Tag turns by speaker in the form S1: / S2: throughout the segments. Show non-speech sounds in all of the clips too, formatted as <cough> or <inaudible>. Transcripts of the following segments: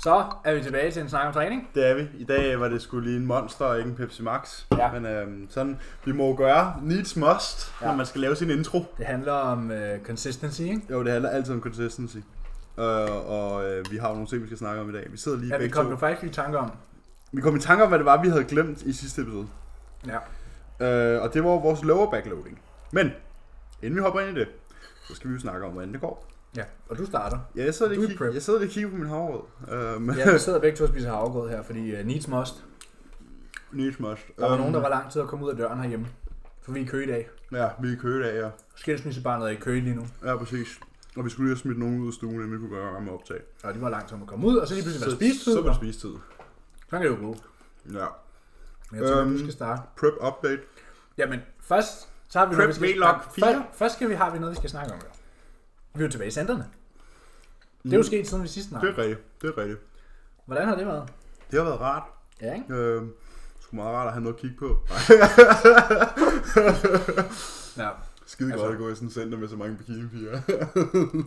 S1: Så er vi tilbage til en snak om træning.
S2: Det er vi. I dag var det skulle lige en monster og ikke en Pepsi Max.
S1: Ja.
S2: Men øhm, sådan, vi må jo gøre needs must, ja.
S1: Ja.
S2: når man skal lave sin intro.
S1: Det handler om øh, consistency, ikke?
S2: Jo, det handler altid om consistency. Øh, og øh, vi har jo nogle ting, vi skal snakke om i dag. Vi sidder lige
S1: Ja, vi
S2: begge
S1: kom
S2: to-
S1: jo faktisk lige i tanke om.
S2: vi kom i tanke om, hvad det var, vi havde glemt i sidste episode.
S1: Ja.
S2: Øh, og det var vores lower backloading. Men, inden vi hopper ind i det, så skal vi jo snakke om, hvordan det går.
S1: Ja, og du
S2: <laughs>
S1: starter.
S2: Ja, jeg sidder lige
S1: Du
S2: og
S1: er
S2: kigger,
S1: prep.
S2: jeg sidder lige og kigger på min havregrød. Øhm,
S1: Ja, vi sidder begge to og spiser havregrød her, fordi uh, needs must.
S2: <laughs> needs must.
S1: Der var
S2: Øhm,
S1: nogen, der var lang tid at komme ud af døren herhjemme. For vi er i kø i dag.
S2: Ja, vi er i kø i dag, ja.
S1: Skilsmissebarnet er i kø lige nu.
S2: Ja, præcis. Og vi skulle lige have smidt nogen ud af stuen, inden vi kunne gøre med at optage.
S1: Og det var langt om at komme ud, og så lige pludselig var det
S2: så,
S1: spisetid.
S2: så
S1: og
S2: var det spisetid.
S1: Sådan kan det jo gå.
S2: Ja.
S1: Men jeg tænker,
S2: Øhm.
S1: du skal starte.
S2: Prep update.
S1: Jamen, først så har vi noget, vi
S2: Prep
S1: skal
S2: V-log
S1: Først, først skal vi, har vi noget, vi skal snakke om. jo. Vi er jo tilbage i centerne. Det er jo sket siden vi sidst
S2: Mm. Det
S1: snakkede.
S2: er rigtigt. Det er rigtigt.
S1: Hvordan har det været?
S2: Det har været rart.
S1: Ja, ikke?
S2: Øh, det skulle meget rart at have noget at kigge
S1: <laughs>
S2: på.
S1: Ja.
S2: Skide
S1: Altså-
S2: godt at gå i sådan en center med så mange bikinipiger.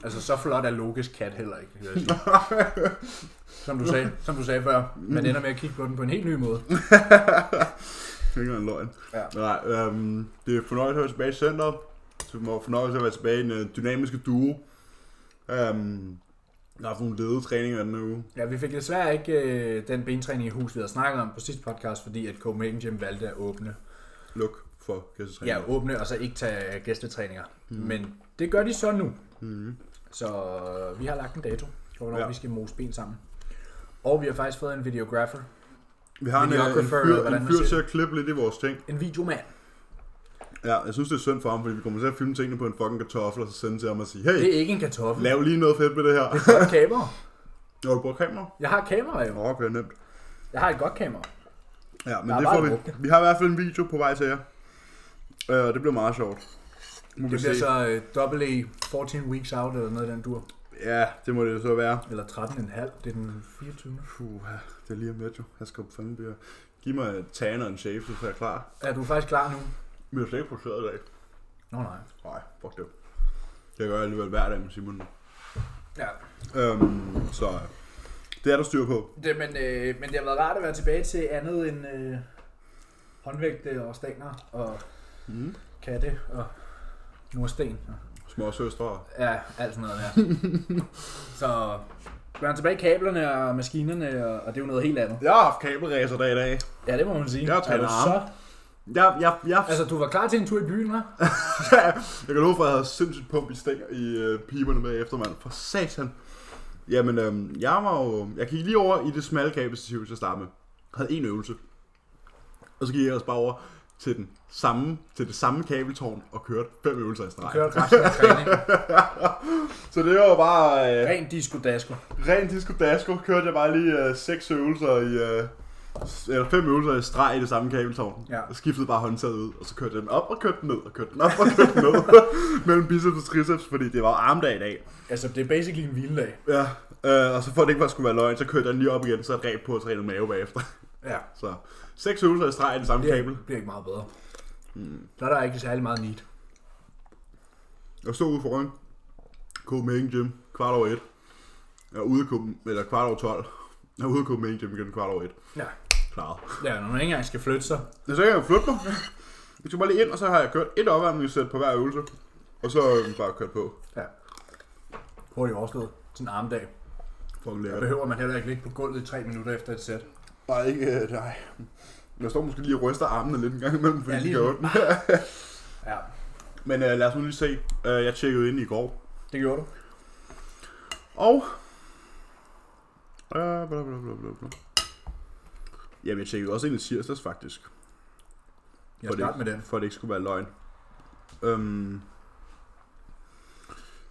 S1: Altså, så flot er Lokes kat heller ikke, vil
S2: <laughs>
S1: jeg sige. Som du sagde, som du sagde før, man ender med at kigge på den på en helt ny måde.
S2: <laughs> Det er ikke engang løgn.
S1: Ja.
S2: Men Nej, øhm, det er fornøjelse at være tilbage i centeret. Så det var fornøjelse at være tilbage i den øh, dynamiske duo. Øhm, jeg har haft nogle ledetræninger den her uge.
S1: Ja, vi fik desværre ikke øh, den bentræning i hus, vi havde snakket om på sidste podcast, fordi at Copenhagen Gym valgte at åbne.
S2: Luk for
S1: Ja,
S2: gæstetræninger.
S1: åbne og så ikke tage gæstetræninger. Men det gør de så nu.
S2: Mm.
S1: Så øh, vi har lagt en dato for, hvornår ja.
S2: Ja.
S1: vi skal mose ben sammen. Og vi har faktisk fået en videographer.
S2: Vi har en, øh, en
S1: Videographer,
S2: fyr,
S1: eller hvordan
S2: en
S1: man
S2: fyr
S1: siger
S2: til at klippe lidt i vores ting.
S1: En videomand.
S2: Ja, jeg synes, det er synd for ham, fordi vi kommer til at filme tingene på en fucking kartoffel, og så sende til ham og sige, hey,
S1: Det er ikke en kartoffel.
S2: lav lige noget fedt med det her.
S1: Det er et kamera.
S2: Når du bruger kamera?
S1: Jeg har et kamera jo.
S2: Nå, okay, nemt.
S1: Jeg har et godt kamera.
S2: Ja, men
S1: Der er
S2: det
S1: bare
S2: får vi.
S1: brugt det.
S2: Vi har i hvert fald en video på vej til jer. Øh, og det bliver meget sjovt. Nu
S1: Det bliver så øh, double A 14 weeks out eller noget i den dur.
S2: Ja, det må det så være.
S1: Eller 13,5. Det er den 24.
S2: Puh, det er lige om lidt jo. Jeg skal fandme blive... Giv mig en tan og en shave, så er jeg klar.
S1: Er du faktisk klar nu?
S2: Vi har slet ikke produceret i dag.
S1: Nå nej.
S2: Nej, fuck det. Det gør jeg alligevel hver dag med Simon.
S1: Ja.
S2: Øhm, så øh, det er der styr på.
S1: Det, men, øh, men det har været rart at være tilbage til andet end øh, håndvægte og stænger og
S2: Mm.
S1: katte og mursten. Og,
S2: Små søstre.
S1: ja, alt sådan <laughs> noget der. Så være tilbage i kablerne og maskinerne, og, og det er jo noget helt andet.
S2: Jeg har haft kabelræser dag i dag.
S1: Ja, det må man sige.
S2: Jeg har
S1: er du
S2: trænet arme.
S1: så,
S2: Jeg, jeg, jeg,
S1: altså, du var klar til en tur i byen, hva'?
S2: <laughs> jeg kan love for, at jeg havde sindssygt pump i, stænger, i øh, piberne med efter, mand. For satan. Jamen, øh, jeg var jo... Jeg gik lige over i det smalle kabelstativ til at starte med. Jeg havde en øvelse. Og så gik jeg ellers bare over til, den samme, til det samme kabeltårn og kørte fem øvelser i streg.
S1: Kørte resten af træningen. <laughs>
S2: Så det var bare... Øh,
S1: Ren disco-dasko.
S2: ren disco dasko kørte jeg bare lige øh, seks øvelser i... Øh, s- eller fem øvelser i streg i det samme kabeltårn.
S1: Ja.
S2: Og skiftede bare håndtaget ud, og så kørte jeg den op og kørte den ned, og kørte den op og kørte den ned. mellem biceps og triceps, fordi det var armdag i dag.
S1: Altså, det er basically en hviledag.
S2: Ja, øh, og så for at det ikke bare skulle være løgn, så kørte jeg den lige op igen, så et ræb på og trænede mave bagefter.
S1: Ja.
S2: Så seks øvelser i streg i det samme
S1: bliver,
S2: kabel.
S1: bliver ikke meget bedre. Mm. Så er der ikke særlig meget need.
S2: Jeg stod ude foran Copenhagen Gym, kvart over et. Jeg var ude i Copen- eller kvart over 12. Jeg var ude i Copenhagen Gym igen kvart over et.
S1: Ja.
S2: Klaret.
S1: ja, når man ikke engang skal flytte sig.
S2: Men så kan jeg jo flytte mig. Jeg skal bare lige ind, og så har jeg kørt et opvarmningssæt på hver øvelse. Og så øh, bare kørt på.
S1: Ja. Hurtigt overstået til en armdag.
S2: Fucking
S1: Der
S2: lækkert.
S1: behøver man heller ikke ligge på gulvet i tre minutter efter et sæt.
S2: Nej, ikke, øh, nej. Jeg står måske lige og ryster armene lidt en gang imellem, fordi
S1: Ja,
S2: ja,
S1: lige
S2: de gør ondt. <laughs>
S1: Ja,
S2: Men øh, lad os nu lige se. Øh, jeg tjekkede ind i går.
S1: det gjorde du.
S2: Og... Øh, bla, bla, bla, bla, bla. Jamen, jeg tjekkede også ind i tirsdags, faktisk.
S1: Jeg
S2: For det
S1: starter med den.
S2: For at det ikke skulle være løgn. Øhm,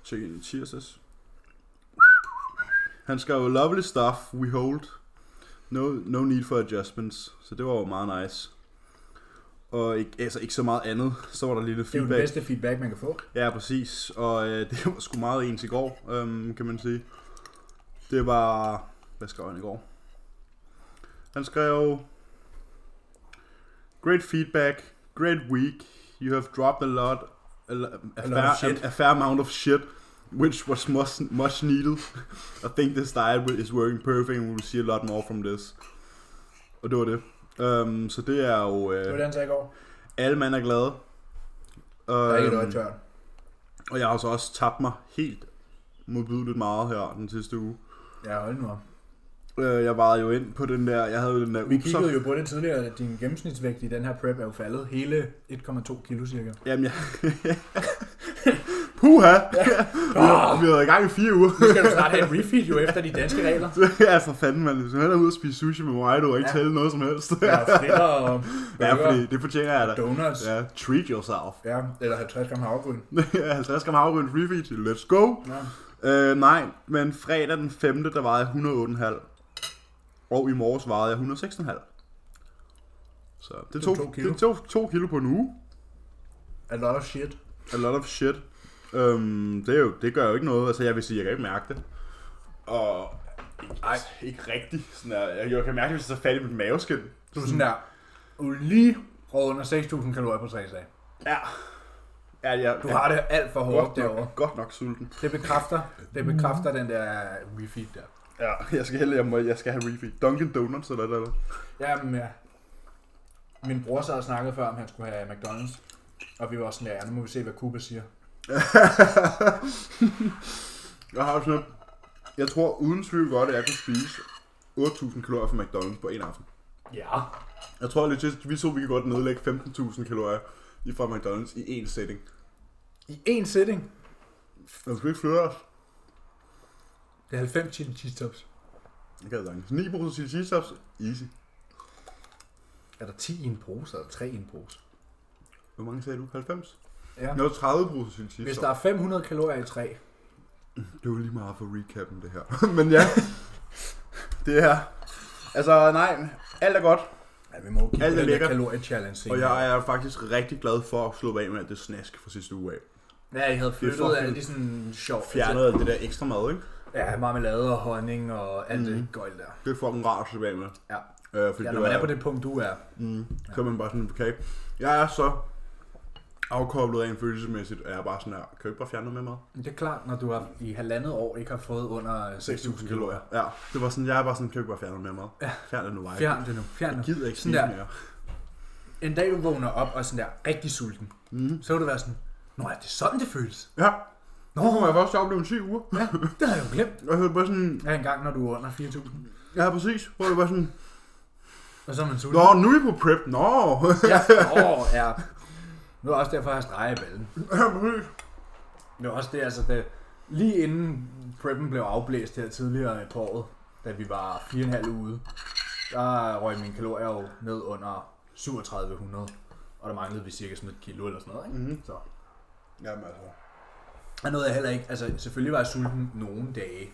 S2: tjek ind i tirsdags. Han skrev, lovely stuff, we hold. No, no need for adjustments. Så det var jo meget nice. Og ikke, altså ikke så meget andet. Så var der lige lidt
S1: Det er jo
S2: feedback.
S1: den bedste feedback, man kan få.
S2: Ja, præcis. Og øh, <laughs> det var sgu meget ens i går, øhm, kan man sige. Det var... Hvad skrev han i går? Han skrev... Great feedback. Great week. You have dropped a lot... A, lo- a,
S1: lot
S2: fair,
S1: of shit."
S2: A, a fair amount of shit. which was much, much needed. <laughs> I think this diet wi- is working perfect, and we will see a lot more from this. Og det var det. Um, så det er jo...
S1: Det var
S2: Øh,
S1: det, han sagde i går.
S2: alle mand er glade.
S1: Der er ikke et
S2: Øhm,
S1: øje tørt.
S2: og jeg har så også tabt mig helt modbydeligt meget her den sidste uge.
S1: Ja, hold nu op.
S2: Øh, jeg vejede jo ind på den der... Jeg havde jo den der...
S1: Vi
S2: Upsa-
S1: kiggede jo på det tidligere, at din gennemsnitsvægt i den her prep er jo faldet hele 1,2 kilo cirka.
S2: Jamen, jeg... <laughs> Puha! Vi har været i gang i fire uger.
S1: Ah,
S2: <laughs>
S1: Nu skal du snart have et refeed jo efter de danske regler.
S2: ja, for fanden, man. Hvis man er ude og spise sushi med mig, du og ikke
S1: Ja.
S2: ja. tælle noget som helst. <laughs>
S1: Ja, fritter og
S2: ja,
S1: øh, burger
S2: fordi det fortjener jeg
S1: og
S2: da.
S1: donuts.
S2: Ja, treat yourself. <laughs>
S1: Ja, eller 50 gram havregryn.
S2: 50 gram havregryn free feed. Let's go.
S1: Ja.
S2: Øh, nej, men fredag den 5. der vejede jeg 108,5. Og i morges vejede jeg 106,5. Så det
S1: er
S2: tog,
S1: to kilo.
S2: to kilo. det tog to kilo på en uge.
S1: A lot of shit.
S2: A lot of shit. Øhm, det, er jo, det gør jo ikke noget. Altså, jeg vil sige, jeg kan ikke mærke det. Og
S1: Ej.
S2: Ej. ikke rigtigt. Sådan der, jeg, jeg kan mærke, hvis jeg er fat i mit maveskin.
S1: Du er sådan der, du er lige røget under 6.000 kalorier på tre dage.
S2: Ja. Ja, jeg,
S1: Du har det Mm. alt for
S2: jeg,
S1: hårdt
S2: godt,
S1: derovre.
S2: nok, godt nok sulten.
S1: Det bekræfter, det bekræfter den der refeed der.
S2: Ja, jeg skal hellere, jeg, må, jeg skal have refeed. Dunkin' Donuts eller et eller andet.
S1: Jamen, ja. Min bror sad og snakkede før, om han skulle have McDonald's. Og vi var sådan, ja, nu må vi se, hvad Cuba siger.
S2: Jeg har sådan noget- Jeg tror uden tvivl godt, at jeg kunne spise 8.000 kalorier fra McDonald's på en aften.
S1: Ja.
S2: Jeg tror lidt, at vi to vi kan godt nedlægge 15.000 kalorier i fra McDonald's i én sætning.
S1: I én sætning.
S2: Men skal vi ikke flytte os?
S1: Det er 90 chili cheese tops.
S2: Jeg kan sagtens. 9% chili cheese tops. Easy.
S1: Er der 10 i en pose, eller 3 i en pose?
S2: Hvor mange sagde du? 90?
S1: Ja.
S2: Jeg var 30% chili cheese
S1: Hvis
S2: tops.
S1: der er 500 kalorier i 3,
S2: Det var lige meget for recappen, det her. <laughs> Men ja, det er... Altså, nej, alt er godt.
S1: ja, vi må jo kigge
S2: Alt
S1: på
S2: er
S1: den der
S2: lækkert.
S1: kalorie-challenge
S2: Og
S1: senere.
S2: jeg er faktisk rigtig glad for at slå af med alt det snask fra sidste uge af.
S1: Ja, jeg havde
S2: er
S1: flyttet
S2: fucking-
S1: alle de sådan sjov.
S2: Fjernet alt det der ekstra mad, ikke?
S1: Ja, marmelade og honning og alt mm. det gøjl der.
S2: Det er fucking rart at slippe af med.
S1: Ja.
S2: Øh, fordi
S1: Ja, når man er på det punkt, du er.
S2: Mm, så er man bare sådan, okay. Jeg er så afkoblet af en følelsesmæssigt, at jeg er bare sådan her, kan jeg ikke bare fjerne noget med mad?
S1: Men Det er klart, når du har i halvandet år ikke har fået under 6.000 kalorier.
S2: Ja, det var sådan, jeg er bare sådan, kan jeg ikke bare fjerne noget med mad? Ja. Fjern det nu, vej.
S1: Fjern det nu. Fjern
S2: Jeg
S1: nu.
S2: gider ikke
S1: Sådan
S2: spise
S1: der.
S2: mere.
S1: En dag du vågner op og er sådan der rigtig sulten, mm. så vil du være sådan, Nå ja, det er sådan det føles.
S2: Ja,
S1: Nå,
S2: nu kommer jeg først til at opleve en 10 uger.
S1: ja, det havde jeg jo glemt.
S2: Og så er det bare sådan,
S1: Ja, en gang, når du er under 4.000,
S2: ja præcis, hvor det var sådan,
S1: og så er man sulten.
S2: Nå, nu er I på prep. Nå. <laughs>
S1: Ja, åh, ja. Nu er også derfor, jeg har streget i ballen.
S2: Ja, præcis.
S1: Det var også det, altså det, lige inden preppen blev afblæst her tidligere på året, da vi var 4,5 ude, der røg mine kalorier jo ned under 3700, og der manglede vi cirka sådan et kilo eller sådan noget, ikke?
S2: Mhm.
S1: Så.
S2: Jamen altså.
S1: Og noget jeg heller ikke, altså selvfølgelig var jeg sulten nogle dage,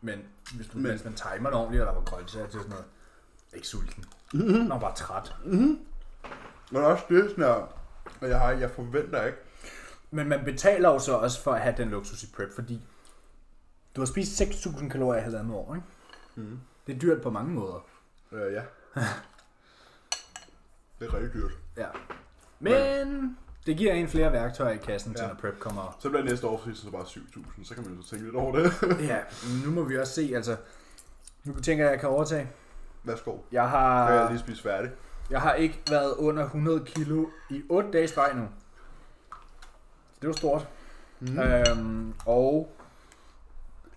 S1: men hvis, du, men.
S2: Men-
S1: hvis man timer det ordentligt, og der var grøntsager til sådan noget, ikke sulten. Man var bare træt.
S2: Men også det sådan her, og jeg, har, jeg forventer ikke.
S1: Men man betaler jo så også for at have den luksus i prep, fordi du har spist 6.000 kalorier i halvandet år, ikke?
S2: Mhm.
S1: Det er dyrt på mange måder.
S2: Øh, ja. <laughs> det er rigtig dyrt.
S1: Ja. Men det giver en flere værktøjer i kassen til,
S2: Ja.
S1: når prep kommer.
S2: Så bliver næste årsprisen så bare 7.000, så kan man jo så tænke lidt over det.
S1: <laughs>
S2: <laughs>
S1: Ja, nu må vi også se, altså... Nu tænker jeg, at jeg kan overtage.
S2: Værsgo.
S1: Jeg har,
S2: Nu har jeg lige spist færdig.
S1: jeg har ikke været under 100 kilo i 8 dage i streg nu. Det var stort. Mm. Øhm, og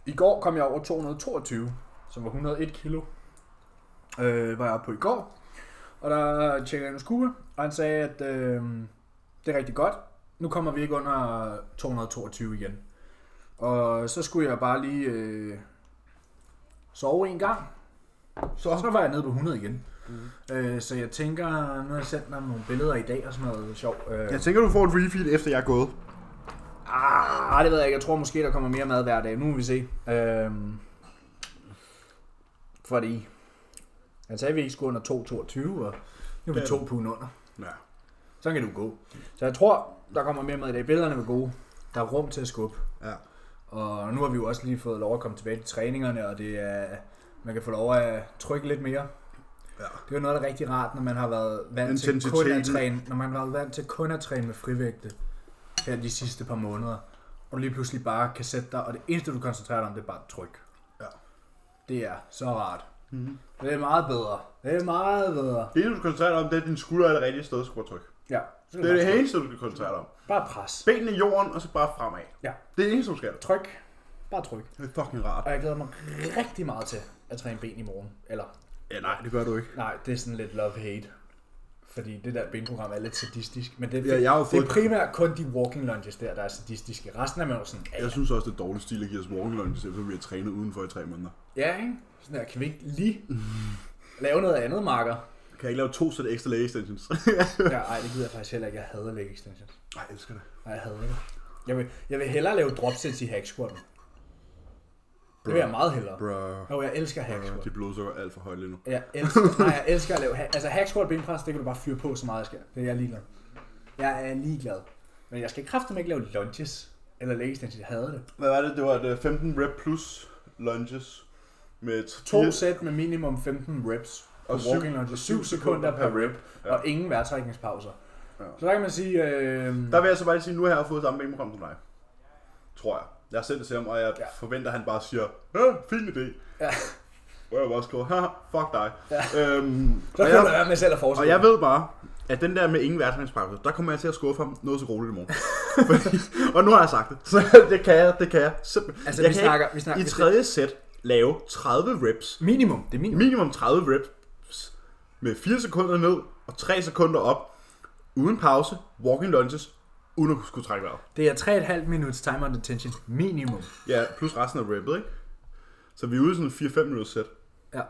S1: i går kom jeg over 222, som var 101 kilo. Øh, var jeg oppe på i går. Og der tjekkede jeg en skue, og han sagde, at øh, det er rigtig godt. Nu kommer vi ikke under 222 igen. Og så skulle jeg bare lige øh, sove en gang. Så, så var jeg nede på 100 igen. Mm. Øh, så jeg tænker, nu har jeg sendt mig nogle billeder i dag og sådan noget sjovt. Øh,
S2: Jeg tænker, du får et refeed, efter jeg er gået.
S1: Ah, det ved jeg ikke. Jeg tror måske, der kommer mere mad hver dag. Nu må vi se. Øhm, fordi han sagde, at vi ikke skulle under 2,22, og nu er vi
S2: Ja.
S1: to pund under.
S2: Ja.
S1: Sådan kan du gå. Så jeg tror, der kommer mere mad i dag. Billederne var gode. Der er rum til at skubbe.
S2: Ja.
S1: Og nu har vi jo også lige fået lov at komme tilbage til træningerne, og det er, man kan få lov at trykke lidt mere.
S2: Ja.
S1: Det er jo noget, der er rigtig rart, når man har været vant til kun at
S2: Intensiteten.
S1: træne, når man har været vant til kun at træne med frivægte her de sidste par måneder. og du lige pludselig bare kan sætte dig, og det eneste, du koncentrerer dig om, det er bare tryk.
S2: Ja. Mhm.
S1: Det er så rart. Mm-hmm. Det er meget bedre. Det er meget bedre.
S2: Det eneste, du koncentrerer dig om, det er, at din skulder er det rigtige sted, du skal bare trykke.
S1: Ja.
S2: Det er det eneste, du kan koncentrere dig om.
S1: Bare pres.
S2: Benene i jorden, og så bare fremad.
S1: Ja.
S2: Det er det eneste, du skal.
S1: Tryk. Bare tryk.
S2: Det er fucking rart.
S1: Og jeg glæder mig rigtig meget til at træne ben i morgen. Eller,
S2: Ja, nej, det gør du ikke.
S1: nej, det er sådan lidt love-hate. Fordi det der benprogram er lidt sadistisk. Men det,
S2: Ja, jeg har jo
S1: det er
S2: fået-
S1: primært kun de walking lunges der, der er sadistiske. Resten er man jo sådan, ja,
S2: Jeg synes også, det er dårlig stil at give os morgenløn, selvom vi har trænet udenfor i tre måneder.
S1: ja, ikke? Sådan der, kan vi ikke
S2: <laughs>
S1: lige lave noget andet, marker?
S2: Kan jeg ikke lave to sæt ekstra leg extensions?
S1: Ja, ej, det gider jeg faktisk heller ikke. Jeg hader leg extensions.
S2: <laughs> Nej, jeg elsker det.
S1: Nej, jeg hader det. Jeg vil, jeg vil hellere lave drop sets i hack squatten. Det vil jeg meget hellere.
S2: Bro.
S1: Jo, jeg elsker hack
S2: Ja,
S1: squat.
S2: Dit blodsukker er alt for højt lige nu.
S1: Jeg elsker, nej, jeg elsker at lave ha- Altså hack squat og benpres, det kan du bare fyre på så meget, jeg skal. Det er jeg ligeglad. Jeg er ligeglad. Men jeg skal kraftedeme ikke lave lunges. Eller leg extensions, jeg hader det.
S2: Hvad var det? Det var et øh, 15 rep plus lunges. Med t-
S1: To
S2: fire-
S1: sæt med minimum 15 reps. Og
S2: syv-
S1: walking lunges. 7 sekunder per rep.
S2: Ja.
S1: Og ingen vejrtrækningspauser.
S2: Ja.
S1: Så der kan man sige, øh,
S2: Der vil jeg så bare lige sige, nu har jeg fået samme benprogram som dig. Tror jeg. Jeg har sendt det til ham, og jeg
S1: Ja.
S2: ja. forventer, at han bare siger, Øh, fin idé.
S1: Ja.
S2: Hvor jeg bare skriver, haha, fuck dig.
S1: Ja.
S2: Øhm,
S1: så
S2: og,
S1: kan du
S2: jeg,
S1: lade være med selv at forestille
S2: og jeg ved bare, at den der med ingen værtsmandspause, der kommer jeg til at skuffe ham noget så roligt i
S1: <laughs>
S2: morgen. Fordi, og nu har jeg sagt det, så <laughs> det kan jeg, det kan jeg. Simpelthen.
S1: Altså,
S2: jeg
S1: vi
S2: kan
S1: snakker-
S2: ikke
S1: vi snakker-
S2: I
S1: vi
S2: tredje sæt lave 30 reps,
S1: Minimum, det er minimum.
S2: minimum 30 reps, med 4 sekunder ned og 3 sekunder op, uden pause, walking lunges, uden at skulle trække vejret.
S1: Det er 3,5 minutters time on attention. Minimum.
S2: Ja, plus resten af rappet, ikke? Så vi er ude i sådan 4-5 minutter sæt.
S1: Ja.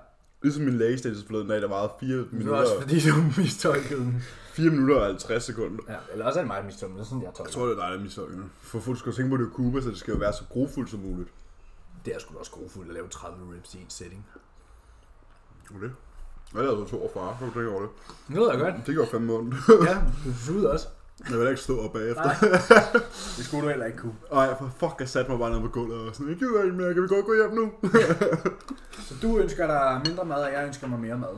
S2: Ligesom min læge status forleden dag, der varede
S1: Det
S2: 4
S1: var også
S2: minutter,
S1: fordi, du mistolkede den.
S2: 4 minutter og 50 sekunder.
S1: Ja, eller også er det meget mistolket, det er sådan, jeg tolker.
S2: Jeg tror, det er dejligt, at mistolke. For folk skal jo tænke på, at det er Cuba, så det skal jo være så grofuldt som muligt.
S1: Det er sgu da også grofuldt at lave 30 reps i en setting.
S2: Og det? Jeg lavede 42, så du tænker over det.
S1: Det ved jeg godt.
S2: Det gjorde
S1: <laughs>
S2: fandme ondt.
S1: Ja, du suger også.
S2: jeg vil heller ikke stå op bagefter.
S1: Nej. Det skulle du heller ikke kunne.
S2: Nej, for fuck, jeg satte mig bare ned på gulvet og sådan, jeg gider ikke mere, kan vi godt gå hjem nu?
S1: Så du ønsker dig mindre mad, og jeg ønsker mig mere <laughs> mad.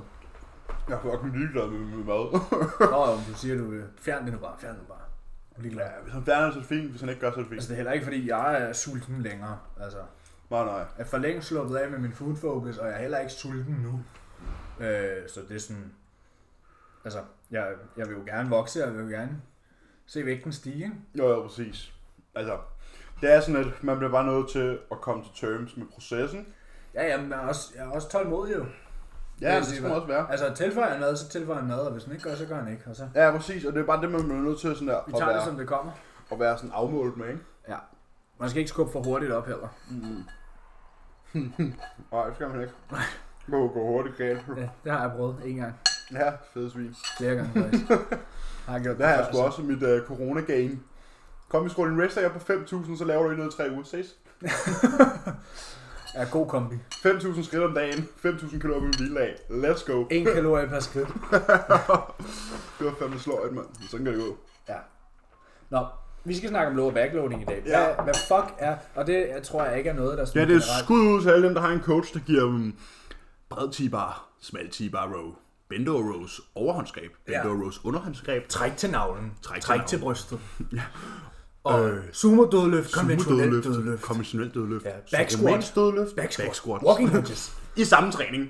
S2: jeg er fucking ligeglad med, med mad. <laughs>
S1: Nå, jo, du siger, du øh, fjern det nu bare, fjern det nu bare. Jeg er ligeglad.
S2: hvis han fjerner, så er det fint. Hvis han ikke gør, så er det
S1: Altså, det er heller ikke, fordi jeg er sulten længere. Altså,
S2: Nej, nej.
S1: jeg er for længst sluppet af med min food focus, og jeg er heller ikke sulten nu. Øh, så det er sådan... Altså, jeg, jeg vil jo gerne vokse, og jeg vil jo gerne se vægten stige, ikke?
S2: Jo, jo, præcis. Altså, det er sådan, at man bliver bare nødt til at komme til terms med processen.
S1: Ja, ja, men jeg er også, jeg er også tålmodig jo.
S2: Ja,
S1: vil
S2: det
S1: sige,
S2: skal man
S1: hvad-
S2: også være.
S1: Altså, tilføjer han noget, så tilføjer han noget, og hvis han ikke gør, så gør han ikke. Og så,
S2: Ja, præcis, og det er bare det, man bliver nødt til sådan der,
S1: vi
S2: at
S1: tager det, som
S2: være,
S1: det kommer.
S2: at være sådan afmålet med, ikke?
S1: Ja. Man skal ikke skubbe for hurtigt op heller.
S2: <laughs> Nej, det skal man ikke. Det må jo gå hurtigt galt.
S1: Ja, det har jeg prøvet en gang.
S2: Ja, fede svin.
S1: Flere gange faktisk.
S2: <laughs>
S1: har jeg gjort
S2: Der har jeg
S1: før,
S2: sgu
S1: så-
S2: også mit uh, corona game. Kom i skole en rest op på 5.000, så laver du ikke noget i tre uger. Ses.
S1: Ja, god kombi.
S2: 5.000 skridt om dagen, 5.000 kilo op i en hvile af. Let's go.
S1: En kalorie per skridt.
S2: Det var fandme sløjt, mand. Sådan kan det gå.
S1: Ja. Nå, vi skal snakke om low og backloading i dag. Hvad,
S2: Ja.
S1: hvad fuck er... Og det jeg tror jeg ikke er noget, der
S2: Ja,
S1: sådan
S2: det er skud ud til alle dem, der har en coach, der giver dem bred T-bar, smal T-bar row, bendo rows overhåndsgreb, bendo
S1: Ja.
S2: rows underhåndsgreb,
S1: Træk til navlen.
S2: Træk til navlen.
S1: brystet.
S2: Ja.
S1: Og
S2: Øh,
S1: sumo dødløft, konventionel
S2: sumodødløft,
S1: dødløft.
S2: konventionel dødløft,
S1: Ja, back squat.
S2: romansk dødløft,
S1: Back squat.
S2: back squat.
S1: Walking lunges.
S2: I samme træning.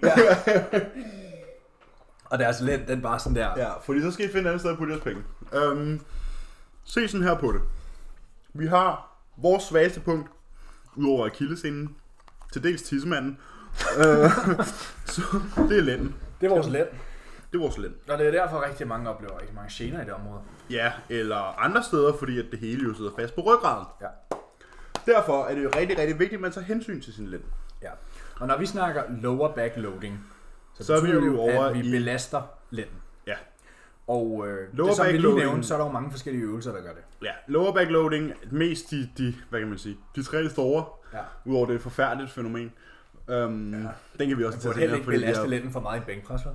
S1: Og deres lænd, den bare sådan der.
S2: Ja, fordi så skal I finde et andet sted at putte jeres penge. Øhm, se sådan her på det. Vi har vores svageste punkt, udover akillescenen, til dels tissemanden. øh, <laughs> så det er lænden.
S1: Det er vores lænd.
S2: Det er vores lænd.
S1: Og det er derfor rigtig mange oplever rigtig mange gener i det område.
S2: Ja, eller andre steder, fordi at det hele jo sidder fast på ryggraden.
S1: Ja.
S2: Derfor er det jo rigtig, rigtig vigtigt, at man tager hensyn til sin lænd.
S1: ja. Og når vi snakker lower backloading, så,
S2: Så er vi
S1: betyder
S2: jo
S1: det
S2: over
S1: at vi
S2: i-
S1: belaster lænden.
S2: Ja.
S1: Og øh,
S2: Lower
S1: det, som vi lige
S2: backloading-
S1: nævnte, så er der jo mange forskellige øvelser, der gør det.
S2: Ja, lower back loading, mest de, de, hvad kan man sige, de tre store,
S1: Ja.
S2: udover det er et forfærdeligt fænomen. Øhm, ja. Den kan vi også
S1: Du
S2: tage
S1: burde
S2: til
S1: heller
S2: her,
S1: ikke
S2: fordi
S1: belaste
S2: jeg,
S1: lænden for meget i en bænkpres,
S2: <laughs>
S1: vel?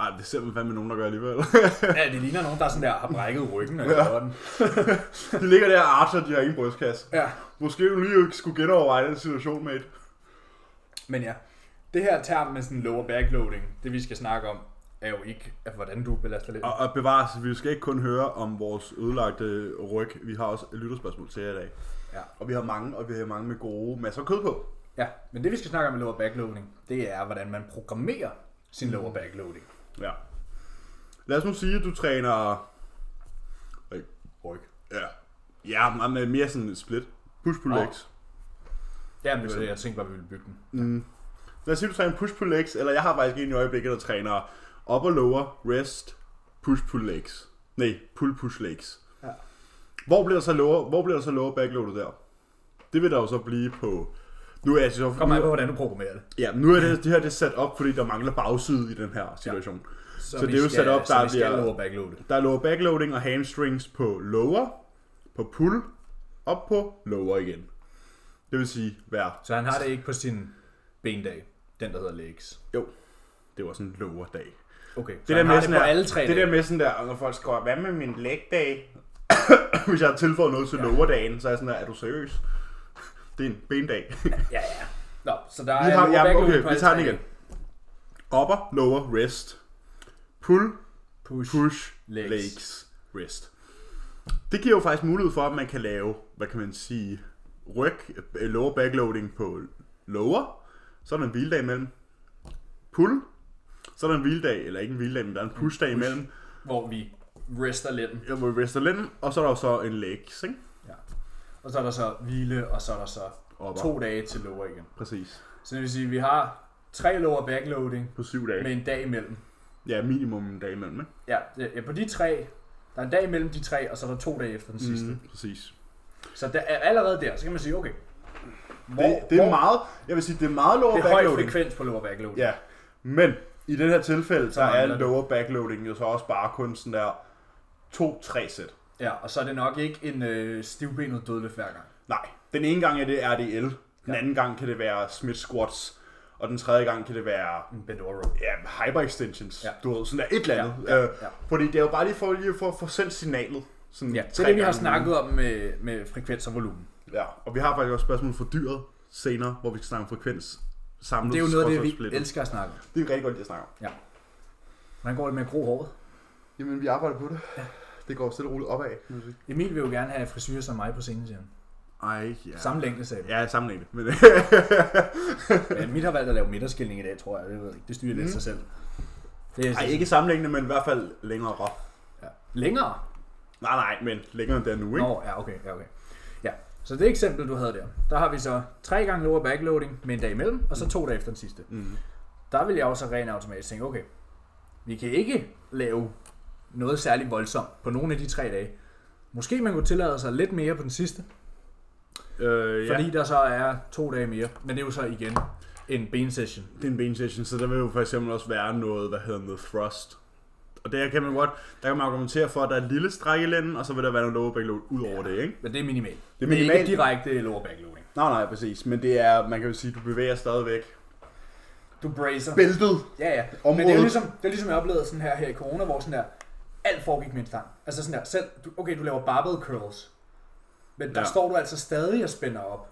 S2: ej, det er simpelthen fandme nogen, der gør alligevel. <laughs>
S1: Ja, det ligner nogen, der sådan der har brækket ryggen og ja. den.
S2: de ligger der og archer, de har ingen brystkasse.
S1: Ja.
S2: Måske du lige skulle genoverveje den situation, mate.
S1: Men ja, det her term med sådan lower backloading, det vi skal snakke om, er jo ikke, at hvordan du belaster lænden.
S2: Og, og bevares, vi skal ikke kun høre om vores ødelagte ryg. Vi har også et lytterspørgsmål til jer i dag.
S1: Ja.
S2: Og vi har mange, og vi har mange med gode masser af kød på.
S1: Ja, men det vi skal snakke om med lower backloading, det er, hvordan man programmerer sin lower backloading.
S2: Ja. Lad os nu sige, at du træner... Øj,
S1: Ryg.
S2: Ja. Ja, men øh, mere sådan split. Push pull legs.
S1: Ja, men det var det, jeg tænkte bare, vi ville bygge den.
S2: Lad os sige, du træner push pull legs, eller jeg har faktisk en i øjeblikket, der træner up og lower, rest, push pull legs. Nej, pull push legs.
S1: Ja.
S2: Hvor bliver der så lower, hvor bliver der så lower backloadet der? Det vil der jo så blive på... Nu er jeg så...
S1: Kom an på, hvordan du programmerer det.
S2: Ja, nu er det, det her det er sat op, fordi der mangler bagside i den her situation. Ja. Så
S1: vi
S2: det er jo
S1: skal-
S2: sat op, der
S1: så vi skal
S2: bliver-
S1: lower backloade.
S2: Der er lower backloading og hamstrings på lower, på pull, op på lower igen. Det vil sige hver.
S1: Så han har det ikke på sin bendag, den der hedder legs.
S2: Jo, det var sådan en lower dag.
S1: Okay, så
S2: Det
S1: det han
S2: der,
S1: har
S2: med
S1: det
S2: sådan
S1: på
S2: der,
S1: alle tre
S2: det
S1: dage.
S2: der med sådan der, når folk skriver, hvad med min leg day? <coughs> Hvis jeg har tilføjet noget til ja. lower dagen, så er jeg sådan der, er du seriøs? <laughs> Det er en bendag. <laughs>
S1: Ja, ja. Nå, så der
S2: Vi
S1: er
S2: har,
S1: lower
S2: ja,
S1: backload
S2: okay,
S1: på
S2: vi
S1: alle
S2: tager
S1: tre
S2: den igen.
S1: dage.
S2: Upper, lower, rest. Pull,
S1: Push.
S2: push,
S1: Legs.
S2: legs. legs, rest. Det giver jo faktisk mulighed for, at man kan lave, hvad kan man sige, ryg, øh, lower backloading på lower, så er der en hviledag imellem. Pull, så er der en hviledag, eller ikke en hviledag, men der er en pushdag push. imellem,
S1: Hvor vi rester lænden.
S2: ja, hvor vi rester lænden, og så er der jo så en legs, ikke?
S1: Ja. Og så er der så hvile, og så er der så
S2: Opper.
S1: to dage til lower igen.
S2: Præcis.
S1: Så det vil sige, at vi har tre lower backloading
S2: På syv dage.
S1: med
S2: Men.
S1: en dag imellem.
S2: Ja, minimum en dag imellem, ikke?
S1: Ja, ja, på de tre, der er en dag imellem de tre, og så er der to dage efter den sidste. Mm.
S2: Mm, præcis.
S1: Så der er allerede der, så kan man sige, okay, hvor,
S2: Det, det er
S1: hvor,
S2: meget, jeg vil sige, det er meget lower
S1: det er høj
S2: backloading.
S1: frekvens på lower backloading.
S2: Ja, men i det her tilfælde, så er
S1: mangler det.
S2: lower backloading jo så også bare kun sådan der 2-3 sæt.
S1: Ja, og så er det nok ikke en øh, stivbenet dødløft hver gang.
S2: Nej, den ene gang er det RDL, den anden gang kan det være Smith squats, og den tredje gang kan det være
S1: En bent over row.
S2: ja, hyper extensions,
S1: Ja.
S2: ja. du ved, sådan der et eller andet.
S1: Ja, ja,
S2: Øh,
S1: ja.
S2: Fordi det er jo bare lige for, lige for at få sendt signalet. Sådan
S1: Ja, det
S2: tre
S1: er det, vi har
S2: gange.
S1: snakket om med, med frekvens og volumen.
S2: Ja, og vi har faktisk også spørgsmål for dyret senere, hvor vi skal snakke om frekvens samlet.
S1: Det er jo noget af det,
S2: skråstreg
S1: vi
S2: splittet.
S1: elsker at snakke om.
S2: Det er rigtig godt, det jeg snakker om.
S1: Ja. Man går lidt mere grå håret.
S2: Jamen, vi arbejder på det. Det går stille og roligt opad, kan man sige.
S1: Emil vil jo gerne have frisyrer som mig på scenen, siger han.
S2: Ej, ja.
S1: Samme længde, sagde
S2: Ja, sammenlignet. <laughs> Men,
S1: ja. Mit har valgt at lave midterskilning i dag, tror jeg. Det, ved jeg ikke. det styrer lidt sig selv. Det er
S2: Mhm. Ej, ikke sammenlignende, men i hvert fald længere.
S1: Ja. Længere?
S2: Nej, nej, men længere end der nu, ikke?
S1: Nå, ja, okay, ja, okay. Ja, så det eksempel, du havde der, der har vi så tre gange lower backloading med en dag imellem, og så to dage efter den sidste.
S2: Mm.
S1: Der vil jeg også rent automatisk tænke, okay, vi kan ikke lave noget særligt voldsomt på nogle af de tre dage. Måske man kunne tillade sig lidt mere på den sidste,
S2: Øh, ja.
S1: fordi der så er to dage mere. Men det er jo så igen en bensession.
S2: det er en ben session, så der vil jo for eksempel også være noget, hvad hedder noget thrust. Og der kan man godt, der kan man argumentere for, at der er et lille stræk i lænden, og så vil der være noget lower back load ud over ja. det, ikke?
S1: Men det er minimalt.
S2: Det er
S1: Det er
S2: minimalt.
S1: ikke direkte lower backloading.
S2: Nej, nej, præcis. Men det er, man kan jo sige, at du bevæger stadigvæk.
S1: Du bracer.
S2: Bæltet.
S1: Ja, ja. Men det er
S2: Området.
S1: jo ligesom, det er ligesom jeg oplevede sådan her, her i corona, hvor sådan der, alt foregik med en stang. Altså sådan der, selv, du, okay, du laver barbell curls, men der ja.
S2: Ja.
S1: står du altså stadig og spænder op.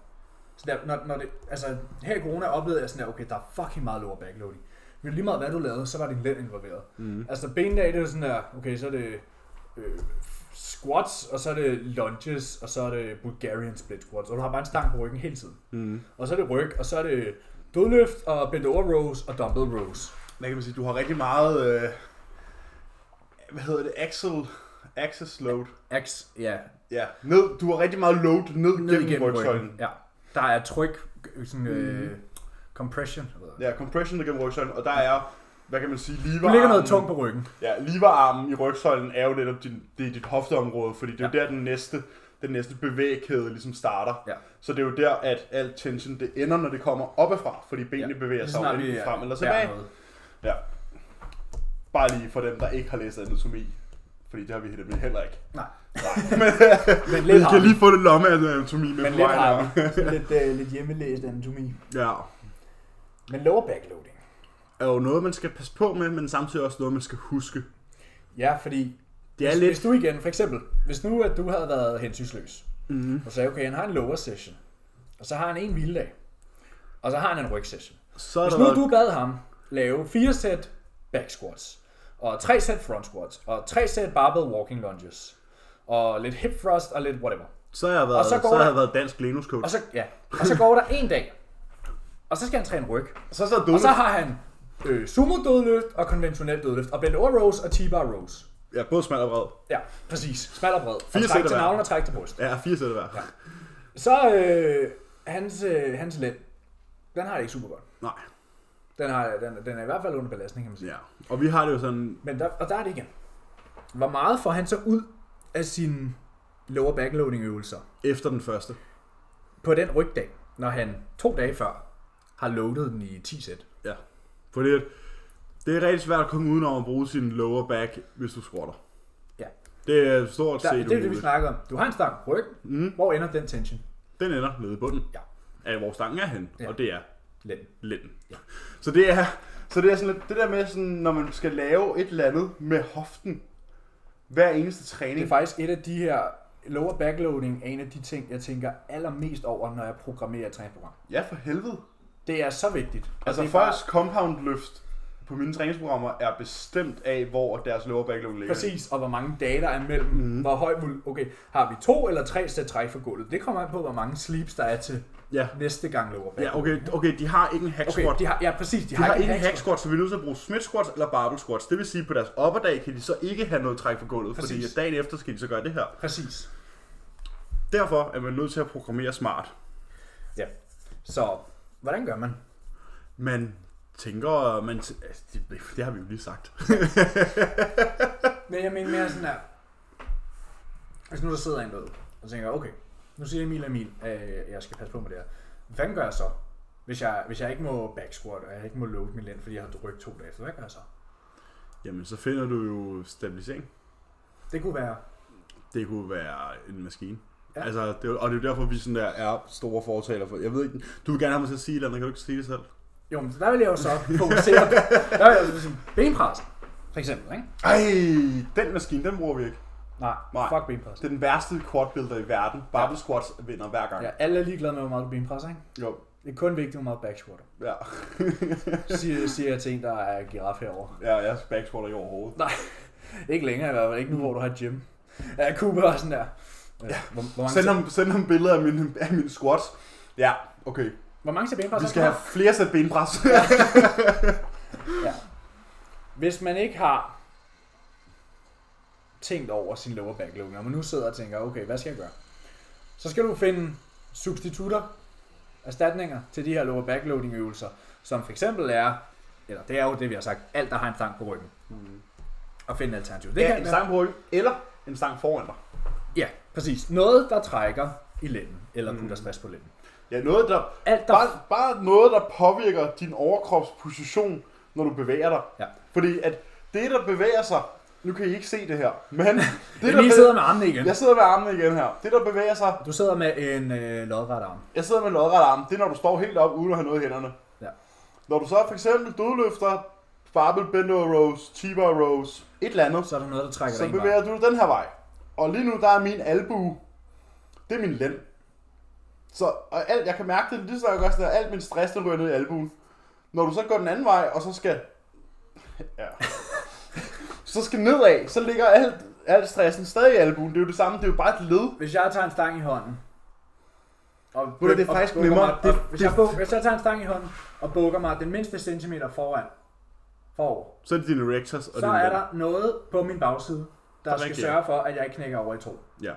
S1: Så der, når, når det, altså, her i corona oplevede jeg sådan der, okay, der er fucking meget lower backloading. Men lige meget hvad du lavede, så var din lænd involveret. Mm. Altså bendag, det er jo sådan der, okay, så er det øh, squats, og så er det lunges, og så er det Bulgarian split squats, og du har bare en stang på ryggen hele tiden.
S2: Mm.
S1: Og så er det ryg, og så er det dødløft, og bent over rows, og dumbbell rows.
S2: Man kan man sige, du har rigtig meget, øh, hvad hedder det, axel, axis load.
S1: X, ja,
S2: Ja, ned, du har rigtig meget load ned, ned gennem, gennem rygsøjlen. Mm.
S1: Ja. Der er tryk, øh, sådan, øh, compression. jeg ved ikke.
S2: Ja, compression ned gennem rygsøjlen, og der er, hvad kan man sige,
S1: Du
S2: leverarmen.
S1: ligger noget tungt på ryggen.
S2: Ja, leverarmen i rygsøjlen er jo netop din, det er dit hofteområde, fordi det er ja. der, den næste, den næste bevægkæde ligesom starter.
S1: Ja.
S2: Så det er jo der, at al tension det ender, når det kommer oppefra, fordi benene ja. bevæger
S1: Lige
S2: sig
S1: snart
S2: jo
S1: vi
S2: enten
S1: er-
S2: frem eller
S1: bærer
S2: tilbage.
S1: noget.
S2: Ja. Bare lige for dem, der ikke har læst anatomi, fordi det har vi nemlig heller ikke.
S1: Nej,
S2: Nej,
S1: men lidt har vi.
S2: få det lomme af anatomi med
S1: Men lidt har vi. Sådan <laughs> lidt, øh, lidt hjemmelæst anatomi.
S2: Ja.
S1: Men lower backloading.
S2: Er jo noget, man skal passe på med, men samtidig også noget, man skal huske.
S1: Ja, fordi
S2: Det er
S1: hvis,
S2: lidt...
S1: hvis du igen, for eksempel, hvis nu at du havde været hensynsløs,
S2: Mm,
S1: og sagde, okay, han har en lower session, og så har han en hviledag, og så har han en ryg session.
S2: så er
S1: Hvis
S2: der
S1: nu
S2: noget-
S1: du bad ham lave fire sæt back squats, og tre sæt front squats, og tre sæt barbell walking lunges, og lidt hip thrust og lidt whatever,
S2: Så har jeg været,
S1: Og så
S2: så
S1: går
S2: så har
S1: der-
S2: jeg været dansk Lenus
S1: Og
S2: coach.
S1: så, ja. og så går der en dag, og så skal han træne ryg.
S2: Så så
S1: Og
S2: dumme.
S1: så har han øh, sumo dødløft og konventionel dødløft, og bent over rows og T-bar rows.
S2: Ja, både smal og vred.
S1: Ja, præcis. Smal og bred.
S2: Fire
S1: Og træk
S2: sæt
S1: til
S2: hver.
S1: navlen og træk til bryst.
S2: Ja, fire sæt hver. Ja.
S1: Så øh, hans, øh, hans lænd, den har det ikke super godt.
S2: Nej.
S1: Den, har, den, den er i hvert fald under belastning, kan man sige.
S2: Ja. Og vi har det jo sådan...
S1: Men der, og der er det igen. Hvor meget får han så ud af sine lower backloading øvelser
S2: Efter den første.
S1: på den rygdag, når han to dage før har loadet den i 10 sæt?
S2: Ja. Fordi at det er rigtig svært at komme udenom at bruge sin lower back, hvis du squatter.
S1: Ja,
S2: Det er stort
S1: der,
S2: set
S1: det er det, vi
S2: umuligt.
S1: snakker om. Du har en stang ryg. Mm. Hvor ender den tension?
S2: Den ender nede i bunden
S1: Ja,
S2: af, hvor stangen er henne, ja.
S1: Ja.
S2: og det er
S1: lænden.
S2: lænden. Ja. Så det er, så det er sådan lidt, det der med, sådan, når man skal lave et eller andet med hoften, hver eneste
S1: Det er
S2: træning.
S1: faktisk et af de her lower backloading er en af de ting, jeg tænker allermest over, når jeg programmerer et træningsprogram.
S2: Ja, for helvede.
S1: Det er så vigtigt. Og
S2: Altså
S1: det er
S2: folks compound løft på mine træningsprogrammer er bestemt af, hvor deres lower back load ligger.
S1: Præcis, og hvor mange dage der er imellem. Mm. Hvor høj vol- Okay, har vi to eller tre sæt træk for gulvet? Det kommer an på, hvor mange sleeps der er til
S2: Ja.
S1: næste gang lower back.
S2: Ja, okay, okay, de har ikke en hack
S1: okay
S2: squat.
S1: de har, ja, præcis. De,
S2: De har
S1: en
S2: ikke en hack
S1: hack squat.
S2: squat, så vi er nødt til at bruge smith squats eller barbell squats. Det vil sige, at på deres opperdag kan de så ikke have noget træk for gulvet, Præcis. fordi
S1: Præcis.
S2: at dagen efter skal de så gøre det her.
S1: Præcis.
S2: Derfor er man nødt til at programmere smart.
S1: Ja. Så, hvordan gør man?
S2: Man tænker, man t- altså, det, det har vi jo lige sagt.
S1: Men jeg mener mere sådan her. Hvis nu der sidder en derude, og tænker, okay, nu siger Emil Emil, at jeg skal passe på med det her. Hvad gør jeg så, hvis jeg, hvis jeg ikke må back squat, og jeg ikke må load min lænd, fordi jeg har rykket to dage? Så hvad gør jeg så?
S2: Jamen, så finder du jo stabilisering.
S1: Det kunne være,
S2: Det kunne være en maskine. Ja.
S1: Ja.
S2: Altså, det, er jo- og det er jo derfor, vi sådan der er store fortaler for. Jeg ved ikke, du vil gerne have mig til at sige et eller andet, kan du ikke sige det selv?
S1: jo, men der vil jeg jo <laughs> så fokusere på, der vil jeg jo så sige, benpressen, for eksempel, ikke?
S2: Ej, den maskine, den bruger vi ikke.
S1: Nej,
S2: Nej.
S1: Nej. fuck benpressen.
S2: Det er den værste quadbuilder i verden. Barbell squats vinder hver gang.
S1: Ja, alle er ligeglade med, hvor meget du benpresser, ikke?
S2: Jo,
S1: Det er kun vigtigt, hvor meget back squatter.
S2: ja. <laughs>
S1: Siger, siger jeg til en, der er giraf herovre.
S2: Ja, jeg backsquatter ikke overhovedet.
S1: Nej, ikke længere i hvert fald. Ikke nu, hvor du har gym. Ja, Cooper var sådan der. Ja. Hvor, hvor, mange
S2: Send
S1: sæt-
S2: ham, send ham billeder af min, af min squats. Ja, okay.
S1: hvor mange til benpres?
S2: Vi
S1: har
S2: skal
S1: du?
S2: have flere sæt benpres.
S1: Ja. Hvis man ikke har tænkt over sin lower back loading, og man nu sidder og tænker, okay, hvad skal jeg gøre? Så skal du finde substitutter, erstatninger til de her lower back loading øvelser, som for eksempel er, eller det er jo det, vi har sagt, alt der har en stang på ryggen. Mm. Og finde en alternativ. Det
S2: ja,
S1: kan
S2: en
S1: være-
S2: stang på ryggen, eller en stang foran dig.
S1: Ja, præcis. Noget, der trækker i lænden, eller putter stress på lænden.
S2: Ja, noget, der,
S1: Alt, der
S2: Mm. bare, bare noget, der påvirker din overkropsposition, når du bevæger dig.
S1: Ja.
S2: Fordi at det, der bevæger sig, nu kan I ikke se det her,
S1: <laughs>
S2: men det,
S1: Det
S2: der
S1: lige
S2: bevæger,
S1: sidder med armene igen.
S2: jeg sidder med armene igen her. Det, der bevæger sig,
S1: Du sidder med en øh, lodret arm.
S2: jeg sidder med en lodret arm, det er, når du står helt op uden at have noget i hænderne.
S1: Ja.
S2: Når du så for eksempel dødløfter, barbell bend over rows, t-bar rows, et eller andet,
S1: Så er der noget, der trækker
S2: så
S1: dig ind.
S2: bevæger du dig den her vej. Og lige nu, der er min albue. Det er min lænd. Så og alt, jeg kan mærke det, lige så jeg gør sådan der, alt min stress, den ryger ned i albuen. Når du så går den anden vej, og så skal... <laughs> Ja. så skal nedad, så ligger alt, alt stressen stadig i albuen. Det er jo det samme, det er jo bare et led.
S1: Hvis jeg tager en stang i hånden, og
S2: du, det er
S1: og
S2: faktisk
S1: bukker
S2: nemmere.
S1: Mig,
S2: Det-
S1: og, hvis, jeg buk, hvis jeg tager en stang i hånden og bukker mig den mindste centimeter foran, forover,
S2: Så er det dine rectors og
S1: så er der noget på min bagside, der,
S2: Der
S1: der skal
S2: reagerer.
S1: sørge for, at jeg ikke knækker over i to.
S2: Ja.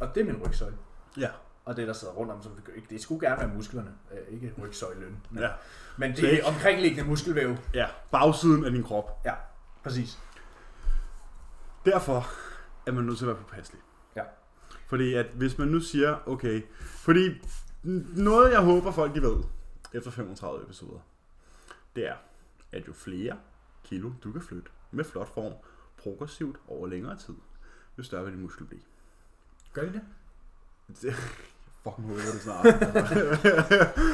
S1: Og det er min rygsøjle.
S2: Ja.
S1: Og det, der sidder rundt om, så vi gør ikke- det skulle gerne være musklerne, øh, ikke rygsøjlen. Men,
S2: Ja.
S1: men
S2: Det er
S1: det
S2: ikke-
S1: er omkringliggende muskelvæv.
S2: ja. Bagsiden af din krop.
S1: Ja, præcis.
S2: Derfor er man nødt til at være påpasselig.
S1: Ja.
S2: Fordi at hvis man nu siger, okay, fordi n- noget jeg håber folk de ved, efter 35 episoder, det er, at jo flere kilo du kan flytte med flot form, progressivt over længere tid, jo større vil din muskel blive.
S1: Gør det det?
S2: Det- Fucking håber
S1: <laughs>
S2: det snart.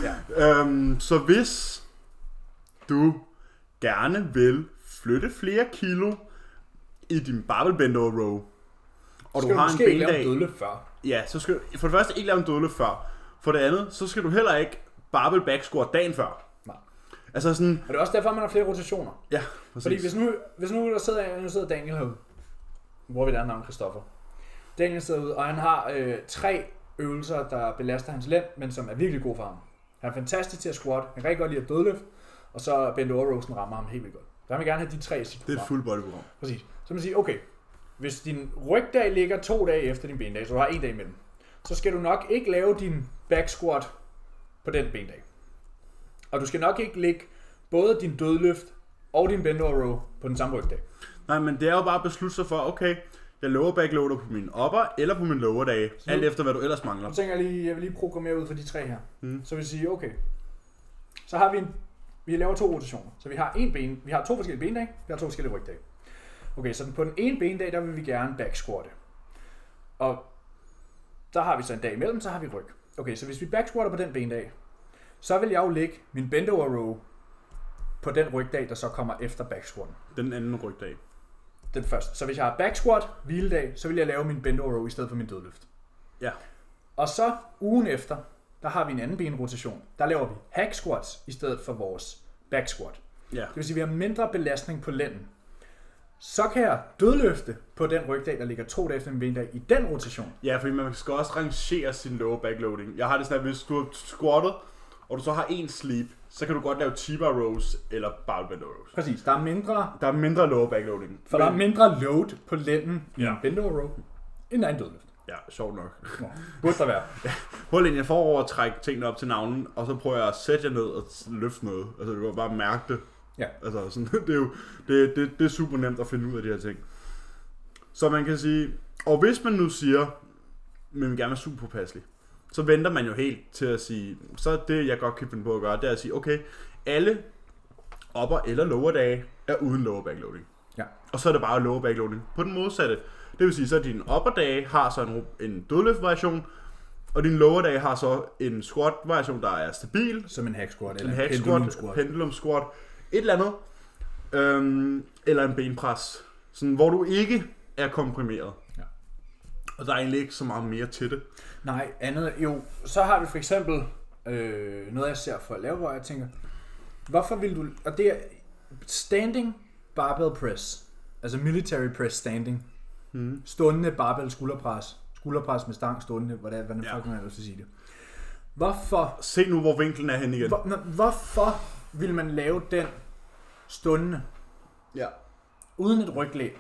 S2: ja. øhm, så hvis du gerne vil flytte flere kilo i din barbell bend over row, og
S1: Skal
S2: du har en
S1: måske ikke lave
S2: bendag,
S1: en dødløft før.
S2: Ja, så skal du for det første ikke lave en dødløft før. For det andet, så skal du heller ikke barbell back squat dagen før.
S1: Nej.
S2: Altså sådan,
S1: Og det er også derfor, man har flere rotationer.
S2: ja, præcis.
S1: Fordi hvis nu, hvis nu der sidder, nu sidder Daniel herude, hvor vi der navn Christoffer. Daniel sidder ud, og han har øh, tre øvelser, der belaster hans lænd, men som er virkelig gode for ham. Han er fantastisk til at squat, han kan rigtig godt lide at dødløft, og så Bent Overrosen rammer ham helt vildt godt. Så han vil gerne have de tre i sit
S2: Det er
S1: program.
S2: et fuld body program.
S1: Præcis. Så man siger, okay, hvis din rygdag ligger to dage efter din bendag, så du har en dag imellem, så skal du nok ikke lave din back squat på den bendag. Og du skal nok ikke lægge både din dødløft og din bend over row på den samme rygdag.
S2: Nej, men det er jo bare at beslutte sig for, okay, jeg lower backloader på min upper eller på min lower dage, alt efter hvad du ellers mangler.
S1: Nu tænker jeg lige, jeg vil lige programmere ud for de tre her. Mm. Så vil jeg sige, okay, så har vi en, vi laver to rotationer. Så vi har en ben, vi har to forskellige bendage, vi har to forskellige rygdage. Okay, så den- på den ene bendag, der vil vi gerne back squatte. Og der har vi så en dag imellem, så har vi ryg. Okay, så hvis vi back squatter på den bendag, så vil jeg jo lægge min bend over row på den rygdag, der så kommer efter back squatten.
S2: Den anden rygdag.
S1: Den første. Så hvis jeg har back squat, hviledag, så vil jeg lave min bend over row i stedet for min dødløft.
S2: Ja.
S1: Og så ugen efter, der har vi en anden benrotation. Der laver vi hack squats i stedet for vores back squat. Det
S2: Ja.
S1: vil sige, at vi har mindre belastning på lænden. Så kan jeg dødløfte på den rygdag, der ligger to dage efter min bendag i den rotation.
S2: Ja, fordi man skal også rangere sin lower backloading. Jeg har det sådan, at hvis du har squattet, og du så har en sleep, så kan du godt lave T-bar rows eller barbell rows.
S1: Præcis, der er mindre,
S2: Der er mindre lower backloading.
S1: for der er mindre load på lænden i
S2: Ja.
S1: en bend over row, end der er en dødløft.
S2: Ja, sjovt nok.
S1: Nå, burde der være.
S2: Hold ind, jeg får over at trække tingene op til navnen, og så prøver jeg at sætte jer ned og løfte noget. Altså, du kan bare mærke det.
S1: Ja.
S2: Altså, sådan, <laughs> det, er jo, det, det, det er super nemt at finde ud af de her ting. Så man kan sige, og hvis man nu siger, men vi vil gerne være super påpasselig, så venter man jo helt til at sige, så er det, jeg godt kan finde på at gøre, det er at sige, okay, alle upper eller lower dage er uden lower backloading.
S1: Ja.
S2: Og så er det bare lower backloading på den modsatte. Det vil sige, så din upper dage har så en, ru- en dødløft variation, og din lower dag har så en squat variation, der er stabil,
S1: Som en hack squat
S2: en
S1: eller
S2: hack
S1: pendulum
S2: squat, pendulum squat, et eller andet, øhm, eller en benpres, sådan, hvor du ikke er komprimeret.
S1: Ja.
S2: Og der er egentlig ikke så meget mere til det.
S1: Nej, andet. Jo, så har vi for eksempel øh, noget, jeg ser for at lave, hvor jeg tænker, hvorfor vil du... Og det er standing barbell press. Altså military press standing. Mm. Stående barbell skulderpres. Skulderpres med stang stående, hvordan, hvordan
S2: Ja.
S1: ja. fuck man ellers vil sige det. Hvorfor,
S2: Se nu, hvor vinklen er henne igen.
S1: hvor, nå, hvorfor vil man lave den stående,
S2: Ja.
S1: uden et ryglæg?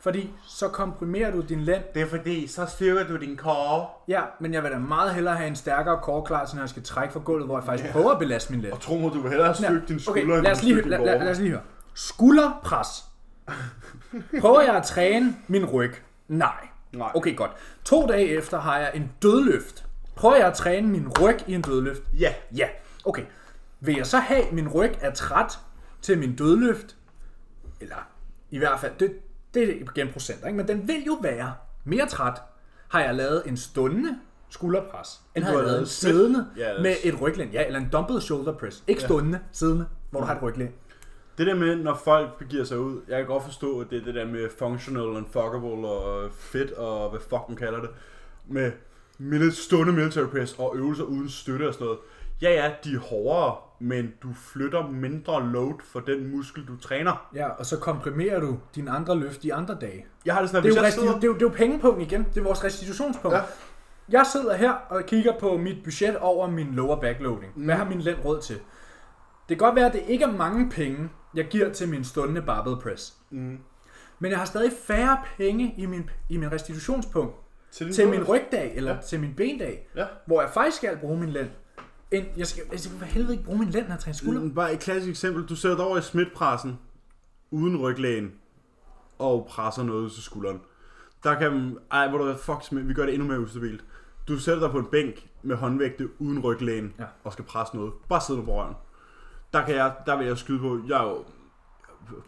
S1: Fordi så komprimerer du din lænd
S2: Det er fordi, så styrker du din core.
S1: Ja, men jeg vil da meget hellere have en stærkere core når jeg skal trække fra gulvet, hvor jeg faktisk prøver at belaste min lænd.
S2: Og tro mig, du vil hellere
S1: Ja,
S2: styrke din skulder,
S1: okay, lad os, lige,
S2: end du vil styrke
S1: lad,
S2: din
S1: lad,
S2: core.
S1: lad os lige høre. Skulderpres. Prøver jeg at træne min ryg? Nej.
S2: Nej.
S1: Okay, godt. To dage efter har jeg en dødløft. Prøver jeg at træne min ryg i en dødløft?
S2: Ja,
S1: Ja. Okay. Vil jeg så have, at min ryg er træt til min dødløft? Eller i hvert fald, det, det er igen procenter, ikke? men den vil jo være mere træt, har jeg lavet en stående skulderpres, end har
S2: du
S1: jeg
S2: har
S1: lavet en
S2: lavet
S1: siddende
S2: sit- Ja, det er-
S1: med et ryglæn, ja, altså. eller en dumbbell shoulder press. Ikke stående, siddende, hvor du har et ryglæn.
S2: Det der med, når folk begiver sig ud, jeg kan godt forstå, at det er det der med functional and fuckable og fedt og hvad fuck man kalder det, med mili- stående military press og øvelser uden støtte og sådan noget. Ja, ja, de er hårdere, men du flytter mindre load for den muskel, du træner.
S1: Ja, og så komprimerer du dine andre løft de andre dage.
S2: Jeg har det sådan, at
S1: Det er,
S2: hvis
S1: jo resti- det,
S2: jeg
S1: er jo,
S2: sidder...
S1: det, er jo, det er jo pengepunkten igen. Det er vores restitutionspunkt.
S2: Ja.
S1: Ja. Jeg sidder her og kigger på mit budget over min lower backloading. Hvad har min lænd råd til? Det kan godt være, at det ikke er mange penge, jeg giver til min stående barbell press. Mm. Men jeg har stadig færre penge i min, i min restitutionspunkt
S2: din
S1: til min
S2: dødløft.
S1: rygdag eller Mm. ja. til min bendag,
S2: Ja.
S1: hvor jeg faktisk skal bruge min lænd. End jeg skal, altså, jeg skal for helvede ikke bruge min lænd, når jeg træner skulder. Mm.
S2: Mm, Bare et klassisk eksempel. Du sidder over i smitpressen, uden ryglægen, og presser noget ud til skulderen. Der kan... Ej, hvor du hvad, fuck, smid- vi gør det endnu mere ustabilt. Du sætter dig på en bænk med håndvægte uden ryglægen, ja.
S1: Ja.
S2: og skal presse noget. Bare sidde på røven. Der, kan jeg, der vil jeg skyde på, jeg er jo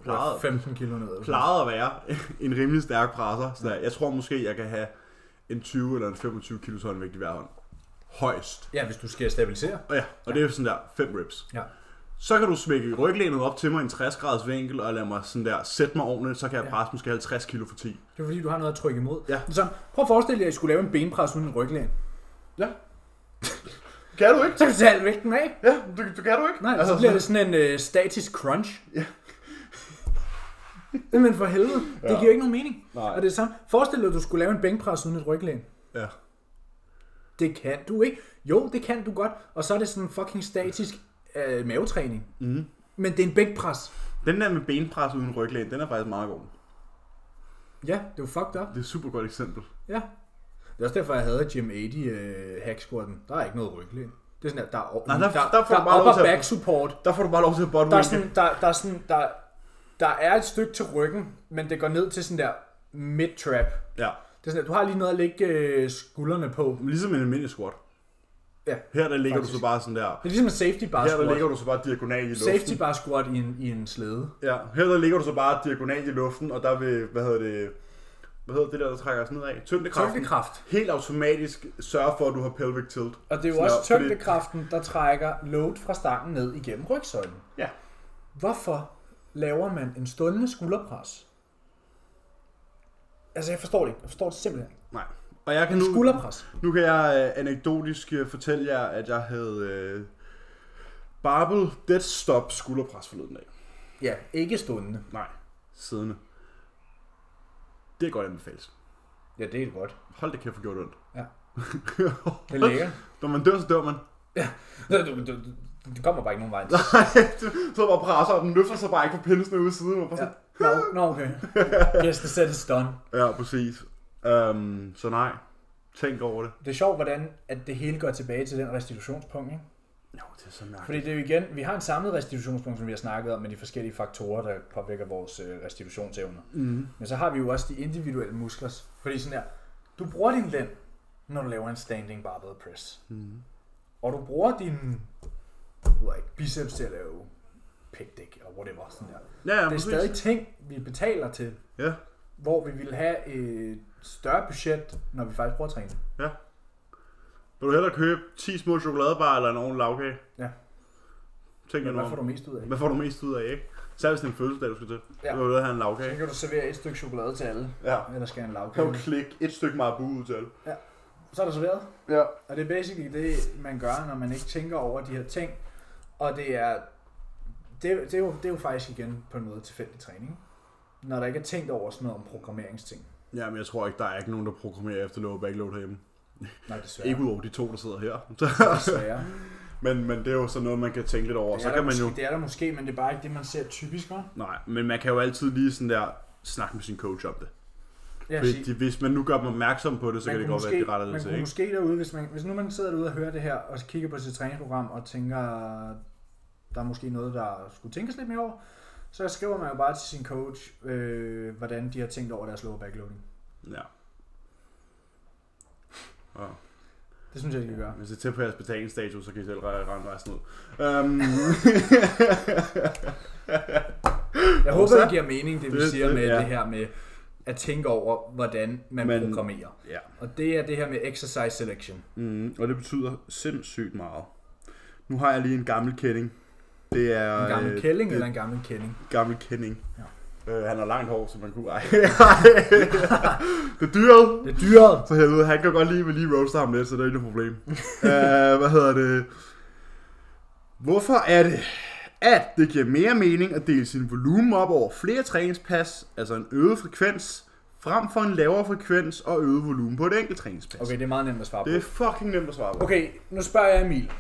S2: plejede,
S1: 15 kilo ned. eller sådan
S2: plejede at være <laughs> en rimelig stærk presser. Så jeg tror måske, jeg kan have en 20 eller en 25 kilos håndvægt i hver hånd. Højst.
S1: noget. Ja, hvis du skal stabilisere.
S2: Og ja, og det er sådan der 5 reps.
S1: Ja.
S2: Så kan du smække ryglænet op til mig i en 60 graders vinkel, og lade mig sådan der, sætte mig ordentligt, så kan jeg presse måske 50 kilo for 10.
S1: Det er fordi, du har noget at trykke imod.
S2: Ja.
S1: Så prøv at forestille jer, at I skulle lave en benpres uden en ryglæn.
S2: Ja. kan du ikke?
S1: Så kan du tage al vægten af.
S2: Ja, du, du kan du ikke. Altså,
S1: Nej, så bliver det sådan en øh, statisk crunch. Men for helvede, ja. det
S2: Ja.
S1: giver ikke nogen mening.
S2: Nej.
S1: Og det er samme. Forestil dig, at du skulle lave en bænkpres uden et ryglæn.
S2: Ja.
S1: Det kan du ikke. Jo, det kan du godt. Og så er det sådan en fucking statisk øh, mavetræning.
S2: Mhm.
S1: Men det er en bænkpres.
S2: Den der med benpres uden ryglæn, den er faktisk meget god.
S1: Ja, det er jo fucked up.
S2: Det er et super godt eksempel.
S1: Ja. Det er også derfor, jeg havde Jim 80 øh, hack squatten. Der er ikke noget ryglæn. Det er sådan, at der er,
S2: Nej, der-
S1: der,
S2: der får du
S1: er
S2: bare lov
S1: upper
S2: til at-
S1: back support.
S2: Der får du bare lov til at
S1: Der er
S2: buttwinke.
S1: sådan, der, der, er sådan, der, der er et stykke til ryggen, men det går ned til sådan der mid-trap.
S2: Ja.
S1: Det er sådan, at du har lige noget at lægge øh, skuldrene på.
S2: Ligesom en almindelig squat.
S1: Ja.
S2: Her der ligger
S1: Faktisk.
S2: du så bare sådan der.
S1: Det er ligesom en safety bar
S2: Her der
S1: squat.
S2: ligger du så bare diagonal i luften.
S1: Safety bar squat i en, i en slæde.
S2: Ja, her der ligger du så bare diagonal i luften, og der vil, hvad hedder det, hvad hedder det der, der trækker os nedad? Tyngdekraften.
S1: Tyngdekraft.
S2: Helt automatisk sørger for, at du har pelvic tilt.
S1: Og det er jo
S2: Sådan
S1: også
S2: der, fordi-
S1: tyngdekraften, der trækker load fra stangen ned igennem rygsøjlen.
S2: Ja.
S1: Hvorfor laver man en stående skulderpres? Altså, jeg forstår det ikke. Jeg forstår det simpelthen ikke.
S2: Nej. Og jeg kan
S1: En
S2: nu,
S1: skulderpres.
S2: nu kan jeg øh, anekdotisk øh, fortælle jer, at jeg havde øh, barbell dead stop skulderpres forleden dag.
S1: Ja, ikke stående.
S2: Nej, siddende. Det er godt anbefales.
S1: Ja, det er godt.
S2: Hold det kæft, for gjort ondt.
S1: Ja. Det er
S2: det
S1: lækkert.
S2: <laughs> Når man dør, så dør man. <laughs>
S1: Du- du- du- Det kommer bare ikke nogen vej.
S2: så bare presser, og den løfter sig bare ikke på pinsene ude i siden. Og bare
S1: Ja.
S2: sådan,
S1: Nå, no, okay. Yes, the set is done.
S2: ja. ja, præcis. Um, så nej, tænk over det.
S1: Det er sjovt, hvordan at det hele går tilbage til den restitutionspunkt, ikke?
S2: Jo, det er så mærkeligt.
S1: Fordi det er jo igen, vi har en samlet restitutionspunkt, som vi har snakket om, med de forskellige faktorer, der påvirker vores øh, restitutionsevner.
S2: Mm.
S1: Men så har vi jo også de individuelle muskler. Fordi sådan her, du bruger din lænd, når du laver en standing barbell press.
S2: Mhm.
S1: Og du bruger din du ved ikke, biceps til at lave pick dick, eller whatever. Sådan der.
S2: Ja, ja,
S1: Det er
S2: præcis.
S1: stadig ting, vi betaler til,
S2: Ja,
S1: hvor vi vil have et større budget, når vi faktisk prøver at træne.
S2: ja. Vil du hellere købe 10 små chokoladebar eller en ordentlig lavkage?
S1: Ja.
S2: Tænk
S1: Men
S2: over
S1: hvad
S2: det.
S1: får du mest ud af?
S2: Hvad får du mest ud af, ikke? Særligt hvis det er en fødselsdag, du skal til.
S1: Ja.
S2: Ja. Du vil hellere have en
S1: Så
S2: lavkage.
S1: kan du servere et stykke chokolade til alle,
S2: Ja.
S1: eller skal en
S2: Kan du
S1: lavkage.
S2: klikke et stykke marabu ud til alle?
S1: Så er der serveret.
S2: Ja.
S1: Og det er basically det, man gør, når man ikke tænker over de her ting. Og det er, det, det, er, jo, det er jo faktisk igen på en måde tilfældig træning. Når der ikke er tænkt over sådan noget om programmeringsting.
S2: Ja, men jeg tror ikke, der er ikke nogen, der programmerer efter low backload herhjemme.
S1: Nej,
S2: Ja.
S1: desværre.
S2: Ikke udover de to, der sidder
S1: <laughs>
S2: her. <laughs>
S1: desværre.
S2: men, men det er jo sådan noget, man kan tænke lidt over.
S1: Det,
S2: Så
S1: er der
S2: kan man
S1: måske,
S2: jo...
S1: det er der måske, men det er bare ikke det, man ser typisk, hva'?
S2: Nej, men man kan jo altid lige sådan der snakke med sin coach om det.
S1: Ja,
S2: Hvis, de, hvis man nu gør dem opmærksom på det, så kan det godt være, at de retter
S1: man
S2: det til,
S1: kunne
S2: ikke?
S1: måske derude, hvis, man, hvis nu man sidder derude og hører det her, og kigger på sit træningsprogram og tænker, der er måske noget, der skulle tænkes lidt mere over, så skriver man jo bare til sin coach, øh, hvordan de har tænkt over deres lower backloading.
S2: Ja. ja.
S1: Det synes jeg, de kan gøre.
S2: Hvis det er tæt på jeres betalingsstatus, så kan I selv re- regne resten ud.
S1: <laughs>
S2: Um,
S1: Jeg
S2: Og
S1: håber,
S2: så-
S1: det giver mening, det vi
S2: Det-
S1: siger
S2: det-
S1: med
S2: ja.
S1: det her med at tænke over, hvordan man
S2: Men-
S1: programmerer.
S2: ja.
S1: Og det er det her med exercise selection.
S2: Mm, og det betyder sindssygt meget. Nu har jeg lige en gammel kending. Det er...
S1: En gammel
S2: øh,
S1: kælling
S2: det-
S1: eller en gammel kending?
S2: gammel kending.
S1: Ja.
S2: Øh, han har langt hår, så man
S1: <laughs>
S2: kunne... <laughs> Ej. det er dyret.
S1: Det er dyret.
S2: For helvede, han kan godt lide, at vi lige roaster ham lidt, så det er ikke noget <laughs> problem. øh, hvad hedder det? Hvorfor er det, at det giver mere mening at dele sin volumen op over flere træningspas, altså en øget frekvens, frem for en lavere frekvens og øget volumen på et enkelt træningspas?
S1: Okay, det er meget nemt at svare på.
S2: Det er fucking nemt at svare på.
S1: Okay, nu spørger jeg Emil.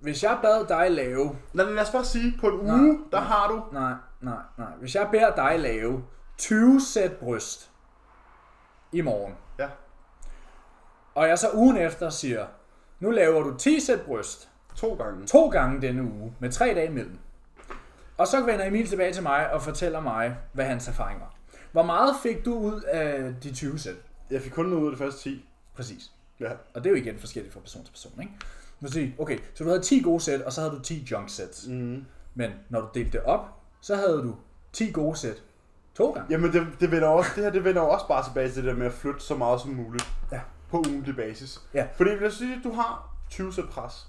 S1: Hvis jeg bad dig lave...
S2: Lad, lad os bare sige, på en
S1: Nej.
S2: uge, der har du...
S1: Nej, nej, nej. Hvis jeg beder dig lave 20 sæt bryst i morgen,
S2: Ja.
S1: og jeg så ugen efter siger, nu laver du 10 sæt bryst,
S2: To gange.
S1: to gange denne uge, med tre dage imellem. Og så vender Emil tilbage til mig og fortæller mig, hvad hans erfaring var. Hvor meget fik du ud af de 20 sæt?
S2: Jeg fik kun noget ud af det første 10.
S1: Præcis.
S2: Ja.
S1: Og det er jo igen forskelligt fra person til person, ikke? Nu siger, okay, så du havde 10 gode sæt, og så havde du 10 junk sets.
S2: Mm.
S1: Men når du delte det op, så havde du 10 gode sæt to gange.
S2: Jamen, det, det, vender også, det her det vender jo også bare tilbage til det der med at flytte så meget som muligt
S1: Ja.
S2: på ugentlig basis.
S1: Ja.
S2: Fordi lad os sige, at du har 20 sæt pres,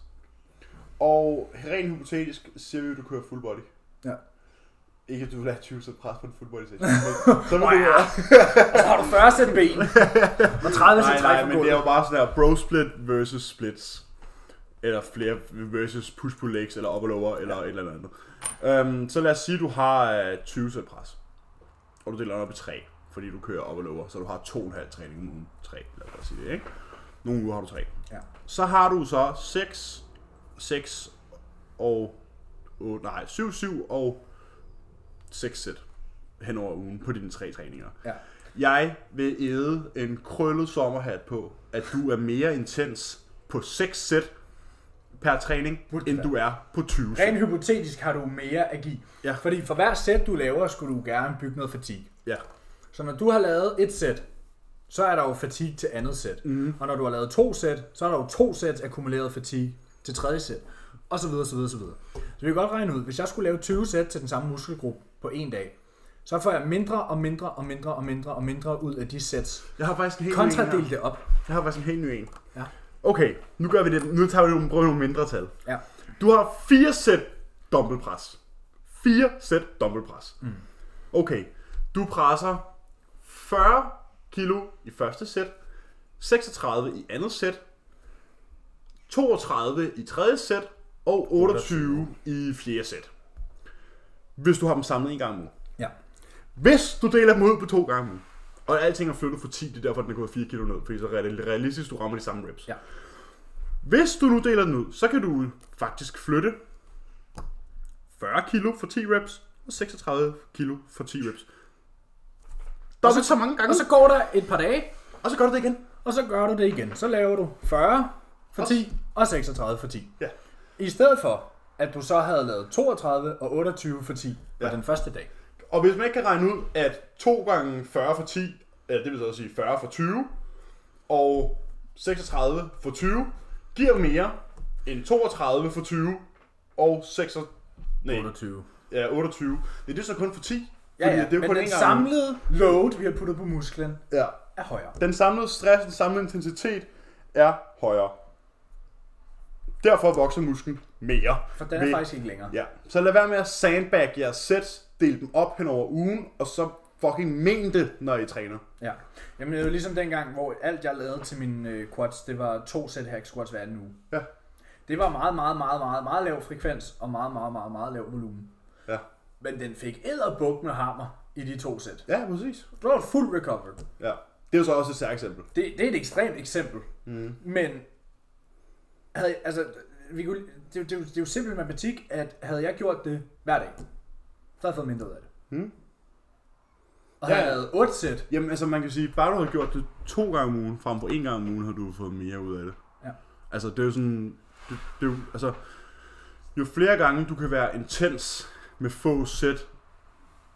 S2: og rent hypotetisk siger vi, at du kører full body.
S1: Ja.
S2: Ikke at du vil have 20 sæt pres på en full body session. men
S1: <laughs>
S2: så vil du
S1: ja. Og så har du 40 sæt <laughs> ben, og 30 sæt
S2: Nej, nej,
S1: træk på
S2: men det er jo
S1: gulvet.
S2: bare sådan her bro split versus splits. Eller flere versus push pull legs, eller op og lower, eller et eller andet. Øhm, så lad os sige, at du har øh, 20 sæt pres. og du deler den op i tre, fordi du kører op og lower, så du har to og en halv træning om ugen. Tre, lad os sige det, ikke? Nogle uger har du tre.
S1: Ja.
S2: Så har du så 6, 6 og 8, nej, 7, 7 og 6 sæt hen over ugen på dine tre træninger.
S1: Ja.
S2: Jeg vil æde en krøllet sommerhat på, at du er mere intens på 6 sæt per træning,
S1: Burde
S2: end
S1: være.
S2: du er på 20 sæt.
S1: Rent hypotetisk har du mere at give.
S2: Ja.
S1: Fordi for hver sæt, du laver, skulle du gerne bygge noget fatigue.
S2: Ja.
S1: Så når du har lavet et sæt, så er der jo fatigue til andet sæt.
S2: Mhm.
S1: Mm. Og når du har lavet to sæt, så er der jo to sæt akkumuleret fatigue til tredje sæt. Og så videre, så videre, så videre. Så vi kan godt regne ud, hvis jeg skulle lave 20 sæt til den samme muskelgruppe på en dag, så får jeg mindre og mindre og mindre og mindre og mindre ud af de sæt.
S2: Jeg har faktisk en helt ny en
S1: Kontradel
S2: her.
S1: det op.
S2: Jeg har faktisk en helt ny en.
S1: Ja.
S2: Okay, nu gør vi det. Nu tager vi nogle, prøver nogle mindre tal.
S1: Ja.
S2: Du har fire sæt dumbbellpres. Fire sæt dumbbellpres. Mm. Okay, du presser 40 kilo i første sæt, 36 i andet sæt, 32 i tredje sæt og 28 i fjerde sæt. Hvis du har dem samlet en gang om ugen.
S1: Ja.
S2: Hvis du deler dem ud på to gange, nu, og alting er flyttet for 10, det er derfor, den er gået 4 kilo ned, fordi så er det realistisk, du rammer de samme reps.
S1: Ja.
S2: Hvis du nu deler den ud, så kan du faktisk flytte 40 kilo for 10 reps, og 36 kilo for 10 reps. Der er så, så mange gange,
S1: Og så går der et par dage,
S2: og så gør du det igen.
S1: og så gør du det igen. Så laver du 40 for 10 og 36 for 10.
S2: Ja.
S1: I stedet for, at du så havde lavet 32 og 28 for 10 på
S2: Ja.
S1: den første dag.
S2: Og hvis man ikke kan regne ud, at 2 gange 40 for 10, eller det vil så sige 40 for 20, og 36 for 20, giver mere end 32 for 20, og 6, nej,
S1: 28.
S2: ja, 28. Det er det så kun for 10.
S1: Ja, ja,
S2: Fordi
S1: det er men
S2: kun
S1: den
S2: én gang.
S1: samlede load, vi har puttet på musklen,
S2: Ja.
S1: er højere.
S2: Den samlede stress, den samlede intensitet er højere. Derfor vokser musklen mere.
S1: For den er
S2: ved-
S1: faktisk ikke længere.
S2: Ja, så lad være med at sandbag jeres sæt, del dem op hen over ugen, og så fucking men det, når I træner.
S1: Ja. Jamen, det var ligesom dengang, hvor alt jeg lavede til mine øh, quads, det var to sæt hack squats hver anden uge.
S2: Ja.
S1: Det var meget, meget, meget, meget, meget lav frekvens og meget, meget, meget, meget lav volumen.
S2: Ja.
S1: Men den fik æderbuk med hammer i de to sæt.
S2: Ja, præcis.
S1: Det var fuld recovered.
S2: Ja. Det er jo så også et særligt eksempel.
S1: Det, det er et ekstremt eksempel. Mm. Men havde, altså, vi kunne, det, er jo- det, er jo- det er jo simpel matematik, at havde jeg gjort det hver dag, så havde jeg fået mindre ud af det.
S2: Mm.
S1: Og
S2: Ja,
S1: havde jeg
S2: ja.
S1: lavet 8 sæt,
S2: Jamen, altså man kan sige, bare du har gjort det to gange om ugen, frem for en gang om ugen, har du fået mere ud af det.
S1: Ja.
S2: Altså, det er jo sådan, det, det er jo, altså, jo flere gange du kan være intens med få sæt,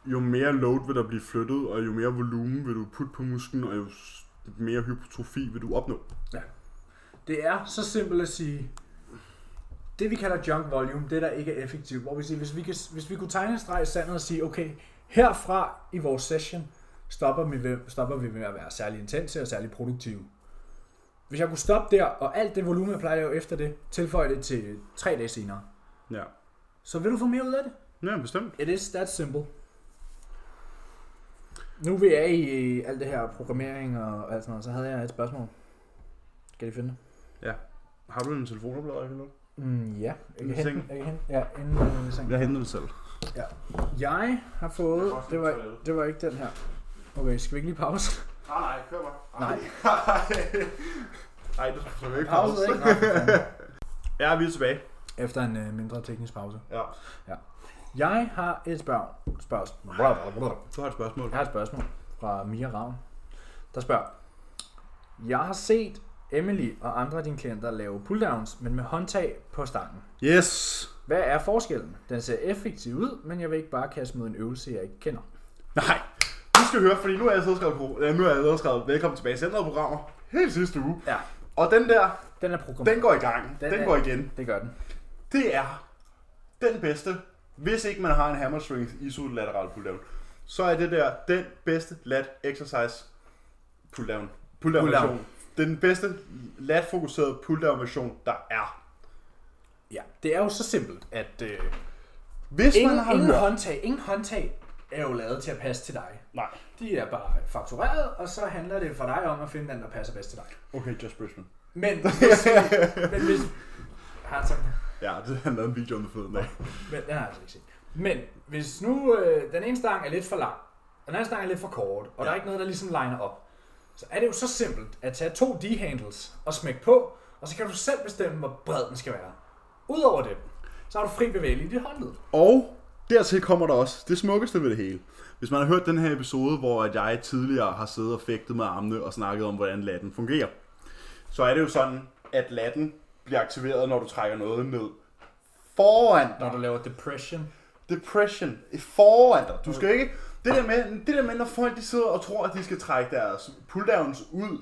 S2: jo mere load vil der blive flyttet, og jo mere volumen vil du putte på musklen, og jo s- mere hypotrofi vil du opnå.
S1: det er så simpelt at sige, det vi kalder junk volume, det der ikke er effektivt, hvor vi siger, hvis vi, kan, hvis vi kunne tegne en streg i sandet og sige, okay, herfra i vores session, stopper vi, ved, stopper vi med at være særlig intense og særlig produktive. Hvis jeg kunne stoppe der, og alt det volumen, jeg plejer at lave efter det, tilføje det til tre dage senere,
S2: Ja.
S1: så vil du få mere ud af det.
S2: Ja, bestemt.
S1: It is that simple. Nu vi er i øh, alt det her programmering og alt sådan noget, så havde jeg et spørgsmål. Skal de finde det?
S2: Ja. Har du en telefonoplader, eller noget?
S1: Mm, ja, jeg kan
S2: I
S1: hente,
S2: sengen?
S1: den, jeg kan hente, ja, inden den i sengen.
S2: Jeg henter den selv.
S1: Jeg har fået,
S2: Jeg har også
S1: det
S2: en
S1: var,
S2: toilet.
S1: det var ikke den her. Okay, skal vi ikke lige pause?
S2: Nej, nej, kør mig. <laughs>
S1: Nej.
S2: Nej, du skal ikke
S1: Pause, ikke? Nå, for fanden.
S2: Ja, vi er tilbage.
S1: Efter en øh, mindre teknisk pause.
S2: Ja.
S1: Jeg har et spørg- spørgsmål. Spørg.
S2: Du har et spørgsmål.
S1: Jeg har et spørgsmål fra Mia Ravn, der spørger. Jeg har set Emily og andre af dine klienter lave pulldowns, men med håndtag på stangen.
S2: Yes.
S1: Hvad er forskellen? Den ser effektiv ud, men jeg vil ikke bare kaste mod en øvelse, jeg ikke kender.
S2: Nej. Du skal høre, fordi nu har jeg siddet og skrevet, pro- ja, nu har jeg siddet og skrevet velkommen tilbage til ændrede programmer hele sidste uge.
S1: Ja,
S2: Og den der,
S1: den er programmeret.
S2: den går i gang. Den,
S1: Den
S2: den
S1: er-
S2: går igen.
S1: Det gør den.
S2: Det er den bedste, hvis ikke man har en hamstring isolateral pulldown, så er det der den bedste lat exercise pulldown. Pulldown,
S1: Pulldown.
S2: version. Det er den bedste lat fokuserede pulldown version, der er.
S1: Ja, det er jo så simpelt, at øh,
S2: Hvis man
S1: ingen,
S2: har
S1: ingen,
S2: hørt...
S1: håndtag, ingen håndtag er jo lavet til at passe til dig.
S2: Nej.
S1: De er bare faktureret, og så handler det for dig om at finde den, der passer bedst til dig.
S2: Okay, Josh Bridgman.
S1: Men
S2: <laughs>
S1: hvis... men hvis har tak.
S2: Ja, det han lavede en video om det forleden dag.
S1: Men den har jeg altså ikke set. Men hvis nu øh, den ene stang er lidt for lang, Men han snakker lidt for kort, og ja. der er ikke noget, der ligesom liner op. Så er det jo så simpelt at tage to D-handles og smække på, og så kan du selv bestemme, hvor bred den skal være. Udover det, så har du fri bevægelig i dit håndled.
S2: Og dertil kommer der også det smukkeste ved det hele. Hvis man har hørt den her episode, hvor at jeg tidligere har siddet og fægtet med armene og snakket om, hvordan latten fungerer, så er det jo sådan, at latten bliver aktiveret, når du trækker noget ned foran dig.
S1: Når du laver depression.
S2: Depression foran dig. Du skal ikke... Det der, med, det der med, når folk de sidder og tror, at de skal trække deres pulldowns ud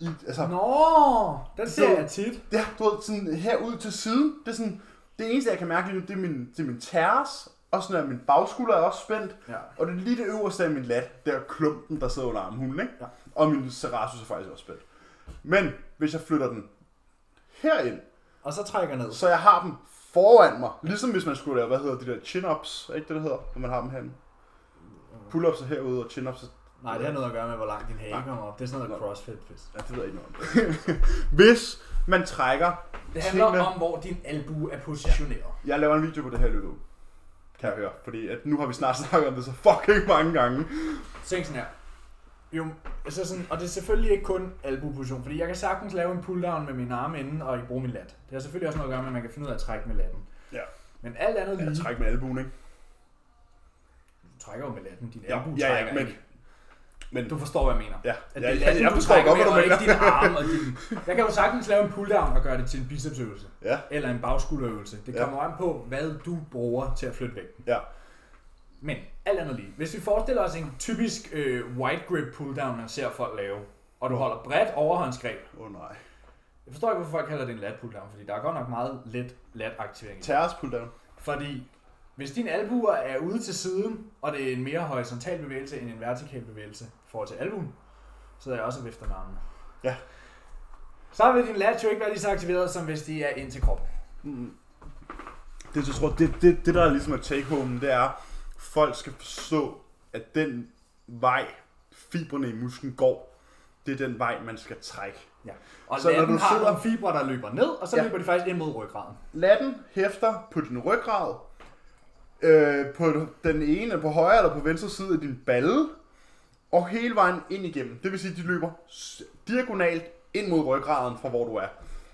S2: i, altså,
S1: Nå, den ser
S2: Så-
S1: jeg tit.
S2: det har du ved, sådan herud til siden. Det er sådan, det eneste, jeg kan mærke lige nu, det er min, det er min tærs, og sådan er min bagskulder er også spændt,
S1: Ja.
S2: og det er lige det øverste af min lat, der er klumpen, der sidder under armhulen, ikke?
S1: Ja.
S2: Og min serratus er faktisk også spændt. Men hvis jeg flytter den herind,
S1: Og så trækker jeg ned.
S2: så jeg har dem foran mig, ligesom hvis man skulle lave, hvad hedder de der chin-ups, er ikke det, der hedder, når man har dem herinde? Pull-ups er herude, og chin-ups er
S1: Nej, det har noget at gøre med, hvor langt din hage
S2: Nej.
S1: kommer op. Det er sådan noget
S2: Nå.
S1: crossfit-fest.
S2: Ja, det ved jeg ikke noget om. <laughs> Hvis man trækker
S1: Det handler
S2: tingene-
S1: om, hvor din albue er positioneret.
S2: Jeg laver en video på det her i løbet af ugen, kan jeg høre. Fordi at nu har vi snart <laughs> snakket om det så fucking mange gange.
S1: Tænk sådan her. Jo, altså sådan, og det er selvfølgelig ikke kun albueposition, fordi jeg kan sagtens lave en pulldown med mine arme inden og ikke bruge min lat. Det har selvfølgelig også noget at gøre med, at man kan finde ud af at trække med latten.
S2: Ja.
S1: Men alt andet lige,
S2: Jeg
S1: ja,
S2: trækker med albuen, ikke?
S1: du trækker jo med latten, din
S2: Ja,
S1: albue
S2: ja,
S1: trækker
S2: ja, men...
S1: ikke.
S2: Men,
S1: Du forstår, hvad jeg mener.
S2: ja,
S1: At
S2: ja,
S1: det er
S2: jeg,
S1: latten,
S2: jeg, jeg
S1: du
S2: forstår
S1: trækker
S2: godt, hvad
S1: med,
S2: du
S1: og
S2: mener.
S1: ikke din arm og din... Jeg kan jo sagtens lave en pulldown og gøre det til en bicepsøvelse.
S2: Ja,
S1: Eller en bagskulderøvelse. Det
S2: Ja.
S1: kommer an på, hvad du bruger til at flytte vægten.
S2: ja.
S1: Men alt andet lige. Hvis vi forestiller os en typisk øh, white grip pulldown, man ser folk lave, og du holder bredt overhåndsgreb,
S2: Åh oh, nej.
S1: Jeg forstår ikke, hvorfor folk kalder det en lat pulldown, fordi der er godt nok meget let lat aktivering. i det.
S2: Terrors pulldown.
S1: Fordi hvis din albuer er ude til siden, og det er en mere horisontal bevægelse end en vertikal bevægelse i forhold til albuen, så er jeg også og vifter med armene.
S2: Ja.
S1: Så vil din lat jo ikke være lige så aktiveret, som hvis de er ind til kroppen.
S2: Det, jeg tror, det, det, det der er ligesom er take home, det er, folk skal forstå, at den vej, fiberne i musklen går, det er den vej, man skal trække.
S1: Ja. Og
S2: Så
S1: så
S2: når
S1: latten
S2: du
S1: har
S2: sidder-
S1: nogle fibre, der løber ned, og så
S2: Ja.
S1: ja. løber de faktisk ind mod ryggraden.
S2: Latten hæfter på din ryggrad, øh, på den ene på højre eller på venstre side af din balle, og hele vejen ind igennem. Det vil sige, at de løber s- diagonalt ind mod ryggraden fra hvor du er.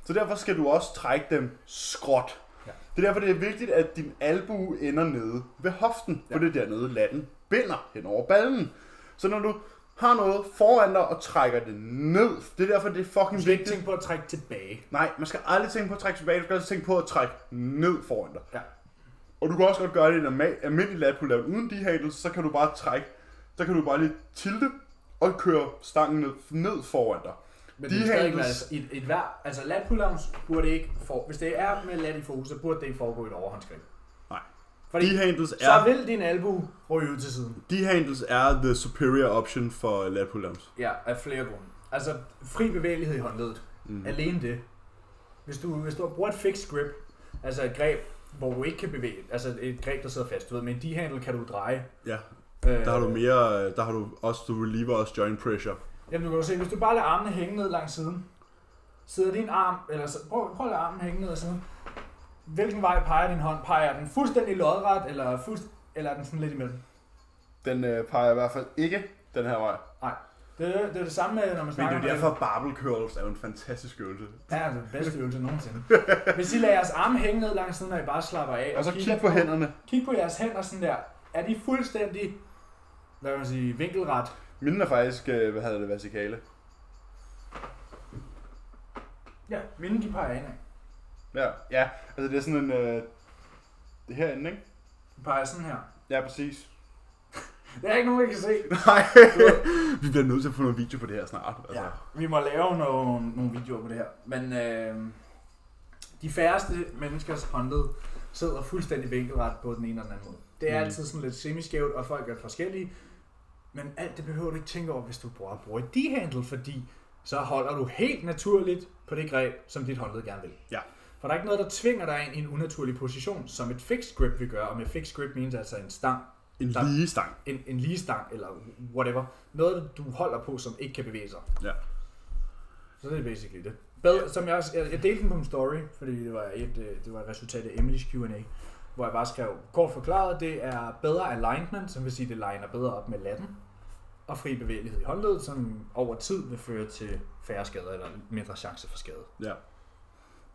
S2: Så derfor skal du også trække dem skråt.
S1: Ja.
S2: Det er derfor, det er vigtigt, at din albue ender nede ved hoften, ja. for det er dernede, latten binder hen over ballen. Så når du har noget foran dig og trækker det ned, det er derfor, det er
S1: Du
S2: fucking
S1: skal ikke
S2: vigtigt.
S1: tænke på at trække tilbage.
S2: Nej, man skal aldrig tænke på at trække tilbage, du skal altid tænke på at trække ned foran dig.
S1: Ja.
S2: Og du kan også godt gøre det i en alma- almindelig lat pull uden de handles, så kan du bare trække, så kan du bare lige tilte og køre stangen ned, ned foran dig.
S1: Men
S2: De
S1: de det skal ikke være
S2: handles-
S1: et, et hver, altså lat pullouts burde ikke for, hvis det er med lat i fokus, så burde det ikke foregå i et overhåndsgreb.
S2: Nej.
S1: Fordi
S2: De handles
S1: så
S2: er,
S1: vil din albu ryge ud til siden.
S2: de handles er the superior option for lat pull
S1: Ja, af flere grunde. Altså fri bevægelighed i håndledet. Mm. Alene det. Hvis du, hvis du bruger et fixed grip, altså et greb, hvor du ikke kan bevæge, altså et greb, der sidder fast, du ved, men de handle kan du dreje.
S2: Ja,
S1: Øh,
S2: der har du mere, der har du også, du reliever også joint pressure.
S1: Jamen du kan jo se, hvis du bare lader armene hænge ned langs siden, sidder din arm, eller så, prøv, prøv at lade armen hænge ned ad siden. Hvilken vej peger din hånd? Peger den fuldstændig lodret, eller, fuldst, eller er den sådan lidt imellem?
S2: Den øh, peger i hvert fald ikke den her vej.
S1: Nej. Det, det er det samme med, når man
S2: Men det
S1: snakker
S2: er jo derfor, barbell curls er jo en fantastisk øvelse.
S1: Ja, altså, det er den bedste øvelse
S2: <laughs>
S1: nogensinde. Hvis I lader jeres arme hænge ned langs siden, og I bare slapper af.
S2: Og så
S1: kigger
S2: kig på hænderne.
S1: Kig på jeres hænder sådan der. Er de fuldstændig, hvad kan man sige, vinkelret?
S2: Mine er faktisk, øh, hvad hedder det, vertikale.
S1: Ja, mine de peger indad.
S2: Ja, ja. Altså det er sådan en, øh, herinde, ikke?
S1: De peger sådan her.
S2: Ja, præcis.
S1: Der er ikke nogen, der kan se.
S2: Nej, <laughs> vi bliver nødt til at få noget video på det her snart. Altså.
S1: Ja,
S2: Ja.
S1: vi må lave nogle, nogle videoer på det her. Men øh, de færreste menneskers håndled sidder fuldstændig vinkelret på den ene eller den anden måde. Det er
S2: Mm.
S1: mm. altid sådan lidt semiskævt, og folk er forskellige. Men alt det behøver du ikke tænke over, hvis du bruger at bruge et D-handle, fordi så holder du helt naturligt på det greb, som dit håndled gerne vil.
S2: Ja.
S1: For der er ikke noget, der tvinger dig ind i en unaturlig position, som et fixed grip vil gøre. Og med fixed grip menes altså en stang,
S2: En
S1: Der-
S2: lige stang.
S1: en, en lige stang eller whatever. Noget, du holder på, som ikke kan bevæge sig.
S2: Ja.
S1: Så det er basically det. Bedre, som jeg, også, jeg, jeg delte den på min story, fordi det var et, øh, det var et resultat af Emily's Q&A. hvor jeg bare skrev, kort forklaret, det er bedre alignment, som vil sige, det liner bedre op med latten, og fri bevægelighed i håndledet, som over tid vil føre til færre skader eller mindre chance for skade.
S2: Ja.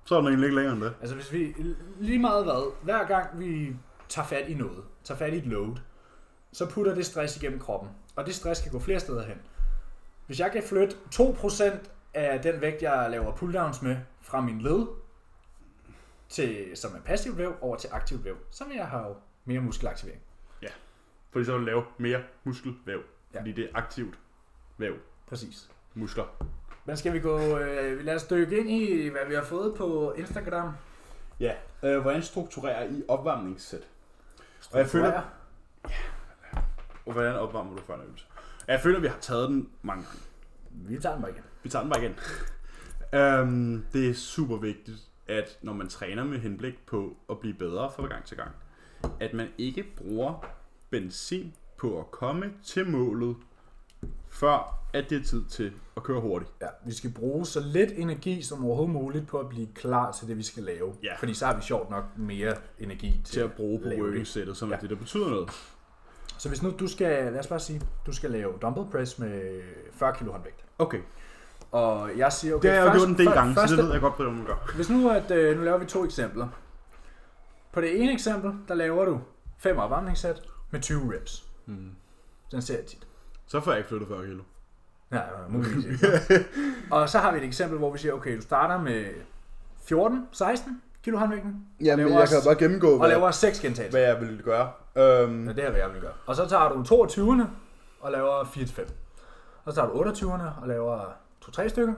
S2: Så er den egentlig ikke længere end det.
S1: Altså hvis vi, lige meget hvad, hver gang vi tager fat i noget, tager fat i et load, så putter det stress igennem kroppen. Og det stress kan gå flere steder hen. Hvis jeg kan flytte 2% af den vægt, jeg laver pulldowns med, fra min led, til, som er passivt væv, over til aktivt væv, så vil jeg have mere muskelaktivering.
S2: Fordi så vil du lave mere muskelvæv.
S1: Ja.
S2: Fordi det er aktivt væv.
S1: Præcis.
S2: Muskler.
S1: Men skal vi gå, øh, lad os dykke ind i, hvad vi har fået på Instagram.
S2: Ja. Øh, hvordan strukturerer I opvarmningssæt? Og jeg føler, og hvordan opvarmer du før en øvelse? Jeg føler, vi har taget den mange gange.
S1: Vi tager den bare igen.
S2: Vi tager den bare igen. øhm, det er super vigtigt, at når man træner med henblik på at blive bedre fra gang til gang, at man ikke bruger benzin på at komme til målet, før at det er tid til at køre hurtigt.
S1: Ja, vi skal bruge så lidt energi som overhovedet muligt på at blive klar til det, vi skal lave.
S2: Ja.
S1: Fordi så har vi sjovt nok mere energi til,
S2: Til at bruge på
S1: lave det.
S2: working-sættet, som ja. er
S1: Ja.
S2: det, der betyder noget.
S1: Så hvis nu du skal, lad os bare sige, du skal lave dumbbell press med 40 kg håndvægt.
S2: Okay,
S1: Og jeg siger, okay,
S2: det har jeg jo
S1: først-
S2: gjort en del
S1: før-
S2: gange, så
S1: første-
S2: det ved jeg godt, hvordan man gør.
S1: Hvis nu, at, øh, nu laver vi to eksempler. På det ene eksempel, der laver du fem opvarmningssæt med 20 reps.
S2: Mm.
S1: Den ser jeg tit.
S2: Så får jeg ikke flyttet 40 kilo.
S1: Nej, nej, muligvis ikke.
S2: <laughs>
S1: Og så har vi et eksempel, hvor vi siger, okay, du starter med 14-16 kilo håndvægten,
S2: Jamen,
S1: Laver jeg kan også-
S2: bare gennemgå,
S1: og laver 6 gentagelser.
S2: hvad jeg ville gøre. Øhm,
S1: Ja, det er, hvad jeg vil gøre. Og så tager du 22'erne og laver 4-5. Og så tager du 28'erne og laver 2-3 stykker.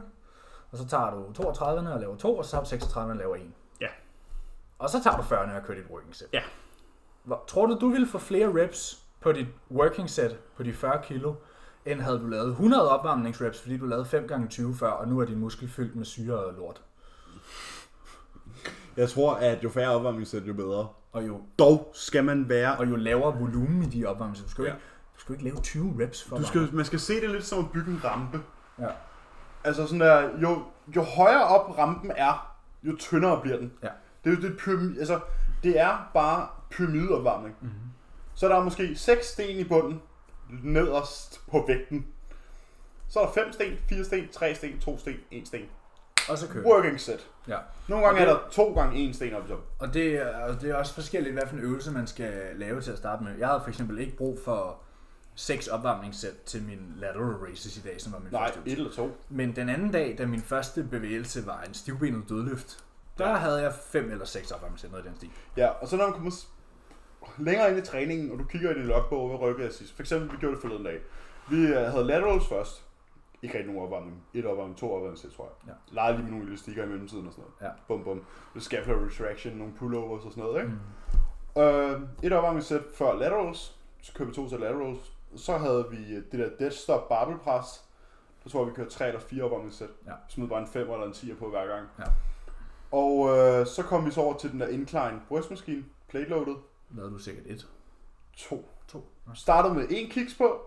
S1: Og så tager du 32'erne og laver 2, og så tager du 36'erne og laver 1.
S2: Ja.
S1: Og så tager du 40'erne og kører dit working set.
S2: Ja.
S1: Hvor, tror du, du ville få flere reps på dit working set på de 40 kilo, end havde du lavet 100 opvarmningsreps, fordi du lavede 5 gange 20 før, og nu er din muskel fyldt med syre og lort.
S2: Jeg tror, at jo færre opvarmningssæt, jo bedre.
S1: Og jo,
S2: Dog skal man være
S1: og jo lavere volumen i de opvarmninger. Du skal jo
S2: Ja.
S1: ikke, du skal jo ikke lave 20 reps for
S2: Du
S1: meget.
S2: skal, man skal se det lidt som at bygge en rampe.
S1: Ja.
S2: Altså sådan der, jo, jo højere op rampen er, jo tyndere bliver den.
S1: Ja.
S2: Det er jo det pyramide, altså det er bare pyramideopvarmning. Mm-hmm. Så der er måske 6 sten i bunden, nederst på vægten. Så er der 5 sten, 4 sten, 3 sten, 2 sten, 1 sten.
S1: Og så kører du.
S2: Working set.
S1: Ja.
S2: Nogle gange
S1: Okay.
S2: er der 2 gange 1 sten op i toppen.
S1: Og det, er- og det er også forskelligt, hvad for en øvelse man skal lave til at starte med. Jeg havde for eksempel ikke brug for seks opvarmningssæt til min lateral raises i dag, som var min
S2: Nej,
S1: første øvelse.
S2: et eller to.
S1: Men den anden dag, da min første bevægelse var en stivbenet dødløft, der havde jeg fem eller seks opvarmningssæt, noget i den stil.
S2: Ja, og så når man kommer s- længere ind i træningen, og du kigger i din logbog, hvad rykket er sidst. For eksempel, vi gjorde det forleden dag. Vi øh, havde laterals først. Ikke rigtig nogen opvarmning. Et opvarmning, to opvarmning, tror jeg.
S1: Ja.
S2: Lejede lige med nogle elastikker i mellemtiden og sådan noget.
S1: Ja.
S2: Bum, bum. Det scapula retraction, nogle pullovers og sådan noget, ikke? Mm. Øh, et opvarmningssæt før laterals. Så kørte vi to til laterals. Så havde vi øh, det der dead stop barbell press. Så tror jeg, vi kørte tre eller fire opvarmningssæt.
S1: Ja.
S2: Smed bare en 5 eller en 10 på hver gang.
S1: Ja.
S2: Og øh, så kom vi så over til den der incline brystmaskine, plate loaded.
S1: Lavede du sikkert et?
S2: To.
S1: To? Nå, s-
S2: Startede med en kiks på,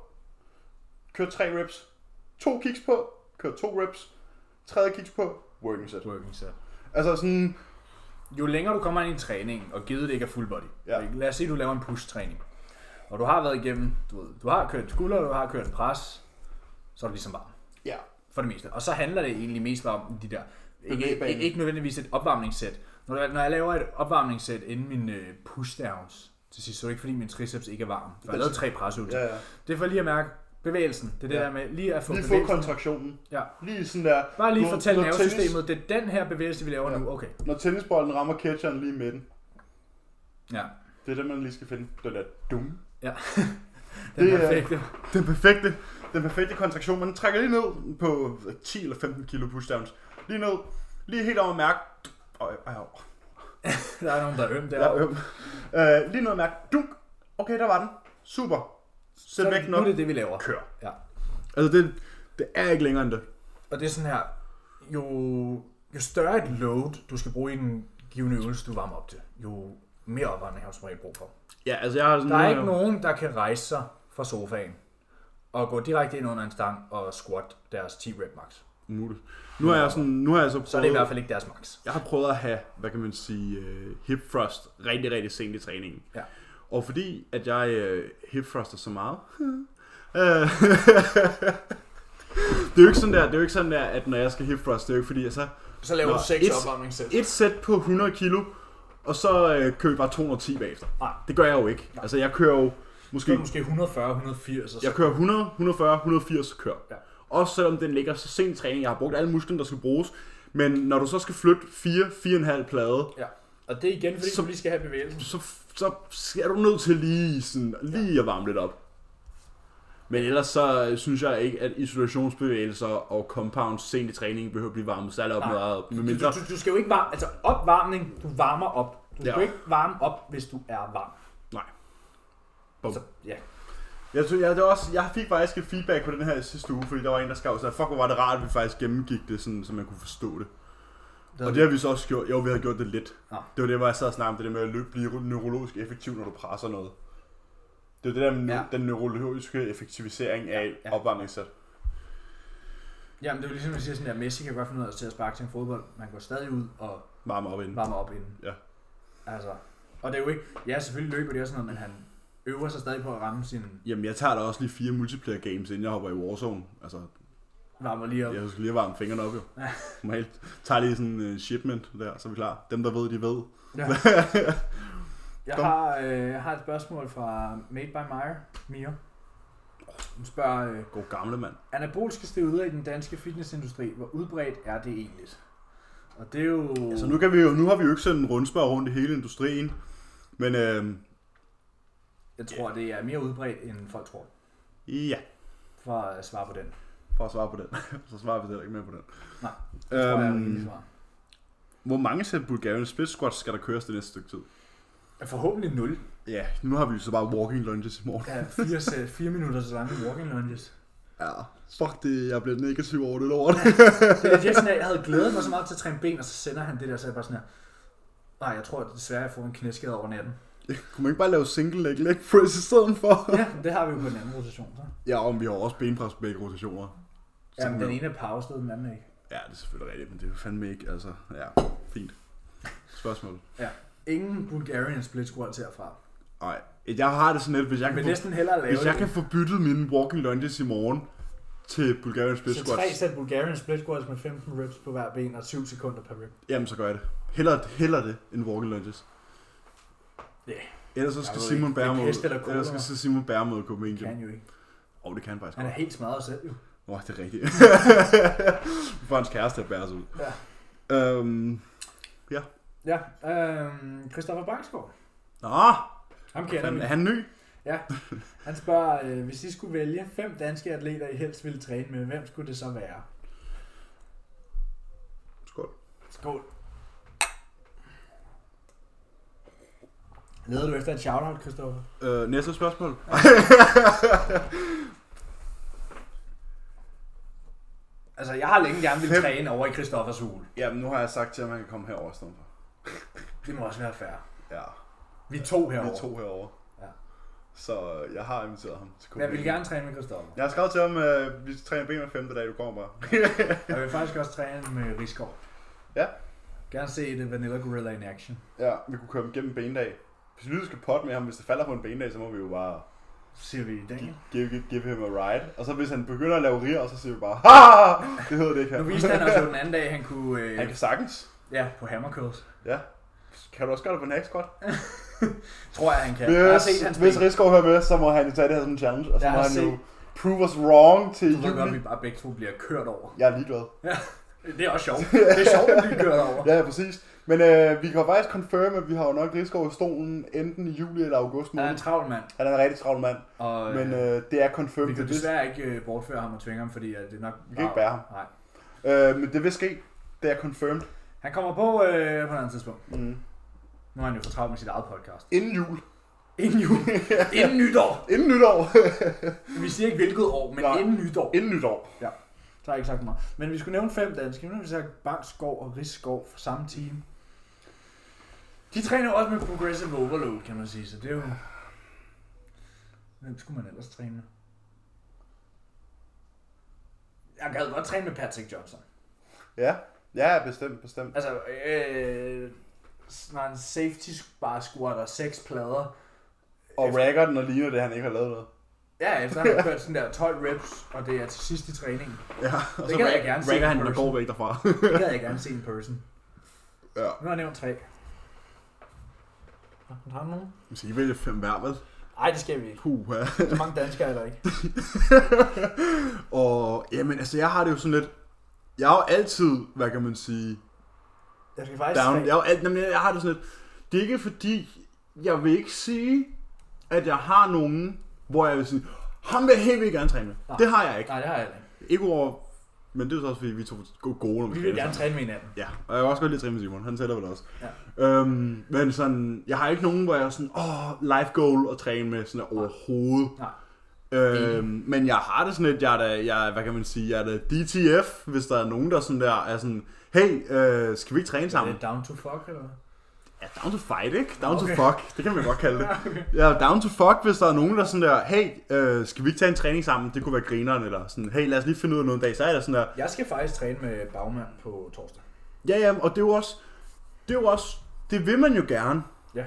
S2: kørte tre reps. To kiks på, kørte to reps. Tredje kiks på, working set.
S1: Working set.
S2: Altså sådan,
S1: Jo længere du kommer ind i træningen, og givet det ikke er full body.
S2: Ja.
S1: Lad os sige, at du laver en push-træning. Og du har været igennem, du, ved, du har kørt en skulder, du har kørt en pres, så er du ligesom varm.
S2: ja,
S1: for det meste. Og så handler det egentlig mest bare om de der, ikke,
S2: Bevægbanen.
S1: ikke, ikke nødvendigvis et opvarmningssæt. Når, jeg- når jeg laver et opvarmningssæt inden min øh, pushdowns til sidst, så er det ikke fordi min triceps ikke er varm. For jeg lavede tre presøvelser.
S2: ja,
S1: Ja.
S2: ja.
S1: Det er for lige at mærke bevægelsen. Det er det
S2: Ja.
S1: der med lige at få
S2: Lige få
S1: bevægelsen.
S2: kontraktionen.
S1: Ja.
S2: Lige sådan der.
S1: Bare lige
S2: når-
S1: fortælle
S2: når
S1: nervesystemet, det er den her bevægelse, vi laver
S2: Ja.
S1: ja. nu. Okay.
S2: Tennis, når tennisbolden rammer catcheren lige i midten.
S1: Ja.
S2: Det er det, man lige skal finde. Den der dum.
S1: ja. den
S2: Det
S1: det
S2: er-
S1: er perfekte.
S2: Den perfekte, den perfekte kontraktion. Man trækker lige ned på 10 eller 15 kilo pushdowns. Lige ned. Lige helt over at mærke. Øj, øj, øj.
S1: Der er nogen, der er øm
S2: Ja,
S1: der.
S2: øm. Øh, lige noget mærke. Dunk. Okay, der var den. Super. Sæt
S1: Så
S2: vægten
S1: nu
S2: op.
S1: er det det, vi laver.
S2: Kør.
S1: Ja.
S2: Altså, det, det er ikke længere end det.
S1: Og det er sådan her, jo, jo større et load, du skal bruge i en givende øvelse, du varmer op til, jo mere opvarmning har du som regel brug for.
S2: Ja, altså jeg har sådan
S1: Der er ikke nogen, der kan rejse sig fra sofaen og gå direkte ind under en stang og squat deres 10 rep max.
S2: umuligt. Nu er jeg sådan, nu har jeg så prøvet,
S1: Så er det i hvert fald ikke deres max.
S2: jeg har prøvet at have, hvad kan man sige, øh, hip thrust rigtig, rigtig sent i træningen.
S1: Ja.
S2: Og fordi, at jeg øh, hip thruster så meget, <laughs> øh, det er jo ikke sådan der, det er jo ikke sådan der, at når jeg skal hip thrust, det er jo ikke fordi, jeg så
S1: Så laver
S2: Nå,
S1: du seks
S2: et-
S1: opvarmningssæt.
S2: et sæt på 100 kilo, og så øh, kører vi bare 210 bagefter.
S1: Nej.
S2: Det gør jeg jo ikke.
S1: Nej.
S2: Altså, jeg kører jo
S1: Så er
S2: måske
S1: det måske 140, 180 og så.
S2: jeg kører 100, 140, 180 kør.
S1: Ja.
S2: Ja. Også selvom den ligger så sent i træning. Jeg har brugt alle musklerne, der skal bruges. Men når du så skal flytte 4, 4,5 plade,
S1: Ja. Og det er igen, fordi
S2: Så-
S1: du lige skal have bevægelsen.
S2: så, så er du nødt til lige, sådan, lige at varme lidt op. Men ellers så øh, synes jeg ikke, at isolationsbevægelser og compounds sent i træningen behøver at blive varmet særlig op
S1: Nej.
S2: meget op. Med
S1: Du,
S2: mindre,
S1: du, du, skal jo ikke varme, altså opvarmning, du varmer op. Du
S2: Ja.
S1: skal jo ikke varme op, hvis du er varm.
S2: nej.
S1: Så, ja.
S2: Jeg, tror, jeg, det var også, jeg fik faktisk et feedback på den her sidste uge, fordi der var en, der skrev, så fuck, hvor var det rart, at vi faktisk gennemgik det, sådan, så man kunne forstå det.
S1: Det Ah.
S2: og det har vi så også gjort. Jo, vi havde gjort det lidt.
S1: Nå.
S2: Det var det, hvor jeg sad og snakkede om, det der med at løbe, blive neurologisk effektiv, når du presser noget. Det er det der
S1: Ja.
S2: med ja. den neurologiske effektivisering af
S1: ja.
S2: ja. opvarmningssæt.
S1: Jamen, det er jo ligesom, at vi siger sådan der, Messi kan godt finde ud af til at sparke til en fodbold. Man går stadig ud og
S2: Varme op inden.
S1: varmer op inden.
S2: Ja.
S1: Altså, og det er jo ikke, ja, selvfølgelig løber det og sådan noget, men han øver sig stadig på at ramme sin
S2: Jamen, jeg tager da også lige fire multiplayer games, inden jeg hopper i Warzone. Altså,
S1: varmer lige op.
S2: jeg skal lige varme fingrene op, jo. <laughs>
S1: Ja.
S2: Normalt tager lige sådan en shipment der, så er vi klar. Dem, der ved, de ved.
S1: Ja. Jeg
S2: Kom.
S1: har, øh, jeg har et spørgsmål fra Made by Meyer, Mia. Hun spørger, øh,
S2: <laughs> God gamle mand.
S1: anabolske steroider i den danske fitnessindustri, hvor udbredt er det egentlig? Og det er jo...
S2: Altså nu, kan vi jo, nu har vi jo ikke sendt en rundspørg rundt i hele industrien, men øh,
S1: Jeg tror, det er mere udbredt, end folk tror,
S2: ja,
S1: for at svare på den. Det
S2: for at svare på den, <laughs> så svarer vi heller ikke mere på den.
S1: Nej, tror jeg er et rimeligt
S2: øhm,
S1: svar.
S2: hvor mange sæt Bulgarian split squats skal der køres det næste stykke tid?
S1: Forhåbentlig 0.
S2: Ja, nu har vi jo så bare walking lunges i morgen.
S1: Der er fire, sæt- fire minutter så lange walking lunges.
S2: Ja, fuck det, jeg bliver negativ over det lort.
S1: Det er lidt sådan, at jeg havde glædet mig så meget til at træne ben, og så sender han det der, så jeg bare sådan her. Nej, jeg tror desværre, jeg får en knæskade over natten.
S2: Kunne man ikke bare lave single leg leg press i stedet for?
S1: Ja, men det har vi jo på den anden rotation, så.
S2: Ja, og vi har også benpres på begge rotationer. Så
S1: Jamen,
S2: kan
S1: den
S2: man-
S1: ene er pauset, den anden er ikke.
S2: Ja, det er selvfølgelig rigtigt, men det er jo fandme ikke, altså, ja, fint. Spørgsmål?
S1: Ja. Ingen Bulgarian split squats herfra.
S2: Nej, jeg har det sådan lidt, hvis jeg
S1: Jeg
S2: kan
S1: vil
S2: få-
S1: næsten hellere lave
S2: Hvis jeg
S1: det,
S2: kan få byttet mine walking lunges i morgen til Bulgarian split
S1: så tre
S2: squats,
S1: sæt Bulgarian split squats med 15 reps på hver ben og 7 sekunder per rep.
S2: jamen så gør jeg det. Heller, heller det end walking lunges.
S1: Ja.
S2: Ellers så
S1: Jeg
S2: skal
S1: ved
S2: Simon
S1: ikke. Det er
S2: Bær mod,
S1: pest eller kolera.
S2: ellers skal så Simon Bær mod
S1: Det
S2: Copenhagen.
S1: kan jo ikke.
S2: Åh, oh, det kan han faktisk
S1: Han
S2: godt.
S1: er helt smadret selv jo.
S2: Åh, oh, det er rigtigt. <laughs> Vi får hans kæreste at bære sig ud.
S1: Ja.
S2: Øhm,
S1: Ja, øhm, Christoffer Bangsgaard.
S2: nå,
S1: Ham kender
S2: han,
S1: vi.
S2: er han ny?
S1: Han spørger, øh, hvis I skulle vælge fem danske atleter, I helst ville træne med, hvem skulle det så være?
S2: Skål.
S1: Skål. Leder du efter et shout-out, Christoffer?
S2: Øh, næste spørgsmål.
S1: Altså, jeg har længe gerne ville
S2: Fem.
S1: træne over i Christoffers hule.
S2: Jamen, nu har jeg sagt til ham, at han kan komme herover i stedet for.
S1: Det må også være fair.
S2: Ja,
S1: Vi er to herovre.
S2: vi er to herover.
S1: Ja.
S2: Så øh, jeg har inviteret ham til
S1: Men jeg vil gerne træne med Christoffer.
S2: Jeg har skrevet til ham, at vi træner ben hver femte dag, du kommer bare.
S1: Og jeg vil faktisk også træne med Rigsgaard.
S2: Ja.
S1: Gerne se det Vanilla Gorilla in action.
S2: Ja, vi kunne køre dem gennem benedag. Hvis vi skal pot med ham, hvis det falder på en benedag, så må vi jo bare
S1: Så siger vi i dag.
S2: give, give, give him a ride. Og så hvis han begynder at lave riger, så siger vi bare, <laughs> ha! Det hedder det ikke her.
S1: Nu viste han også den anden dag, han kunne... Øh,
S2: Han kan sagtens.
S1: Ja, på Hammer Curls.
S2: Ja. Kan du også gøre det på en squat?
S1: Tror jeg, han kan. jeg har set
S2: Hvis,
S1: hans
S2: hvis
S1: ben.
S2: Rigsgaard hører med, så må han jo tage det her som en challenge. Og så
S1: Jeg
S2: må
S1: har
S2: han jo
S1: set-
S2: prove us wrong til
S1: Så gør vi
S2: juni.
S1: bare begge to bliver kørt over.
S2: Jeg er ligeglad.
S1: Det er også
S2: <laughs>
S1: sjovt. Det er sjovt at blive kørt over.
S2: Ja, ja, præcis. Men øh, vi kan jo faktisk confirm, at vi har jo nok Rigsgaard i stolen enten i juli eller august
S1: Han er
S2: måned.
S1: en travl mand,
S2: Han er en rigtig travl mand.
S1: og
S2: Men
S1: Men, øh,
S2: øh, det er confirmed.
S1: vi
S2: det
S1: kan
S2: er vist-
S1: desværre ikke øh, bortføre ham og tvinge ham, fordi at det er nok...
S2: Vi kan ikke bære ham.
S1: Nej.
S2: Øh, men det vil ske. Det er confirmed.
S1: Han kommer på øh, på et andet tidspunkt.
S2: Mm.
S1: Nu er han jo for travlt med sit eget podcast.
S2: Inden jul. <laughs>
S1: Inden jul. inden nytår.
S2: Inden nytår. <laughs>
S1: Vi siger ikke hvilket år, men
S2: Nej.
S1: inden nytår.
S2: Inden nytår.
S1: Så har jeg ikke sagt meget. Men vi skulle nævne fem danske. Nu har vi sagt Bangsgaard og Rigsgaard fra samme team. De træner jo også med Progressive Overload, kan man sige. Så det er jo... Hvem skulle man ellers træne med? jeg gad godt træne med Patrick Johnson.
S2: Ja, ja, bestemt, bestemt.
S1: Altså, øh, når en safety bare squatter seks plader.
S2: Og racker den og ligner det, han ikke har lavet noget.
S1: Ja, efter han har kørt sådan der 12 reps, og det er til sidst i træningen.
S2: Ja, og
S1: Det gad jeg gerne se
S2: racker
S1: i
S2: han, og
S1: person.
S2: går væk derfra. <laughs>
S1: Det gad jeg gerne se in person.
S2: ja.
S1: Nu har jeg nævnt tre. Har du nogen?
S2: Vi skal vælge fem hver, vel?
S1: Nej, det skal vi ikke.
S2: Puh, ja.
S1: Så mange danskere er der ikke.
S2: <laughs> Og jamen, altså, jeg har det jo sådan lidt... Jeg har jo altid, hvad kan man sige,
S1: Jeg skal faktisk
S2: down.
S1: tre.
S2: Jeg, er jo alt, jamen, jeg har det sådan lidt... Det er ikke fordi, jeg vil ikke sige, at jeg har nogen, hvor jeg vil sige, ham vil jeg helt vildt gerne træne med.
S1: Nej.
S2: Det har jeg ikke.
S1: Nej, det har jeg heller ikke.
S2: Ikke over... Men det er jo så også, fordi vi er to gode, gode når
S1: Vi
S2: træner
S1: vil gerne
S2: sammen.
S1: træne med hinanden.
S2: Ja, og jeg kan også godt lide at træne med Simon. Han tæller vel også. Ja. Øhm, men sådan, jeg har ikke nogen, hvor jeg er sådan, åh, oh, life goal at træne med sådan der overhovedet.
S1: Nej.
S2: Øhm, men jeg har det sådan lidt, jeg er da, jeg, hvad kan man sige, jeg er da DTF, hvis der er nogen, der sådan der er sådan, hey, øh, skal vi ikke træne
S1: Er
S2: sammen?
S1: det down to fuck, eller hvad?
S2: Ja, down to fight, ikke? Down okay.
S1: Okay.
S2: to fuck, <laughs> det kan man godt kalde det. Ja, down to fuck, hvis der er nogen, der sådan der, hey, øh, skal vi ikke tage en træning sammen? Det kunne være grineren, eller sådan, hey, lad os lige finde ud af noget en dag. Så er der sådan der,
S1: Jeg skal faktisk træne med bagmand på torsdag.
S2: Ja, ja, og det er jo også, det er jo også, det vil man jo gerne.
S1: Ja.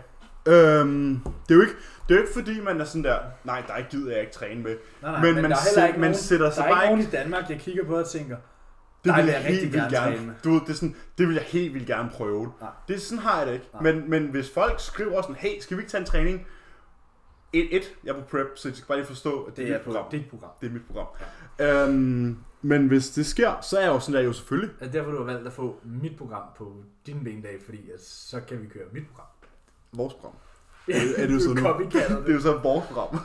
S2: Øhm, det er jo ikke, det er jo ikke fordi, man er sådan der, nej, der gider jeg ikke træne med.
S1: Nej, nej,
S2: Men
S1: men, men
S2: man
S1: der er heller
S2: sæt-
S1: ikke
S2: man
S1: nogen,
S2: sætter
S1: der
S2: sig
S1: er ikke
S2: bare
S1: nogen i Danmark, jeg kigger på og tænker,
S2: Det
S1: Nej,
S2: vil
S1: vil
S2: jeg
S1: jeg rigtig
S2: helt vildt
S1: gerne
S2: gerne,
S1: træne med.
S2: du ved, det, er sådan, det vil jeg helt vildt gerne prøve.
S1: Nej.
S2: Det er sådan har jeg det ikke.
S1: Nej.
S2: Men, men hvis folk skriver sådan, hey, skal vi ikke tage en træning? Et, et, jeg er på prep, så I skal bare lige forstå, at det,
S1: det
S2: er
S1: er
S2: mit
S1: på
S2: program.
S1: dit program.
S2: Det er mit program. Øhm, men hvis det sker, så er jeg jo sådan der jo selvfølgelig.
S1: Det er derfor, du har valgt at få mit program på din benedag, fordi at så kan vi køre mit program.
S2: Vores program.
S1: <laughs>
S2: er det jo så nu?
S1: Copycatter
S2: Det er <laughs>
S1: det.
S2: jo så vores program.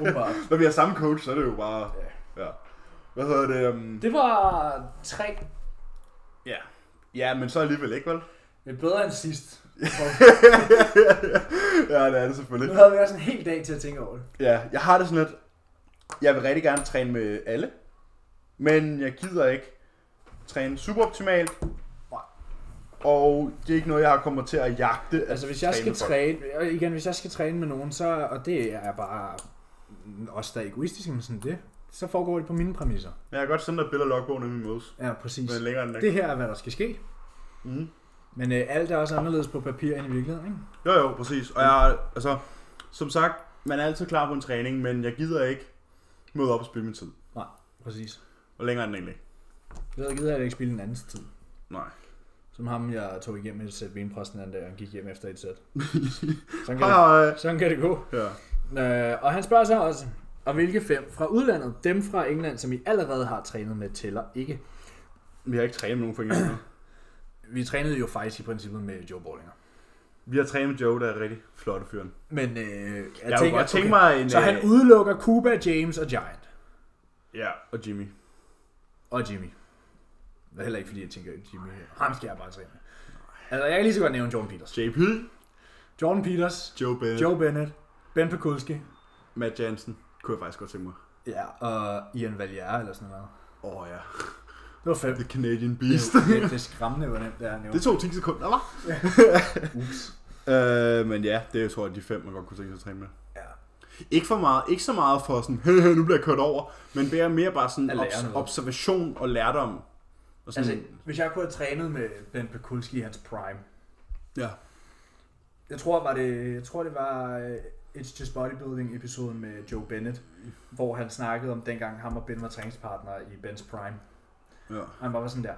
S1: åbenbart.
S2: Når vi har samme coach, så er det jo bare...
S1: Ja.
S2: Ja. Hvad hedder det? Um...
S1: Det var tre.
S2: Ja. Ja, men så alligevel ikke, vel? <laughs>
S1: Det er bedre end <laughs> sidst.
S2: ja, det er det
S1: Nu
S2: selvfølgelig.
S1: havde vi også en hel dag til at tænke over det.
S2: Ja, jeg har det sådan lidt... Jeg vil rigtig gerne træne med alle. Men jeg gider ikke træne super optimalt.
S1: Nej.
S2: Og det er ikke noget, jeg har kommet til at jagte. at
S1: Altså hvis jeg skal
S2: træne for.
S1: træne, og igen hvis jeg skal træne med nogen, så, og det er bare også der er egoistisk, men sådan det, så foregår det på mine præmisser.
S2: Men jeg kan godt sende dig billeder og logbogen, når vi mødes.
S1: Ja, præcis.
S2: Men længere end
S1: Det
S2: det.
S1: her er, hvad der skal ske.
S2: Mm.
S1: Men øh, alt er også anderledes på papir end i virkeligheden, ikke?
S2: Jo, jo, præcis. Og jeg, altså, som sagt, man er altid klar på en træning, men jeg gider ikke møde op og spille min tid.
S1: Præcis.
S2: Og længere end egentlig.
S1: Jeg gider jeg ikke spille en andens tid.
S2: <laughs> Nej.
S1: Som ham, jeg tog igennem et sæt benpres den anden dag, og han gik hjem efter et sæt. Sådan kan, det,
S2: Hej, hej.
S1: sådan kan det gå.
S2: Ja.
S1: Øh, og han spørger så også, og hvilke fem fra udlandet, dem fra England, som I allerede har trænet med, tæller ikke.
S2: Vi har ikke trænet med nogen for engang.
S1: Vi trænede jo faktisk i princippet med Joe Bollinger.
S2: Vi har trænet med Joe, der er rigtig flotte fyren.
S1: Men øh, jeg,
S2: Jeg, jeg tænker,
S1: tænker,
S2: godt tænke
S1: okay.
S2: mig en...
S1: Så han
S2: øh,
S1: udelukker Cuba, James og Giant.
S2: Ja, og Jimmy.
S1: Og Jimmy. Det er heller ikke, fordi jeg tænker, at Jimmy ham skal jeg bare træne med. Altså, jeg kan lige så godt nævne Jordan Peters.
S2: JP,
S1: Jordan Peters,
S2: Joe Bennett, Joe.
S1: Joe Bennett, Ben Pekulski,
S2: Matt Jansen. Kunne jeg faktisk godt tænke mig.
S1: ja, og Ian Valier eller sådan noget.
S2: Åh oh, ja,
S1: Det var fem.
S2: <laughs> The Canadian Beast.
S1: Det, det, det er skræmmende, hvor nemt det er at nævne.
S2: det tog 10 sekunder, hva'?
S1: Ups.
S2: Øh, men ja, det er, tror jeg de fem, man godt kunne tænke sig at træne med.
S1: Ja.
S2: Ikke, for meget, ikke så meget for sådan, hey, hey, nu bliver jeg kørt over, men mere, mere bare sådan
S1: At lære
S2: obs-
S1: noget.
S2: observation og lærdom. Og sådan,
S1: Altså, hvis jeg kunne have trænet med Ben Pekulski i hans prime,
S2: ja.
S1: jeg tror, var det, jeg tror, det var øh, It's Just Bodybuilding episoden med Joe Bennett, hvor han snakkede om dengang ham og Ben var træningspartnere i Bens prime.
S2: ja.
S1: Og han bare var sådan der.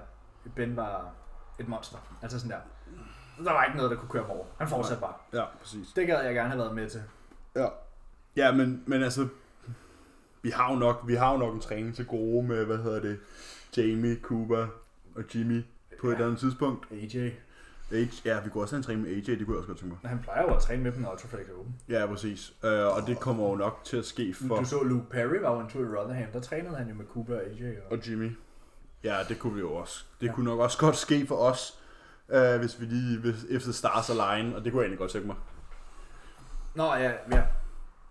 S1: Ben var et monster. Altså sådan der. Der var ikke noget, der kunne køre ham over. Han fortsatte bare.
S2: Ja, præcis.
S1: Det gad jeg gerne have været med til.
S2: Ja. Ja, men, men altså, vi har, jo nok, vi har jo nok en træning til gode med, hvad hedder det, Jamie, Cooper og Jimmy på ja. et
S1: Ja.
S2: eller andet tidspunkt.
S1: AJ.
S2: AJ, ja, vi kunne også have en træning med AJ, det kunne jeg også godt tænke mig.
S1: Han plejer jo at træne med dem, når Ultraflex er åben.
S2: Ja, præcis. Øh, og det kommer jo nok til at ske for...
S1: Du så Luke Perry var jo en tur i Rotherham. Der trænede han jo med Cooper og AJ. Og...
S2: Og Jimmy. Ja, det kunne vi jo også. Det ja.
S1: Ja.
S2: kunne nok også <laughs> godt ske for os, øh, hvis vi lige, hvis, efter Stars Align, og det kunne jeg egentlig godt tænke mig.
S1: Nå ja, ja.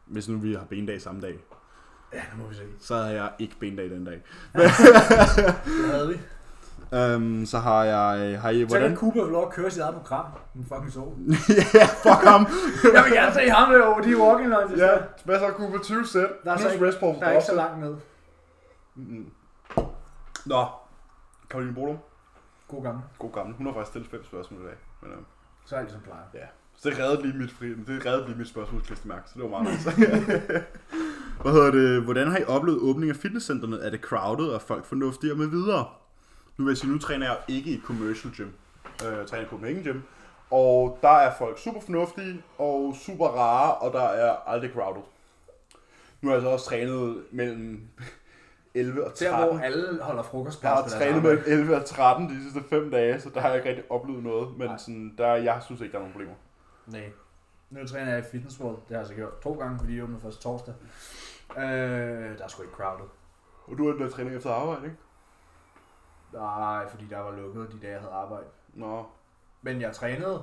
S2: Hvis nu vi har bendag samme dag,
S1: Ja, det må vi se.
S2: så havde jeg ikke bendag den dag.
S1: Det havde vi.
S2: <laughs> Øhm, så har jeg... Har I,
S1: Så kan
S2: hvordan?
S1: Cooper få lov at køre sit eget program. Han fucking
S2: <laughs>
S1: sov.
S2: ja, fuck ham!
S1: Jeg vil gerne se ham derovre. De er walking lines.
S2: Ja, hvad så Cooper 20 sæt?
S1: Der er så
S2: Plus
S1: ikke-
S2: rest på
S1: Der er ikke så langt ned.
S2: Mm. Nå, Karoline Bodum,
S1: God gammel.
S2: god gammel. Hun har faktisk stillet fem spørgsmål i dag. Men, øh,
S1: Så alt som plejer.
S2: så det reddede lige mit, fri, det reddede lige mit spørgsmålsklistemærke, så det var meget nice. <laughs> Hvad hedder det? Hvordan har I oplevet åbningen af fitnesscenterne? Er det crowded, og er folk fornuftige og med videre? Nu vil jeg sige, nu træner jeg ikke i et commercial gym. Øh, Jeg træner i Copenhagen Gym. Og der er folk super fornuftige og super rare, og der er aldrig crowded. Nu har jeg så også trænet mellem <laughs> 11 og 13.
S1: Der hvor alle holder
S2: Jeg har
S1: frokostpause.
S2: trænet mellem 11 og 13 de sidste 5 dage, så der har jeg ikke rigtig oplevet noget. Men
S1: Nej.
S2: sådan, der, jeg synes ikke, der er nogen problemer.
S1: Nej. Nu træner jeg i Fitness World. Det har jeg så gjort to gange, fordi de åbner først torsdag. Øh, der er sgu ikke crowded.
S2: Og du er den der træning efter arbejde, ikke?
S1: Nej, fordi der var lukket de dage, jeg havde arbejde.
S2: Nå.
S1: Men jeg trænede.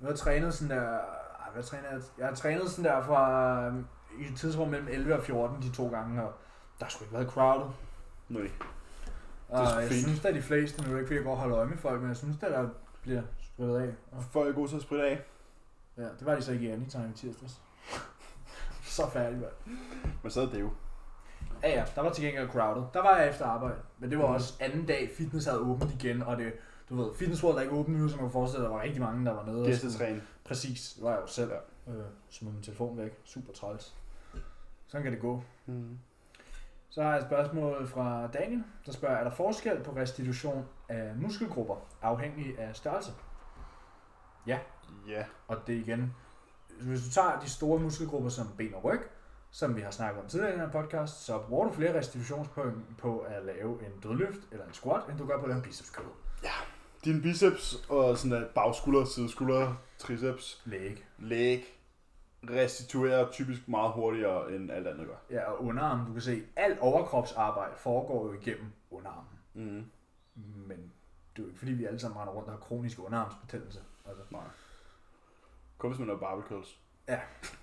S1: Jeg har trænet sådan der... Ej, hvad træner jeg? Jeg har trænet sådan der fra... øhm, I et tidsrum mellem 11 og 14 de to gange, og der har sgu ikke været crowded.
S2: Nej.
S1: Og
S2: sgu
S1: Ah, jeg
S2: fint.
S1: synes da de fleste, nu er det ikke fordi jeg går og holder øje med folk, men jeg synes da der bliver spredt af. Og,
S2: Folk er gode til at spritte af.
S1: ja, det var de så ikke i Anytime i tirsdags. <laughs> så færdig, mand.
S2: Men så er det jo.
S1: Ja, ja, der var til gengæld crowded. Mm. Der var jeg efter arbejde, men det var
S2: Mhm.
S1: også anden dag, fitness havde åbent igen, og det, du ved, Fitness World er ikke åbent nu, som man kan forestille, sig, der var rigtig mange, der var nede. og sådan-
S2: Gæstetræne.
S1: Præcis, det var jeg jo selv. Ja. Øh, så med min telefon væk. Super træls. Sådan kan det gå.
S2: Mm.
S1: Så har jeg et spørgsmål fra Daniel, der spørger, er der forskel på restitution af muskelgrupper afhængig af størrelse?
S2: Ja.
S1: Og det er igen, hvis du tager de store muskelgrupper som ben og ryg, som vi har snakket om tidligere i den her podcast, så bruger du flere restitutionspoint på at lave en dødløft eller en squat, end du gør på at lave en biceps curl.
S2: Din biceps og sådan der bagskulder, sideskulder, triceps,
S1: Læg.
S2: læg, restituerer typisk meget hurtigere end alt andet gør.
S1: Ja, og underarmen, du kan se, alt overkropsarbejde foregår jo igennem underarmen.
S2: Mm.
S1: Men det er jo ikke fordi, vi alle sammen render rundt og har kronisk underarmsbetændelse. Altså.
S2: Nej. Kun hvis man har barbell curls.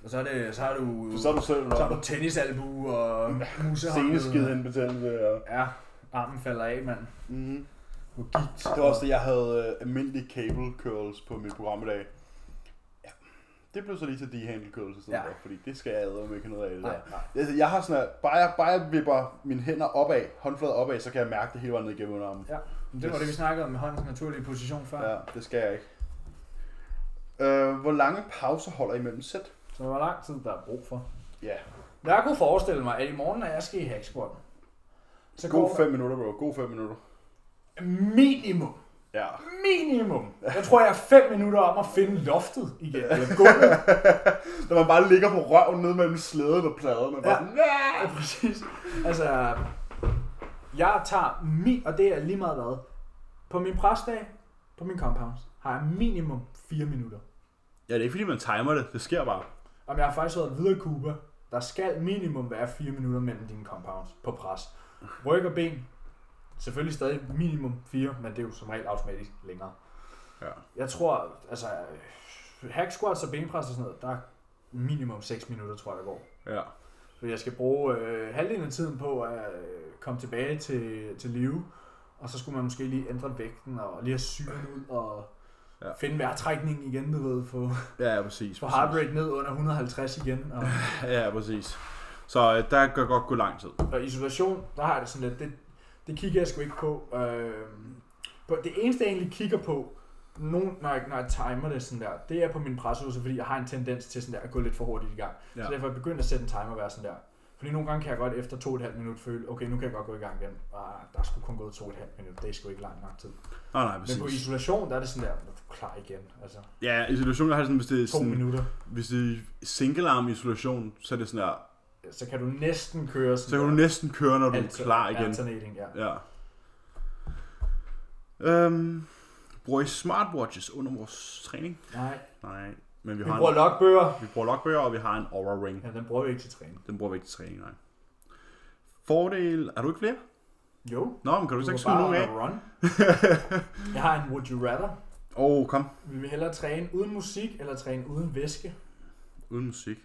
S1: Og så, er det, så har du,
S2: For Mm. så er du selv, når
S1: så har
S2: du
S1: du tennisalbu og musehåndled.
S2: seneskede en betændelse. Og...
S1: Ja, armen falder af, mand.
S2: Mm.
S1: På gigt.
S2: Det var også det, jeg havde øh, almindelige cable curls på mit program i dag. Ja. Det blev så lige til D-handle curls i stedet
S1: Ja.
S2: ja. for, fordi det skal jeg æde, om ikke noget af det der.
S1: Nej, nej.
S2: Altså, jeg har sådan, at bare jeg, bare jeg vipper mine hænder opad, håndflader opad, så kan jeg mærke det hele vejen ned igennem underarmen.
S1: Men det var det, vi snakkede om med håndens naturlige position før.
S2: Ja, det skal jeg ikke. Øh, hvor lange pauser holder I mellem sæt?
S1: Så hvor lang tid, der er brug for.
S2: Ja,
S1: Jeg kunne forestille mig, at i morgen, når jeg skal i hacksquatten, så
S2: god
S1: går
S2: 5 minutter, bro. God 5 minutter.
S1: der minimum,
S2: Ja.
S1: minimum. Jeg tror, jeg er fem minutter om at finde loftet igen. Eller
S2: <laughs>
S1: gulvet.
S2: Når man bare ligger på røven nede mellem slæden og pladen, og bare...
S1: Ja, præcis. Altså, jeg tager min, og det er lige meget hvad, på min presdag, på min compounds, har jeg minimum 4 minutter.
S2: Ja, det er ikke fordi, man timer det. Det sker bare.
S1: Om jeg har faktisk været videre i Cuba, der skal minimum være 4 minutter mellem dine compounds på pres. Ryg og ben, selvfølgelig stadig minimum 4, men det er jo som regel automatisk længere.
S2: Ja.
S1: Jeg tror, altså, øh, hack squats og benpres og sådan noget, der er minimum 6 minutter, tror jeg, der går.
S2: Ja.
S1: For jeg skal bruge øh, halvdelen af tiden på at øh, komme tilbage til, til live, og så skulle man måske lige ændre vægten, og lige have syren ud, og
S2: Ja.
S1: ja. finde vejrtrækningen igen, du ved, få,
S2: Ja, ja præcis.
S1: få heart rate ned under 150 igen. Og,
S2: Ja, præcis. Så øh, der kan godt gå lang tid.
S1: og isolation, der har jeg det sådan lidt, det, det kigger jeg sgu ikke på. Øh, på det eneste, jeg egentlig kigger på, nogen, når, jeg, når jeg timer det sådan der, det er på min presøvelse, fordi jeg har en tendens til sådan der at gå lidt for hurtigt i gang.
S2: Ja.
S1: Ja. Så derfor er jeg begyndt at sætte en timer og være sådan der. Fordi nogle gange kan jeg godt efter 2,5 minut føle, okay, nu kan jeg godt gå i gang igen. Ah, der skulle kun gået 2,5 minut, det er sgu ikke lang nok tid.
S2: Nej, nej,
S1: Men på
S2: præcis.
S1: isolation, der er det sådan der, "Nå, du er klar igen. Altså,
S2: Ja, isolation, jeg har det sådan, hvis det er
S1: to
S2: sådan...
S1: minutter,
S2: hvis det er single arm isolation, så er det sådan der,
S1: så kan du næsten køre sådan
S2: så kan du næsten køre, når du er
S1: alter-
S2: klar igen.
S1: Alternating, ja.
S2: Ja. Øhm, bruger I smartwatches under vores træning?
S1: Nej,
S2: Nej, men vi,
S1: vi
S2: har
S1: bruger
S2: en,
S1: logbøger.
S2: vi bruger logbøger, og vi har en Aura Ring.
S1: Ja, den bruger vi ikke til træning.
S2: Den bruger vi ikke til træning, nej. Fordel, er du ikke flere?
S1: Jo,
S2: Nå, men kan du, så
S1: kan
S2: ikke skyde nogen
S1: bare
S2: af? <laughs>
S1: Run. jeg har en would you rather.
S2: Åh, oh, kom.
S1: Vil vi hellere træne uden musik, eller træne uden væske?
S2: Uden musik.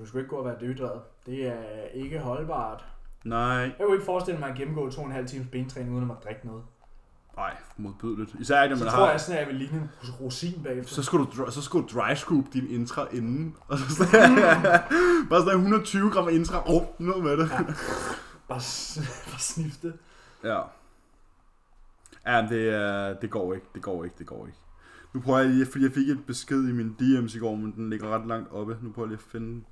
S1: Du skal ikke gå og være døddrevet. Det er ikke holdbart.
S2: Nej,
S1: Jeg kunne ikke forestille mig at gennemgå 2,5 times bentræning uden at måtte drikke noget.
S2: nej, modbydeligt. Især ikke, når
S1: Så
S2: man
S1: tror
S2: har...
S1: jeg sådan, at jeg vil ligne en rosin bagefter.
S2: Så skulle, du, dry- så skulle du dry scoop din intra <laughs>
S1: Mm.
S2: inden. Og så sådan, bare sådan 120 gram intra. Åh, oh, ned med det.
S1: Bare, s- <laughs> bare snifte.
S2: Ja. Ja, men det, er- det går ikke, det går ikke, det går ikke. Nu prøver jeg lige, fordi jeg fik et besked i min DM's i går, men den ligger ret langt oppe. Nu prøver jeg lige at finde den.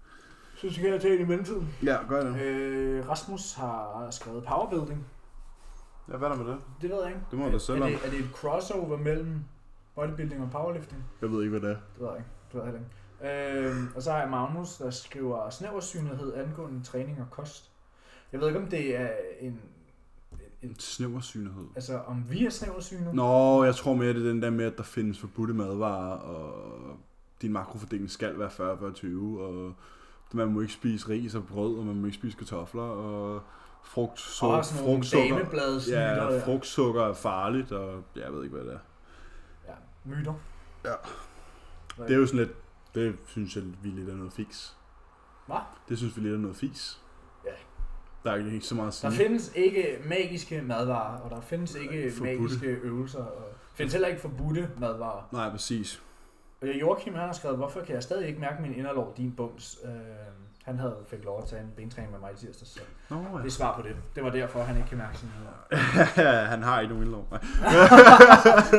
S1: Synes du, kan jeg tage en i mellemtiden?
S2: Ja, gør det.
S1: Øh, Rasmus har skrevet powerbuilding.
S2: Ja, hvad er der med det?
S1: Det ved jeg ikke.
S2: Det må jeg da selv
S1: er,
S2: om.
S1: det, er det et crossover mellem bodybuilding og powerlifting?
S2: Jeg ved ikke, hvad det er.
S1: Det ved jeg ikke. Det ved jeg heller ikke. Øhm, og så har jeg Magnus, der skriver snæversynlighed angående træning og kost. Jeg ved ikke, om det er en... en,
S2: En
S1: en
S2: snæversynlighed.
S1: altså, om vi er snæversynet?
S2: Nå, jeg tror mere, det er den der med, at der findes forbudte madvarer, og din makrofordeling skal være 40 40 20 og man må ikke spise ris og brød, og man må ikke spise kartofler, og frugt,
S1: så
S2: su-
S1: og sådan nogle
S2: frugtsukker,
S1: dameblad
S2: ja,
S1: ja,
S2: frugtsukker er farligt, og jeg ved ikke, hvad det er.
S1: ja, myter.
S2: Ja.
S1: Hvad-
S2: Det er jo sådan lidt, det synes jeg, vi lidt er noget fix.
S1: Hva?
S2: Det synes vi lidt er noget fix.
S1: Ja.
S2: Der er ikke, ikke så meget at
S1: Der
S2: sige.
S1: findes ikke magiske madvarer, og der findes ikke
S2: Forbudte.
S1: magiske øvelser. Og findes heller ikke forbudte madvarer.
S2: Nej, præcis.
S1: Øh, Joachim han har skrevet, hvorfor kan jeg stadig ikke mærke min inderlov, din bums? Øh, han havde fik lov at tage en bentræning med mig i tirsdags. Så
S2: Nå, ja.
S1: det er svar på det. Det var derfor, han ikke kan mærke sin
S2: <laughs>
S1: inderlov.
S2: Han har ikke nogen indlov. Nej.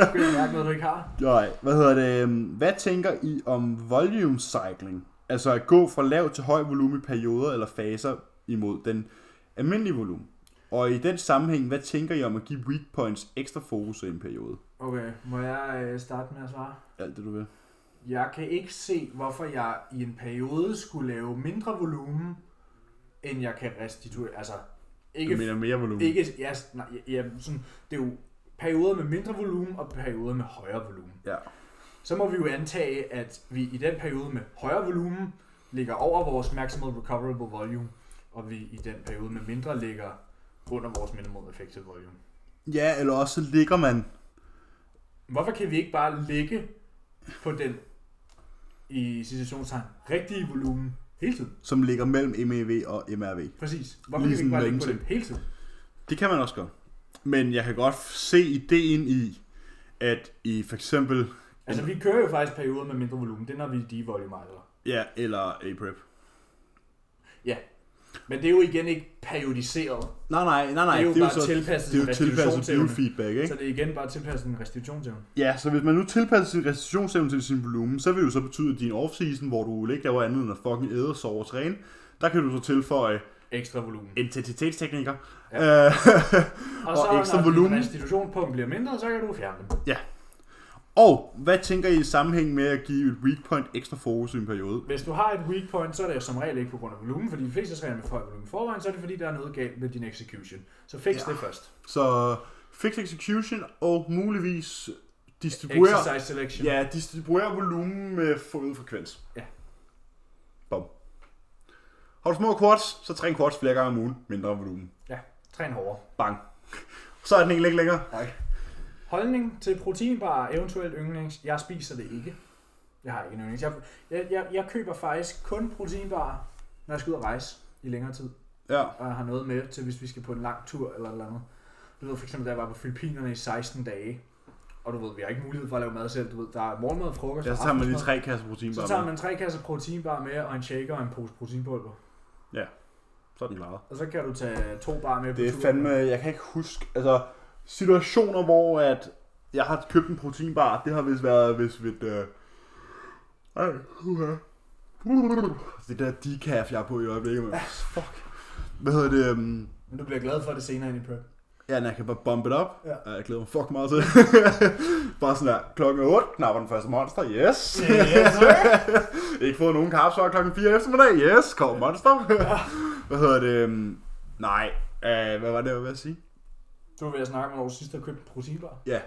S1: Du kan mærke noget, du ikke har.
S2: Nej, hvad hedder det? øhm, Hvad tænker I om volume cycling? Altså at gå fra lav til høj volumen i perioder eller faser imod den almindelige volumen. Og i den sammenhæng, hvad tænker I om at give weak points ekstra fokus i en periode?
S1: Okay, må jeg øh, starte med at svare?
S2: Alt det du vil.
S1: Jeg kan ikke se, hvorfor jeg i en periode skulle lave mindre volumen, end jeg kan restituere. Altså,
S2: Ikke
S1: ikke...
S2: du mener mere volumen?
S1: ikke ja, s- nej, ja, sådan, det er jo perioder med mindre volumen og perioder med højere volumen.
S2: Ja.
S1: så må vi jo antage, at vi i den periode med højere volumen ligger over vores maximal recoverable volume, og vi i den periode med mindre ligger under vores minimal effective volume.
S2: Ja, eller også så ligger man.
S1: Hvorfor kan vi ikke bare ligge på den i situationstegn rigtige volumen hele tiden?
S2: som ligger mellem MEV og MRV.
S1: Præcis. Hvorfor
S2: Lige
S1: kan vi ikke bare
S2: sådan
S1: ligge på den
S2: mellemting.
S1: hele tiden?
S2: Det kan man også godt. Men jeg kan godt se ideen i, at i for eksempel,
S1: Altså, vi kører jo faktisk perioder med mindre volumen. Det er, når vi devolumerizer.
S2: ja, eller A-prep.
S1: Men det er jo igen ikke periodiseret.
S2: Nej, nej, nej, nej.
S1: det er jo bare
S2: så,
S1: tilpasset
S2: det er jo tilpasset
S1: restitutionsevne.
S2: biofeedback, ikke?
S1: Så det er igen bare tilpasset en restitutionsevne.
S2: Ja, så hvis man nu tilpasser sin restitutionsevne til sin volumen, så vil det jo så betyde, at din off-season, hvor du ikke laver andet end at fucking æde, sove og træne, der kan du så tilføje
S1: Ekstra volumen.
S2: intensitetsteknikker. Ja. Øh,
S1: Og,
S2: Og
S1: så
S2: ekstra
S1: når
S2: volumen.
S1: din restitutionspunkt bliver mindre, så kan du fjerne dem.
S2: ja. <laughs> Og hvad tænker I i sammenhæng med at give et weak point ekstra fokus i en periode?
S1: Hvis du har et weak point, så er det jo som regel ikke på grund af volumen, fordi de fleste træner med for høj volumen i forvejen, så er det fordi, der er noget galt med din execution. Så fix
S2: Ja.
S1: ja. det først.
S2: Så fix execution og muligvis distribuer,
S1: Exercise selection.
S2: ja, distribuer volumen med forøget frekvens.
S1: Ja.
S2: Bom. Har du små quads, så træn quads flere gange om ugen, mindre volumen.
S1: ja. Træn hårdere.
S2: Bang. <laughs> Så er den ikke længere.
S1: Nej. Holdning til proteinbar, eventuelt yndlings. Jeg spiser det ikke. Jeg har ikke en yndlings. Jeg, jeg, jeg, jeg køber faktisk kun proteinbar, når jeg skal ud og rejse i længere tid.
S2: Ja.
S1: og jeg har noget med til, hvis vi skal på en lang tur eller et eller andet. Du ved, for eksempel, da jeg var på Filippinerne i 16 dage, og du ved, vi har ikke mulighed for at lave mad selv. Du ved, der er morgenmad, frokost
S2: Ja,
S1: og
S2: så tager man lige
S1: aftensmad.
S2: tre kasser protein
S1: Så tager man tre kasser proteinbar med, og en shaker og en pose proteinpulver.
S2: Så er den klaret.
S1: Og så kan du tage to bar med på
S2: Det er
S1: tur.
S2: fandme, jeg kan ikke huske, altså situationer, hvor at jeg har købt en proteinbar, det har vist været, hvis vi... Øh... Ej, uha. Det der decaf, jeg er på i øjeblikket, men fuck. Hvad hedder det? øhm,
S1: Men du bliver glad for det senere ind i prep.
S2: <laughs> Ja, jeg kan bare bump it up.
S1: Ja.
S2: Og Jeg glæder mig fucking meget til. <laughs> bare sådan der, klokken 8, knapper den første monster, yes.
S1: Yes,
S2: Ikke fået nogen kaps før klokken 4 eftermiddag, yes, kom monster. hvad hedder det? øhm, Nej, øh, hvad var det, jeg var ved at sige?
S1: Du var ved at snakke om, når du sidst har købt en proteinbar.
S2: Ja,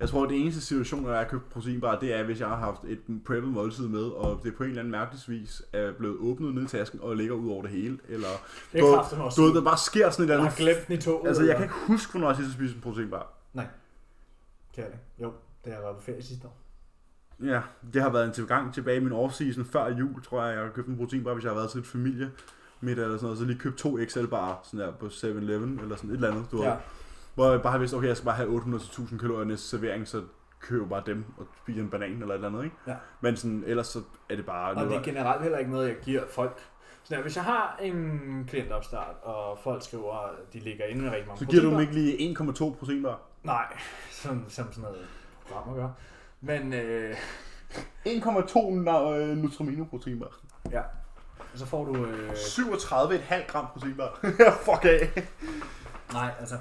S2: jeg tror, at det eneste situation, hvor jeg har købt proteinbar, det er, hvis jeg har haft et preppet måltid med, og det på en eller anden mærkelig vis er blevet åbnet ned i tasken og ligger ud over det hele. Eller,
S1: Det
S2: du,
S1: er kraften også.
S2: du ved, der bare sker sådan et
S1: jeg
S2: eller
S1: har
S2: andet.
S1: glemt den i toget.
S2: Altså, jeg
S1: eller-
S2: kan ikke huske, hvornår jeg sidst har spist en proteinbar.
S1: Nej. Kan jeg det? Jo, det har jeg været på ferie sidste år.
S2: Ja, det har været en gang tilbage i min off-season før jul, tror jeg. Jeg har købt en proteinbar, hvis jeg har været til et familie middag eller sådan noget, så lige købt to XL bare sådan der på 7-Eleven eller sådan et eller andet, du ja.
S1: Ja.
S2: Hvor jeg bare har vidst, okay, jeg skal bare have 800-1000 kalorier næste servering, så køber bare dem og spiser en banan eller et eller andet, ikke?
S1: Ja.
S2: Men sådan, ellers så er det bare...
S1: Og det er
S2: var-
S1: generelt heller ikke noget, jeg giver folk. Sådan der, hvis jeg har en klientopstart, og folk skriver, at de ligger inde med rigtig mange
S2: Så giver du dem
S1: produkter-
S2: ikke lige 1,2 procent der?
S1: Nej, <laughs> som, som sådan noget programmer gør. Men øh,
S2: 1,2 na- øh, Nutramino proteinbar.
S1: så får du... Øh,
S2: 37,5 gram <laughs> proteinbar. Fuck af.
S1: Nej, altså...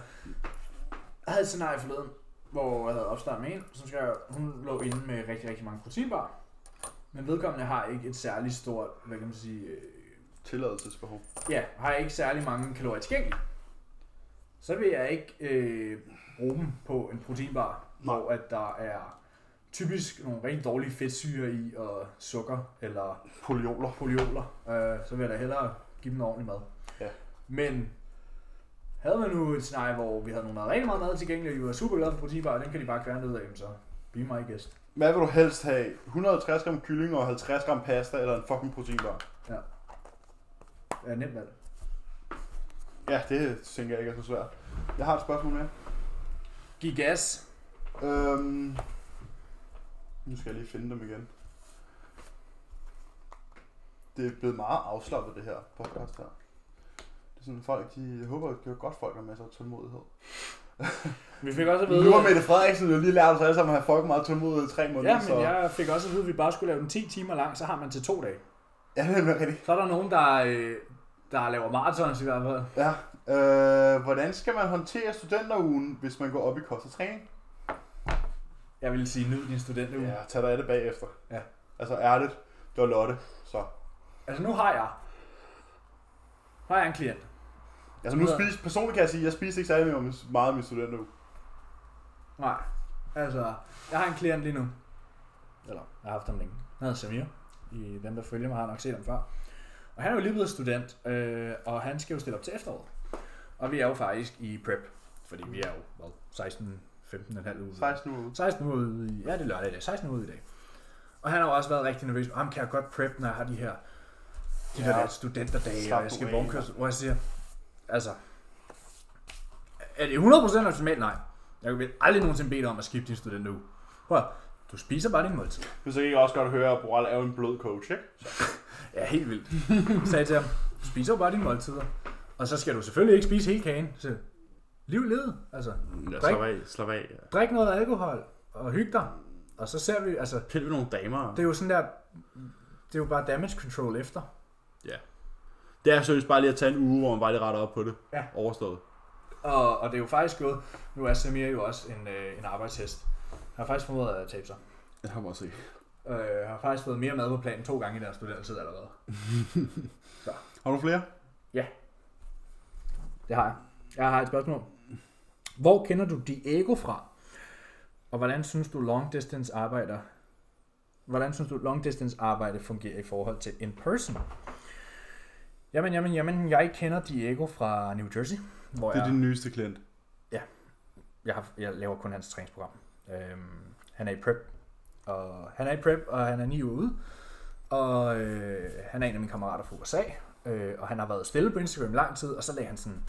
S1: Jeg havde et scenarie forleden, hvor jeg havde opstartet med en, som skal, hun lå inde med rigtig, rigtig mange proteinbar. Men vedkommende har ikke et særligt stort, hvad kan man sige, øh,
S2: Tilladelsesbehov.
S1: ja, har ikke særlig mange kalorier tilgængelige. Så vil jeg ikke øh, bruge dem på en proteinbar,
S2: Nej.
S1: hvor at der er typisk nogle rigtig dårlige fedtsyre i, og sukker, eller
S2: Polioler.
S1: polioler, øh, så vil jeg da hellere give dem noget ordentligt mad.
S2: Ja.
S1: Men havde man nu et scenarie, hvor vi havde nogle der havde rigtig meget mad tilgængeligt, og vi var super glade for proteinbar, den kan de bare kværne ud af, jamen så be my guest.
S2: Hvad vil du helst have? 150 gram kylling og 50 gram pasta eller en fucking proteinbar?
S1: Ja, nemt valg.
S2: Ja, det tænker jeg ikke er så svært. Jeg har et spørgsmål mere.
S1: Giv gas.
S2: Øhm, nu skal jeg lige finde dem igen. Det er blevet meget afslappet, det her podcast her. Det er sådan, folk, de jeg håber, det er godt, folk har masser af tålmodighed.
S1: Vi fik også at vide,
S2: Nu har Mette Frederiksen jo lige lært os alle sammen at have fucking meget tålmodighed i tre måneder,
S1: ja,
S2: så...
S1: men jeg fik også at vide, at vi bare skulle lave den 10 timer lang, så har man til to dage.
S2: Ja, det er nemlig rigtigt.
S1: Så er der nogen, der, øh, der laver maratons i hvert fald.
S2: Ja. Øh, hvordan skal man håndtere studenterugen, hvis man går op i kost og træning?
S1: Jeg vil sige, nyd din studentuge.
S2: Ja, tag dig af det bagefter.
S1: Ja.
S2: Altså ærligt, det var Lotte, så...
S1: Altså nu har jeg, har jeg en klient.
S2: Altså nu
S1: Ja.
S2: spis, personligt kan jeg sige, jeg spiste ikke særlig meget af min studenteruge.
S1: Nej. Altså, jeg har en klient lige nu. Eller, jeg har haft ham længe. Han hedder Samir. I dem, der følger mig, har nok set ham før. Og han er jo lige blevet student, øh, og han skal jo stille op til efteråret. Og vi er jo faktisk i prep. Fordi vi er jo, hvad, 16, 15 en halv uge.
S2: 16 uger.
S1: 16 uger ude i, ja det er lørdag i dag, 16 uger ude i dag. Og han har jo også været rigtig nervøs, ham kan jeg godt prep, når jeg har de her, de
S2: Ja.
S1: ja, der studenterdage,
S2: Slap
S1: og jeg
S2: nu
S1: skal
S2: af,
S1: vognkørsel, hvor jeg siger, altså, er det 100% optimalt? Nej. Jeg vil aldrig nogensinde bede dig om at skifte din student nu. Prøv at, du spiser bare din måltid.
S2: Hvis jeg ikke også godt høre, at Boral er jo en blød coach, ikke?
S1: Ja, helt vildt. Så sagde jeg til ham, du spiser jo bare dine måltider. Og så skal du selvfølgelig ikke spise hele kagen. Så, liv levet, altså.
S2: Ja,
S1: slap
S2: af, slap af. Ja.
S1: Drik noget alkohol, og hygge dig. Og så ser vi, altså,
S2: Pille ved nogle damer.
S1: Det er jo sådan der, det er jo bare damage control efter.
S2: Det er seriøst bare lige at tage en uge, hvor man bare lige retter op på det.
S1: Ja.
S2: Overstået.
S1: Og, og det er jo faktisk gået, nu er Samir jo også en, øh, en arbejdshest. Han har faktisk formået at tabe sig.
S2: Jeg har også ikke.
S1: Øh, har faktisk fået mere mad på planen to gange i deres studertid allerede.
S2: Har du flere?
S1: Det har jeg. Jeg har et spørgsmål. Hvor kender du Diego fra? Og hvordan synes du long distance arbejder? Hvordan synes du long distance arbejde fungerer i forhold til in person? Jamen, jamen, jamen, jeg kender Diego fra New Jersey, hvor
S2: Det er
S1: jeg...
S2: din nyeste klient.
S1: jeg, har, jeg laver kun hans træningsprogram. Øhm, han er i prep, og han er i prep, og han er ni uger ude. Og øh, han er en af mine kammerater fra USA, øh, og han har været stille på Instagram i lang tid, og så lagde han sådan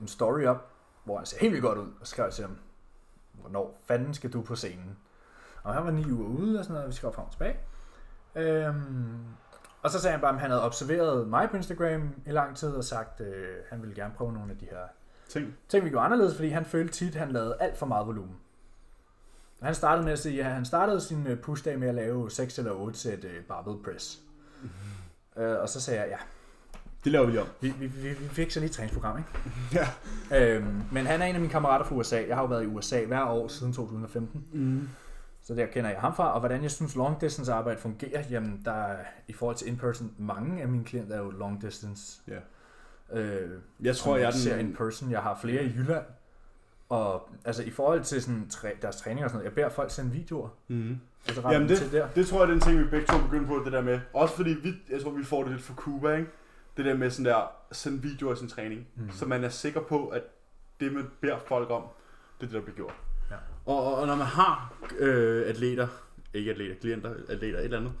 S1: en story op, hvor han ser helt vildt godt ud, og skrev til ham, hvornår fanden skal du på scenen? Og han var ni uger ude, og sådan noget, og vi skrev frem og tilbage. Øhm, og så sagde han bare, at han havde observeret mig på Instagram i lang tid, og sagt, øh, han ville gerne prøve nogle af de her
S2: Ting.
S1: ting, vi gjorde anderledes, fordi han følte tit, han lavede alt for meget volumen. Og Han startede med at sige, at han startede sin øh, pushdag med at lave 6 eller 8 sæt øh, barbell press. Øh, og så sagde jeg, ja,
S2: Det laver vi lige om.
S1: vi, vi, vi, vi fik så lige et træningsprogram, ikke?
S2: Ja.
S1: Øhm, men han er en af mine kammerater fra USA. Jeg har jo været i USA hver år siden 2015.
S2: Mm.
S1: Så der kender jeg ham fra, og hvordan jeg synes long distance arbejde fungerer, jamen der er- i forhold til in-person, mange af mine klienter er jo long distance.
S2: Ja.
S1: Øh,
S2: Jeg tror, jeg er
S1: ser
S2: den...
S1: in person. Jeg har flere i Jylland. Og altså i forhold til sådan, træ, deres træning og sådan noget, jeg beder folk sende videoer.
S2: Mm.
S1: Og så
S2: Jamen
S1: Jamen det... til der.
S2: Det tror jeg, det er en ting, vi begge to begynder på, det der med. Også fordi, vi, jeg tror, vi får det lidt fra Cuba, ikke? Det der med sådan der, sende videoer af sin træning. Mm.
S1: Mm.
S2: Så man er sikker på, at det, man beder folk om, det er det, der bliver gjort.
S1: Ja.
S2: Og, og, og når man har øh, atleter, ikke atleter, klienter, atleter, et eller andet.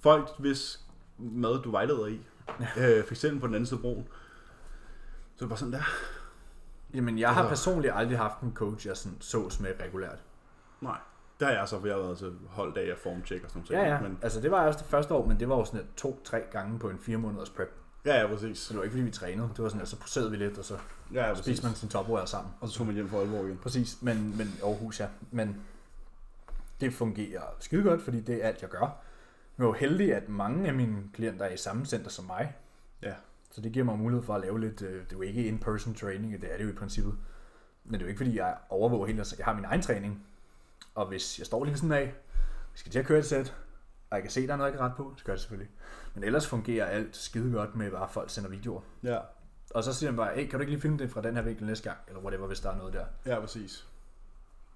S2: Folk, hvis mad du vejleder i, øh, for eksempel på den anden side af broen, så er det bare sådan der.
S1: Jamen jeg har
S2: Altså-
S1: personligt aldrig haft en coach, jeg sådan sås med regulært.
S2: Nej, det har jeg så, for jeg har været til holddag og formcheck og sådan noget.
S1: Ja, ja.
S2: Men
S1: Altså det var jeg også det første år, men det var jo sådan et to-tre gange på en fire måneders prep.
S2: Ja, ja, præcis.
S1: Så det var ikke, fordi vi trænede. Det var sådan, at så poserede vi lidt, og så
S2: Ja, ja, præcis.
S1: spiste man sin toprører sammen.
S2: Og så tog man hjem for alvor igen.
S1: Præcis, men, men Aarhus, ja. Men det fungerer skide godt, fordi det er alt, jeg gør. Jeg er jo heldig, at mange af mine klienter er i samme center som mig.
S2: Ja.
S1: Så det giver mig mulighed for at lave lidt, øh, det er jo ikke in-person training, det er det jo i princippet. Men det er jo ikke, fordi jeg overvåger helt, altså, jeg har min egen træning. Og hvis jeg står lige ved sådan af, vi skal til at køre et sæt, og jeg kan se, der er noget, jeg kan rette på, så gør jeg det selvfølgelig. Men ellers fungerer alt skide godt med, bare folk sender videoer.
S2: Ja,
S1: Og så siger han bare, hey, kan du ikke lige filme det fra den her vinkel næste gang, eller whatever, hvis der er noget der.
S2: ja, præcis.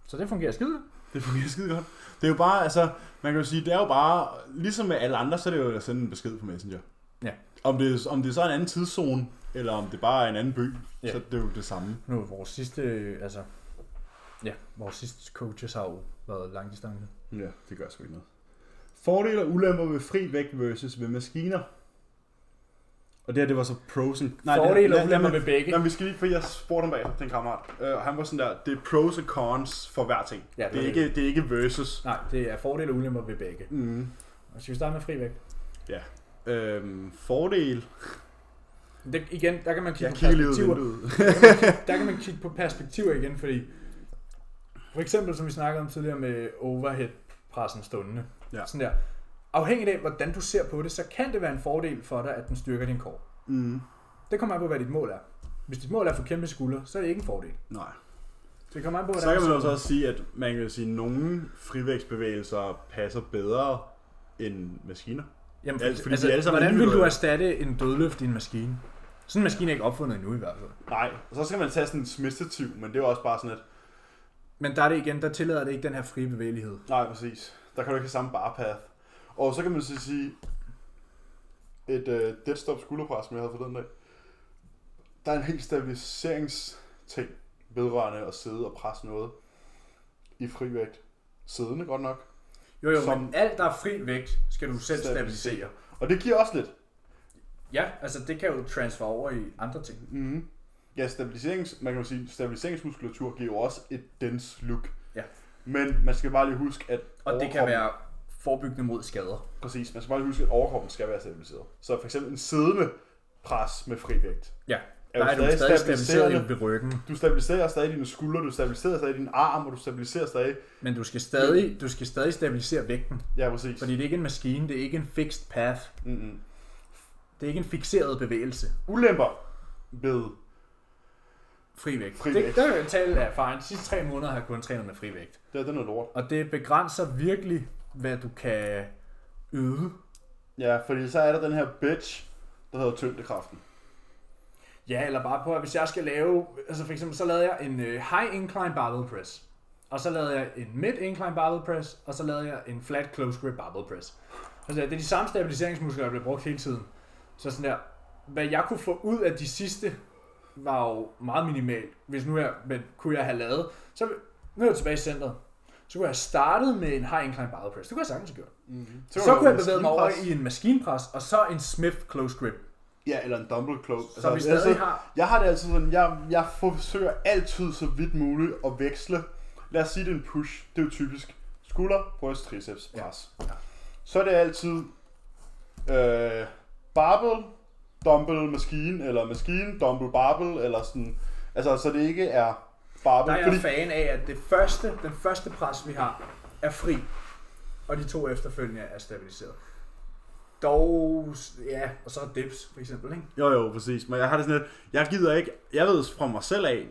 S1: Så det fungerer skide.
S2: Det fungerer skide godt. Det er jo bare, altså, man kan jo sige, det er jo bare, ligesom med alle andre, så er det jo at sende en besked på Messenger.
S1: Ja.
S2: Om det, om det så er en anden tidszone, eller om det bare er en anden by,
S1: Ja.
S2: ja. så er det jo det samme.
S1: Nu er vores sidste, øh, altså, ja, vores sidste coaches har jo været langdistance.
S2: Ja, det gør sgu ikke noget. Fordele og ulemper ved fri vægt versus ved maskiner. Og det her, det var så pros and...
S3: Fordele og
S2: lad- lad
S3: ulemper
S2: mig-
S3: ved begge.
S2: Jamen, vi skal lige, for jeg spurgte ham bag den kammerat. Øh, han var sådan der, det er pros og cons for hver ting.
S1: Ja, det
S2: det, er
S1: er
S2: ikke, det er ikke versus.
S1: Nej, det er fordele og ulemper ved begge.
S2: Mm.
S1: Og skal vi starte med frivægt?
S2: Øhm, fordel.
S3: Det, igen, der kan man kigge
S2: Jeg
S3: på
S2: kigger lige ud af
S3: perspektiver.
S2: vinduet.
S3: Der kan man kigge på perspektiver igen, fordi for eksempel, som vi snakkede om tidligere med overhead-pressen stående.
S2: Ja.
S3: Sådan der. Afhængigt af, hvordan du ser på det, så kan det være en fordel for dig, at den styrker din kår.
S2: Mm.
S3: Det kommer an på, hvad dit mål er. Hvis dit mål er for kæmpe skulder, så er det ikke en fordel.
S2: Nej.
S3: Det kommer an på,
S2: Så
S3: hvordan
S2: kan man
S3: ser på
S2: også
S3: det.
S2: også sige, at man kan sige, at nogle frivægtsbevægelser passer bedre end maskiner.
S1: Jamen,
S2: Ja, fordi
S1: altså,
S2: de er alle sammen
S1: hvordan vil du
S2: individuelle.
S1: erstatte en dødløft i en maskine? Sådan en maskine er ikke opfundet endnu i hvert fald.
S2: Nej, og så skal man tage sådan en smidstativ, men det er jo også bare sådan et,
S1: Men der er det igen, der tillader det ikke den her frie bevægelighed.
S2: nej præcis, der kan du ikke have samme barpath. Og så kan man så sige, et øh, deadstop skulderpres, som jeg havde for den dag, der er en helt stabiliseringsting vedrørende at sidde og presse noget i frivægt. Siddende godt nok,
S1: Jo, jo,
S2: Som-
S1: Som men alt, der er fri vægt, skal du selv stabilisere.
S2: Og det giver også lidt.
S1: Ja, altså det kan jo transfer over i andre ting.
S2: Mm. Ja, stabiliserings, man kan jo sige, stabiliseringsmuskulatur giver jo også et dense look.
S1: Ja.
S2: Men man skal bare lige huske, at
S1: Og det kan
S2: overkroppen-
S1: være forebyggende mod skader.
S2: Præcis, man skal bare lige huske, at overkroppen skal være stabiliseret. Så for eksempel en siddende pres med frivægt.
S1: Ja,
S2: Er
S1: der
S2: du
S1: er du
S2: stadig
S1: stadig
S2: stabiliserende?
S1: stabiliseret ved ryggen,
S2: Du stabiliserer stadig dine skuldre, du stabiliserer stadig din arm, og du stabiliserer stadig...
S1: men du skal
S2: Mm.
S1: stadig, du skal stadig stabilisere vægten,
S2: Ja, præcis.
S1: fordi det er ikke en maskine, det er ikke en fixed path,
S2: Mm-mm.
S1: det er ikke en fixeret bevægelse.
S2: Ulemper ved...
S1: Fri vægt.
S2: Fri vægt.
S1: Det, der er jo tale af erfaring. De sidste tre måneder har jeg kun trænet med fri vægt.
S2: Det er den er lort.
S1: Og det begrænser virkelig, hvad du kan yde.
S2: Ja, fordi så er der den her bitch, der hedder tyngdekraften.
S3: Ja, eller bare på, at hvis jeg skal lave, altså for eksempel, så lavede jeg en øh, high incline barbell press, og så lavede jeg en mid incline barbell press, og så lavede jeg en flat close grip barbell press. Altså det er de samme stabiliseringsmuskler, der bliver brugt hele tiden. Så sådan der, hvad jeg kunne få ud af de sidste, var jo meget minimalt, hvis nu jeg, men kunne jeg have lavet, så nu er jeg tilbage i centret. Så kunne jeg have startet med en high incline barbell press. Det kunne jeg sagtens have gjort.
S2: Mm-hmm.
S3: Så kunne jeg bevæge mig over i en maskinpres, og så en Smith close grip.
S2: Ja, eller en dumbbell close.
S3: Så vi stadig har...
S2: Jeg har det altid sådan, jeg, jeg forsøger altid så vidt muligt at veksle. Lad os sige, det er en push. Det er jo typisk skulder, bryst, triceps, pres. Ja. Så er det altid øh, barbell, dumbbell, maskine, eller maskine, dumbbell, barbell, eller sådan. Altså, så det ikke er
S3: Der
S2: barbell.
S3: er jeg fan af, at det første, den første pres, vi har, er fri. Og de to efterfølgende er stabiliseret. Dog, ja, og så dips for eksempel, ikke?
S2: Jo, jo, præcis. Men jeg har det sådan lidt, jeg gider ikke, jeg ved fra mig selv af,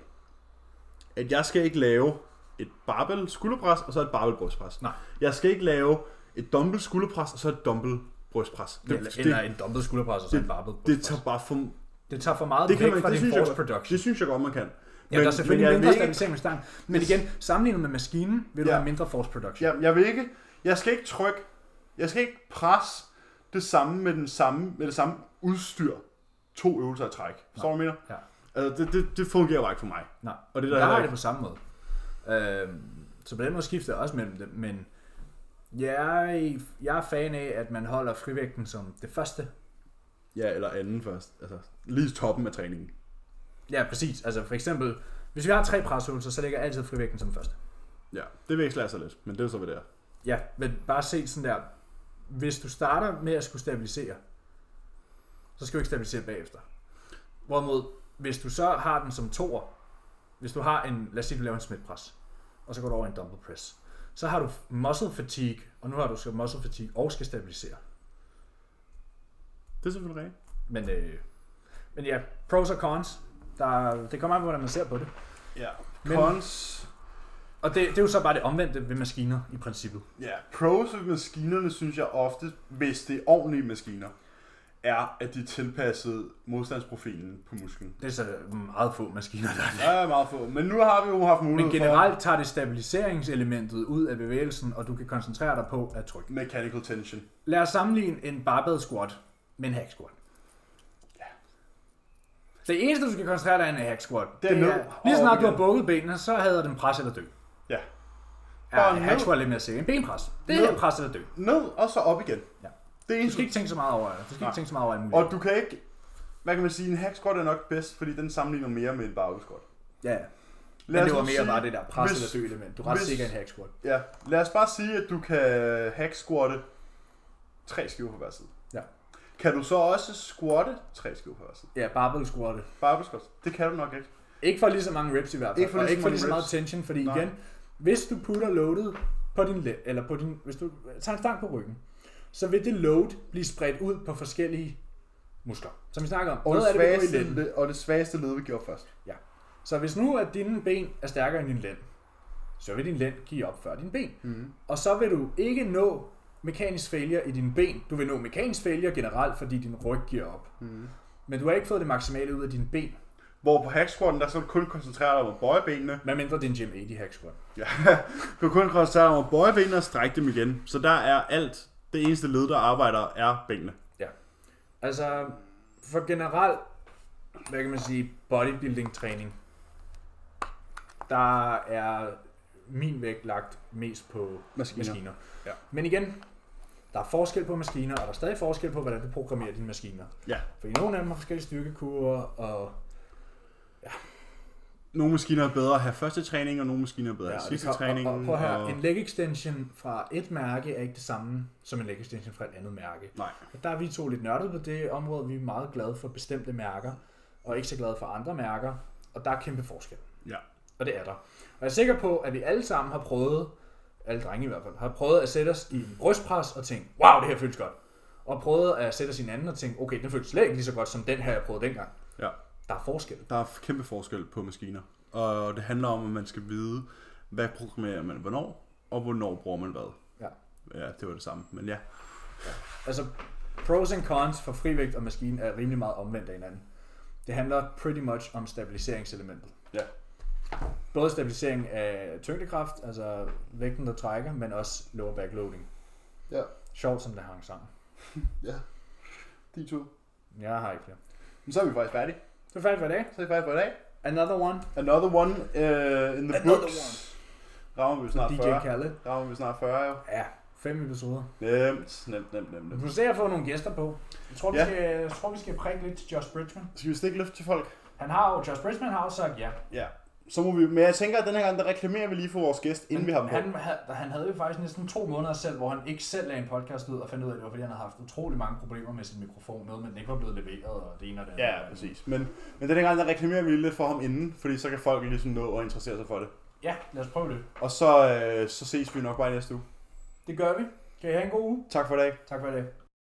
S2: at jeg skal ikke lave et barbell skulderpres, og så et barbell brystpres.
S1: Nej.
S2: Jeg skal ikke lave et dumbbell skulderpres, og så et dumbbell brystpres. Det,
S1: Eller,
S2: det,
S1: eller
S2: det,
S1: en dumpet skulderpres og så en barbell.
S2: det tager bare for...
S1: det tager for meget
S2: Det kan
S1: væk
S2: man,
S1: fra
S2: det,
S1: din
S2: synes jeg,
S1: force
S2: godt-
S1: production.
S2: det synes jeg godt, man kan.
S1: Ja, der er selvfølgelig
S2: jeg
S1: mindre
S2: vil ikke,
S1: stabilisering med stangen. Men igen, sammenlignet med maskinen, vil du
S2: Ja.
S1: have mindre force production.
S2: jeg, jeg vil ikke, jeg skal ikke trykke, jeg skal ikke presse det samme med, den samme, med det samme udstyr to øvelser i træk. Forstår du, hvad jeg
S1: Ja.
S2: mener? Altså, det, det, det fungerer bare ikke for mig.
S1: Nej.
S2: Og det er
S1: der, der
S2: der heller
S1: har jeg
S2: ikke.
S1: det på samme måde. Øhm, så på den måde skifter jeg også mellem dem, men jeg, jeg er fan af, at man holder frivægten som det første.
S2: Ja, eller anden først. Altså, lige toppen af træningen.
S1: Ja, præcis. Altså for eksempel, hvis vi har tre presøvelser, så ligger jeg altid frivægten som første.
S2: Ja, det veksler jeg så lidt, men det er så, hvad det er.
S1: Ja, men bare se sådan der. Hvis du starter med at skulle stabilisere, så skal du ikke stabilisere bagefter. Hvorimod, hvis du så har den som toer, hvis du har en, lad os sige, du laver en smidtpres, og så går du over i en dumbbell press, så har du muscle fatigue, og nu har du så muscle fatigue og skal stabilisere.
S2: Det er selvfølgelig rigtigt.
S1: Men, øh, men ja, pros og cons. Der, er- det kommer an på, hvordan man ser på det.
S2: Ja.
S1: Men-
S2: Cons.
S1: Og det, det er jo så bare det omvendte ved maskiner i princippet.
S2: Ja, pros ved maskinerne, synes jeg ofte, hvis det er ordentlige maskiner, er, at de er tilpasset modstandsprofilen på musklen.
S1: Det er så meget få maskiner, der er det.
S2: Der er meget få, men nu har vi jo haft mulighed
S1: Men generelt tager det stabiliseringselementet ud af bevægelsen, og du kan koncentrere dig på at trykke.
S2: for mechanical tension.
S1: Lad os sammenligne en barbell squat med en hack squat. Det eneste, du skal koncentrere dig om i en hack squat,
S2: Det er ned
S1: lige
S2: og
S1: snart
S2: op
S1: du har
S2: igen.
S1: bukket benene, så havde den pres eller dø.
S2: Ja.
S1: Er
S2: Og
S1: en
S2: ned.
S1: hack squat lidt mere sikkert. En benpres. Det
S2: Ned.
S1: er pres eller dø.
S2: Ned og så op igen.
S1: Ja.
S2: Det er
S1: Du
S2: en
S1: skal ikke tænke så meget over det. Du skal
S2: Nej.
S1: ikke tænke så meget over alt muligt.
S2: Og du kan ikke, hvad kan man sige, en hack squat er nok bedst, fordi den sammenligner mere med et barbell squat.
S1: Ja,
S2: Lad
S1: men det
S2: os
S1: var
S2: nu
S1: mere
S2: sige-
S1: bare det der pres
S2: hvis-
S1: eller dø element. Du er ret
S2: hvis-
S1: sikker i en hack squat.
S2: Ja, lad os bare sige, at du kan hack squatte tre skiver på hver side.
S1: Ja.
S2: Kan du så også squatte tre skiver på hver side?
S1: Ja, barbell squat.
S2: Barbell squat. Det kan du nok ikke.
S1: Ikke for lige så mange reps i hvert fald.
S2: Ikke for
S1: og
S2: lige så
S1: ikke for
S2: mange
S1: lige så meget
S2: reps.
S1: tension, fordi
S2: Nej.
S1: Nej. igen, hvis du putter loadet på din læ- eller på din, hvis du tager en stang på ryggen, så vil det load blive spredt ud på forskellige muskler, som vi snakker om.
S2: Og
S1: Noget
S2: det,
S1: af det vil gå i
S2: svageste,
S1: lænden.
S2: led- og det svageste led, vi gjorde først.
S1: Ja. Så hvis nu at dine ben er stærkere end din lænd, så vil din lænd give op før din ben. Mm. Og så vil du ikke nå mekanisk failure i dine ben. Du vil nå mekanisk failure generelt, fordi din ryg giver op. Mm. Men du har ikke fået det maksimale ud af dine ben,
S2: Hvor på hack squatten, der skal du kun koncentrere dig om at bøje benene.
S1: medmindre det er en Jim 80 hack squat.
S2: Ja. <laughs> Du kan kun koncentrere dig om at bøje benene og strække dem igen. Så der er alt. Det eneste led, der arbejder, er benene.
S1: Ja. Altså, for generelt, hvad kan man sige, bodybuilding træning, der er min vægt lagt mest på
S2: Maskiner.
S1: maskiner. maskiner.
S2: Ja.
S1: Men igen, der er forskel på maskiner, og der er stadig forskel på, hvordan du programmerer dine maskiner.
S2: Ja.
S1: Fordi nogle af dem har forskellige styrkekurver, og
S2: Nogle maskiner er bedre at have første træning, og nogle maskiner er bedre at
S1: Ja,
S2: have
S1: og det
S2: sidste
S1: kan-
S2: træning.
S1: Og, og, prøv at høre,
S2: og-
S1: en leg extension fra et mærke er ikke det samme som en leg extension fra et andet mærke.
S2: Nej.
S1: Og der er vi to lidt nørdede på det område. Vi er meget glade for bestemte mærker, og ikke så glade for andre mærker. Og der er kæmpe forskel.
S2: Ja.
S1: Og det er der. Og jeg er sikker på, at vi alle sammen har prøvet, alle drenge i hvert fald, har prøvet at sætte os i en brystpres og tænke, wow, det her føles godt. Og prøvet at sætte os i en anden og tænke, okay, den føles slet ikke lige så godt som den her, jeg prøvede dengang.
S2: Ja.
S1: Der er forskel.
S2: Der er kæmpe forskel på maskiner, og det handler om, at man skal vide, hvad programmerer man hvornår, og hvornår bruger man hvad.
S1: Ja.
S2: Ja, det var det samme, men ja.
S1: Altså, pros and cons for frivægt og maskine er rimelig meget omvendt af hinanden. Det handler pretty much om stabiliseringselementet.
S2: Ja.
S1: Både stabilisering af tyngdekraft, altså vægten, der trækker, men også lower back loading.
S2: Ja.
S1: Sjovt, som det hang sammen.
S2: Ja. De to.
S1: Jeg har ikke flere.
S2: Men så er vi faktisk færdige.
S1: Så er vi færdige for i dag.
S2: Så er vi færdige for i dag.
S1: Another one.
S2: Another one uh, in the
S1: Another
S2: books. Rammer vi snart
S1: DJ
S2: 40.
S1: Khaled.
S2: Rammer vi snart 40, jo.
S1: Ja, fem episoder.
S2: Nemt, nemt, nemt, nemt.
S1: Vi
S2: nemt.
S1: får se at få nogle gæster på. Jeg tror, vi,
S2: Ja.
S1: skal, jeg tror, vi skal prikke lidt til Josh Bridgman.
S2: Skal vi stikke løft til folk?
S1: Han har jo, Josh Bridgman har jo sagt ja.
S2: Ja. Så må vi, men jeg tænker, at den her gang, der reklamerer vi lige for vores gæst, inden vi har dem på.
S1: han, havde, han havde jo faktisk næsten to måneder selv, hvor han ikke selv lagde en podcast ud og fandt ud af, at det var fordi, han havde haft utrolig mange problemer med sin mikrofon. Noget med, at den ikke var blevet leveret og det ene og det andet.
S2: Ja, præcis. Men, men den her gang, der reklamerer vi lidt for ham inden, fordi så kan folk ligesom nå at interessere sig for det.
S1: Ja, lad os prøve det.
S2: Og så, øh, så ses vi nok bare i næste uge.
S1: Det gør vi. Kan I have en god uge?
S2: Tak for i dag.
S1: Tak for i dag.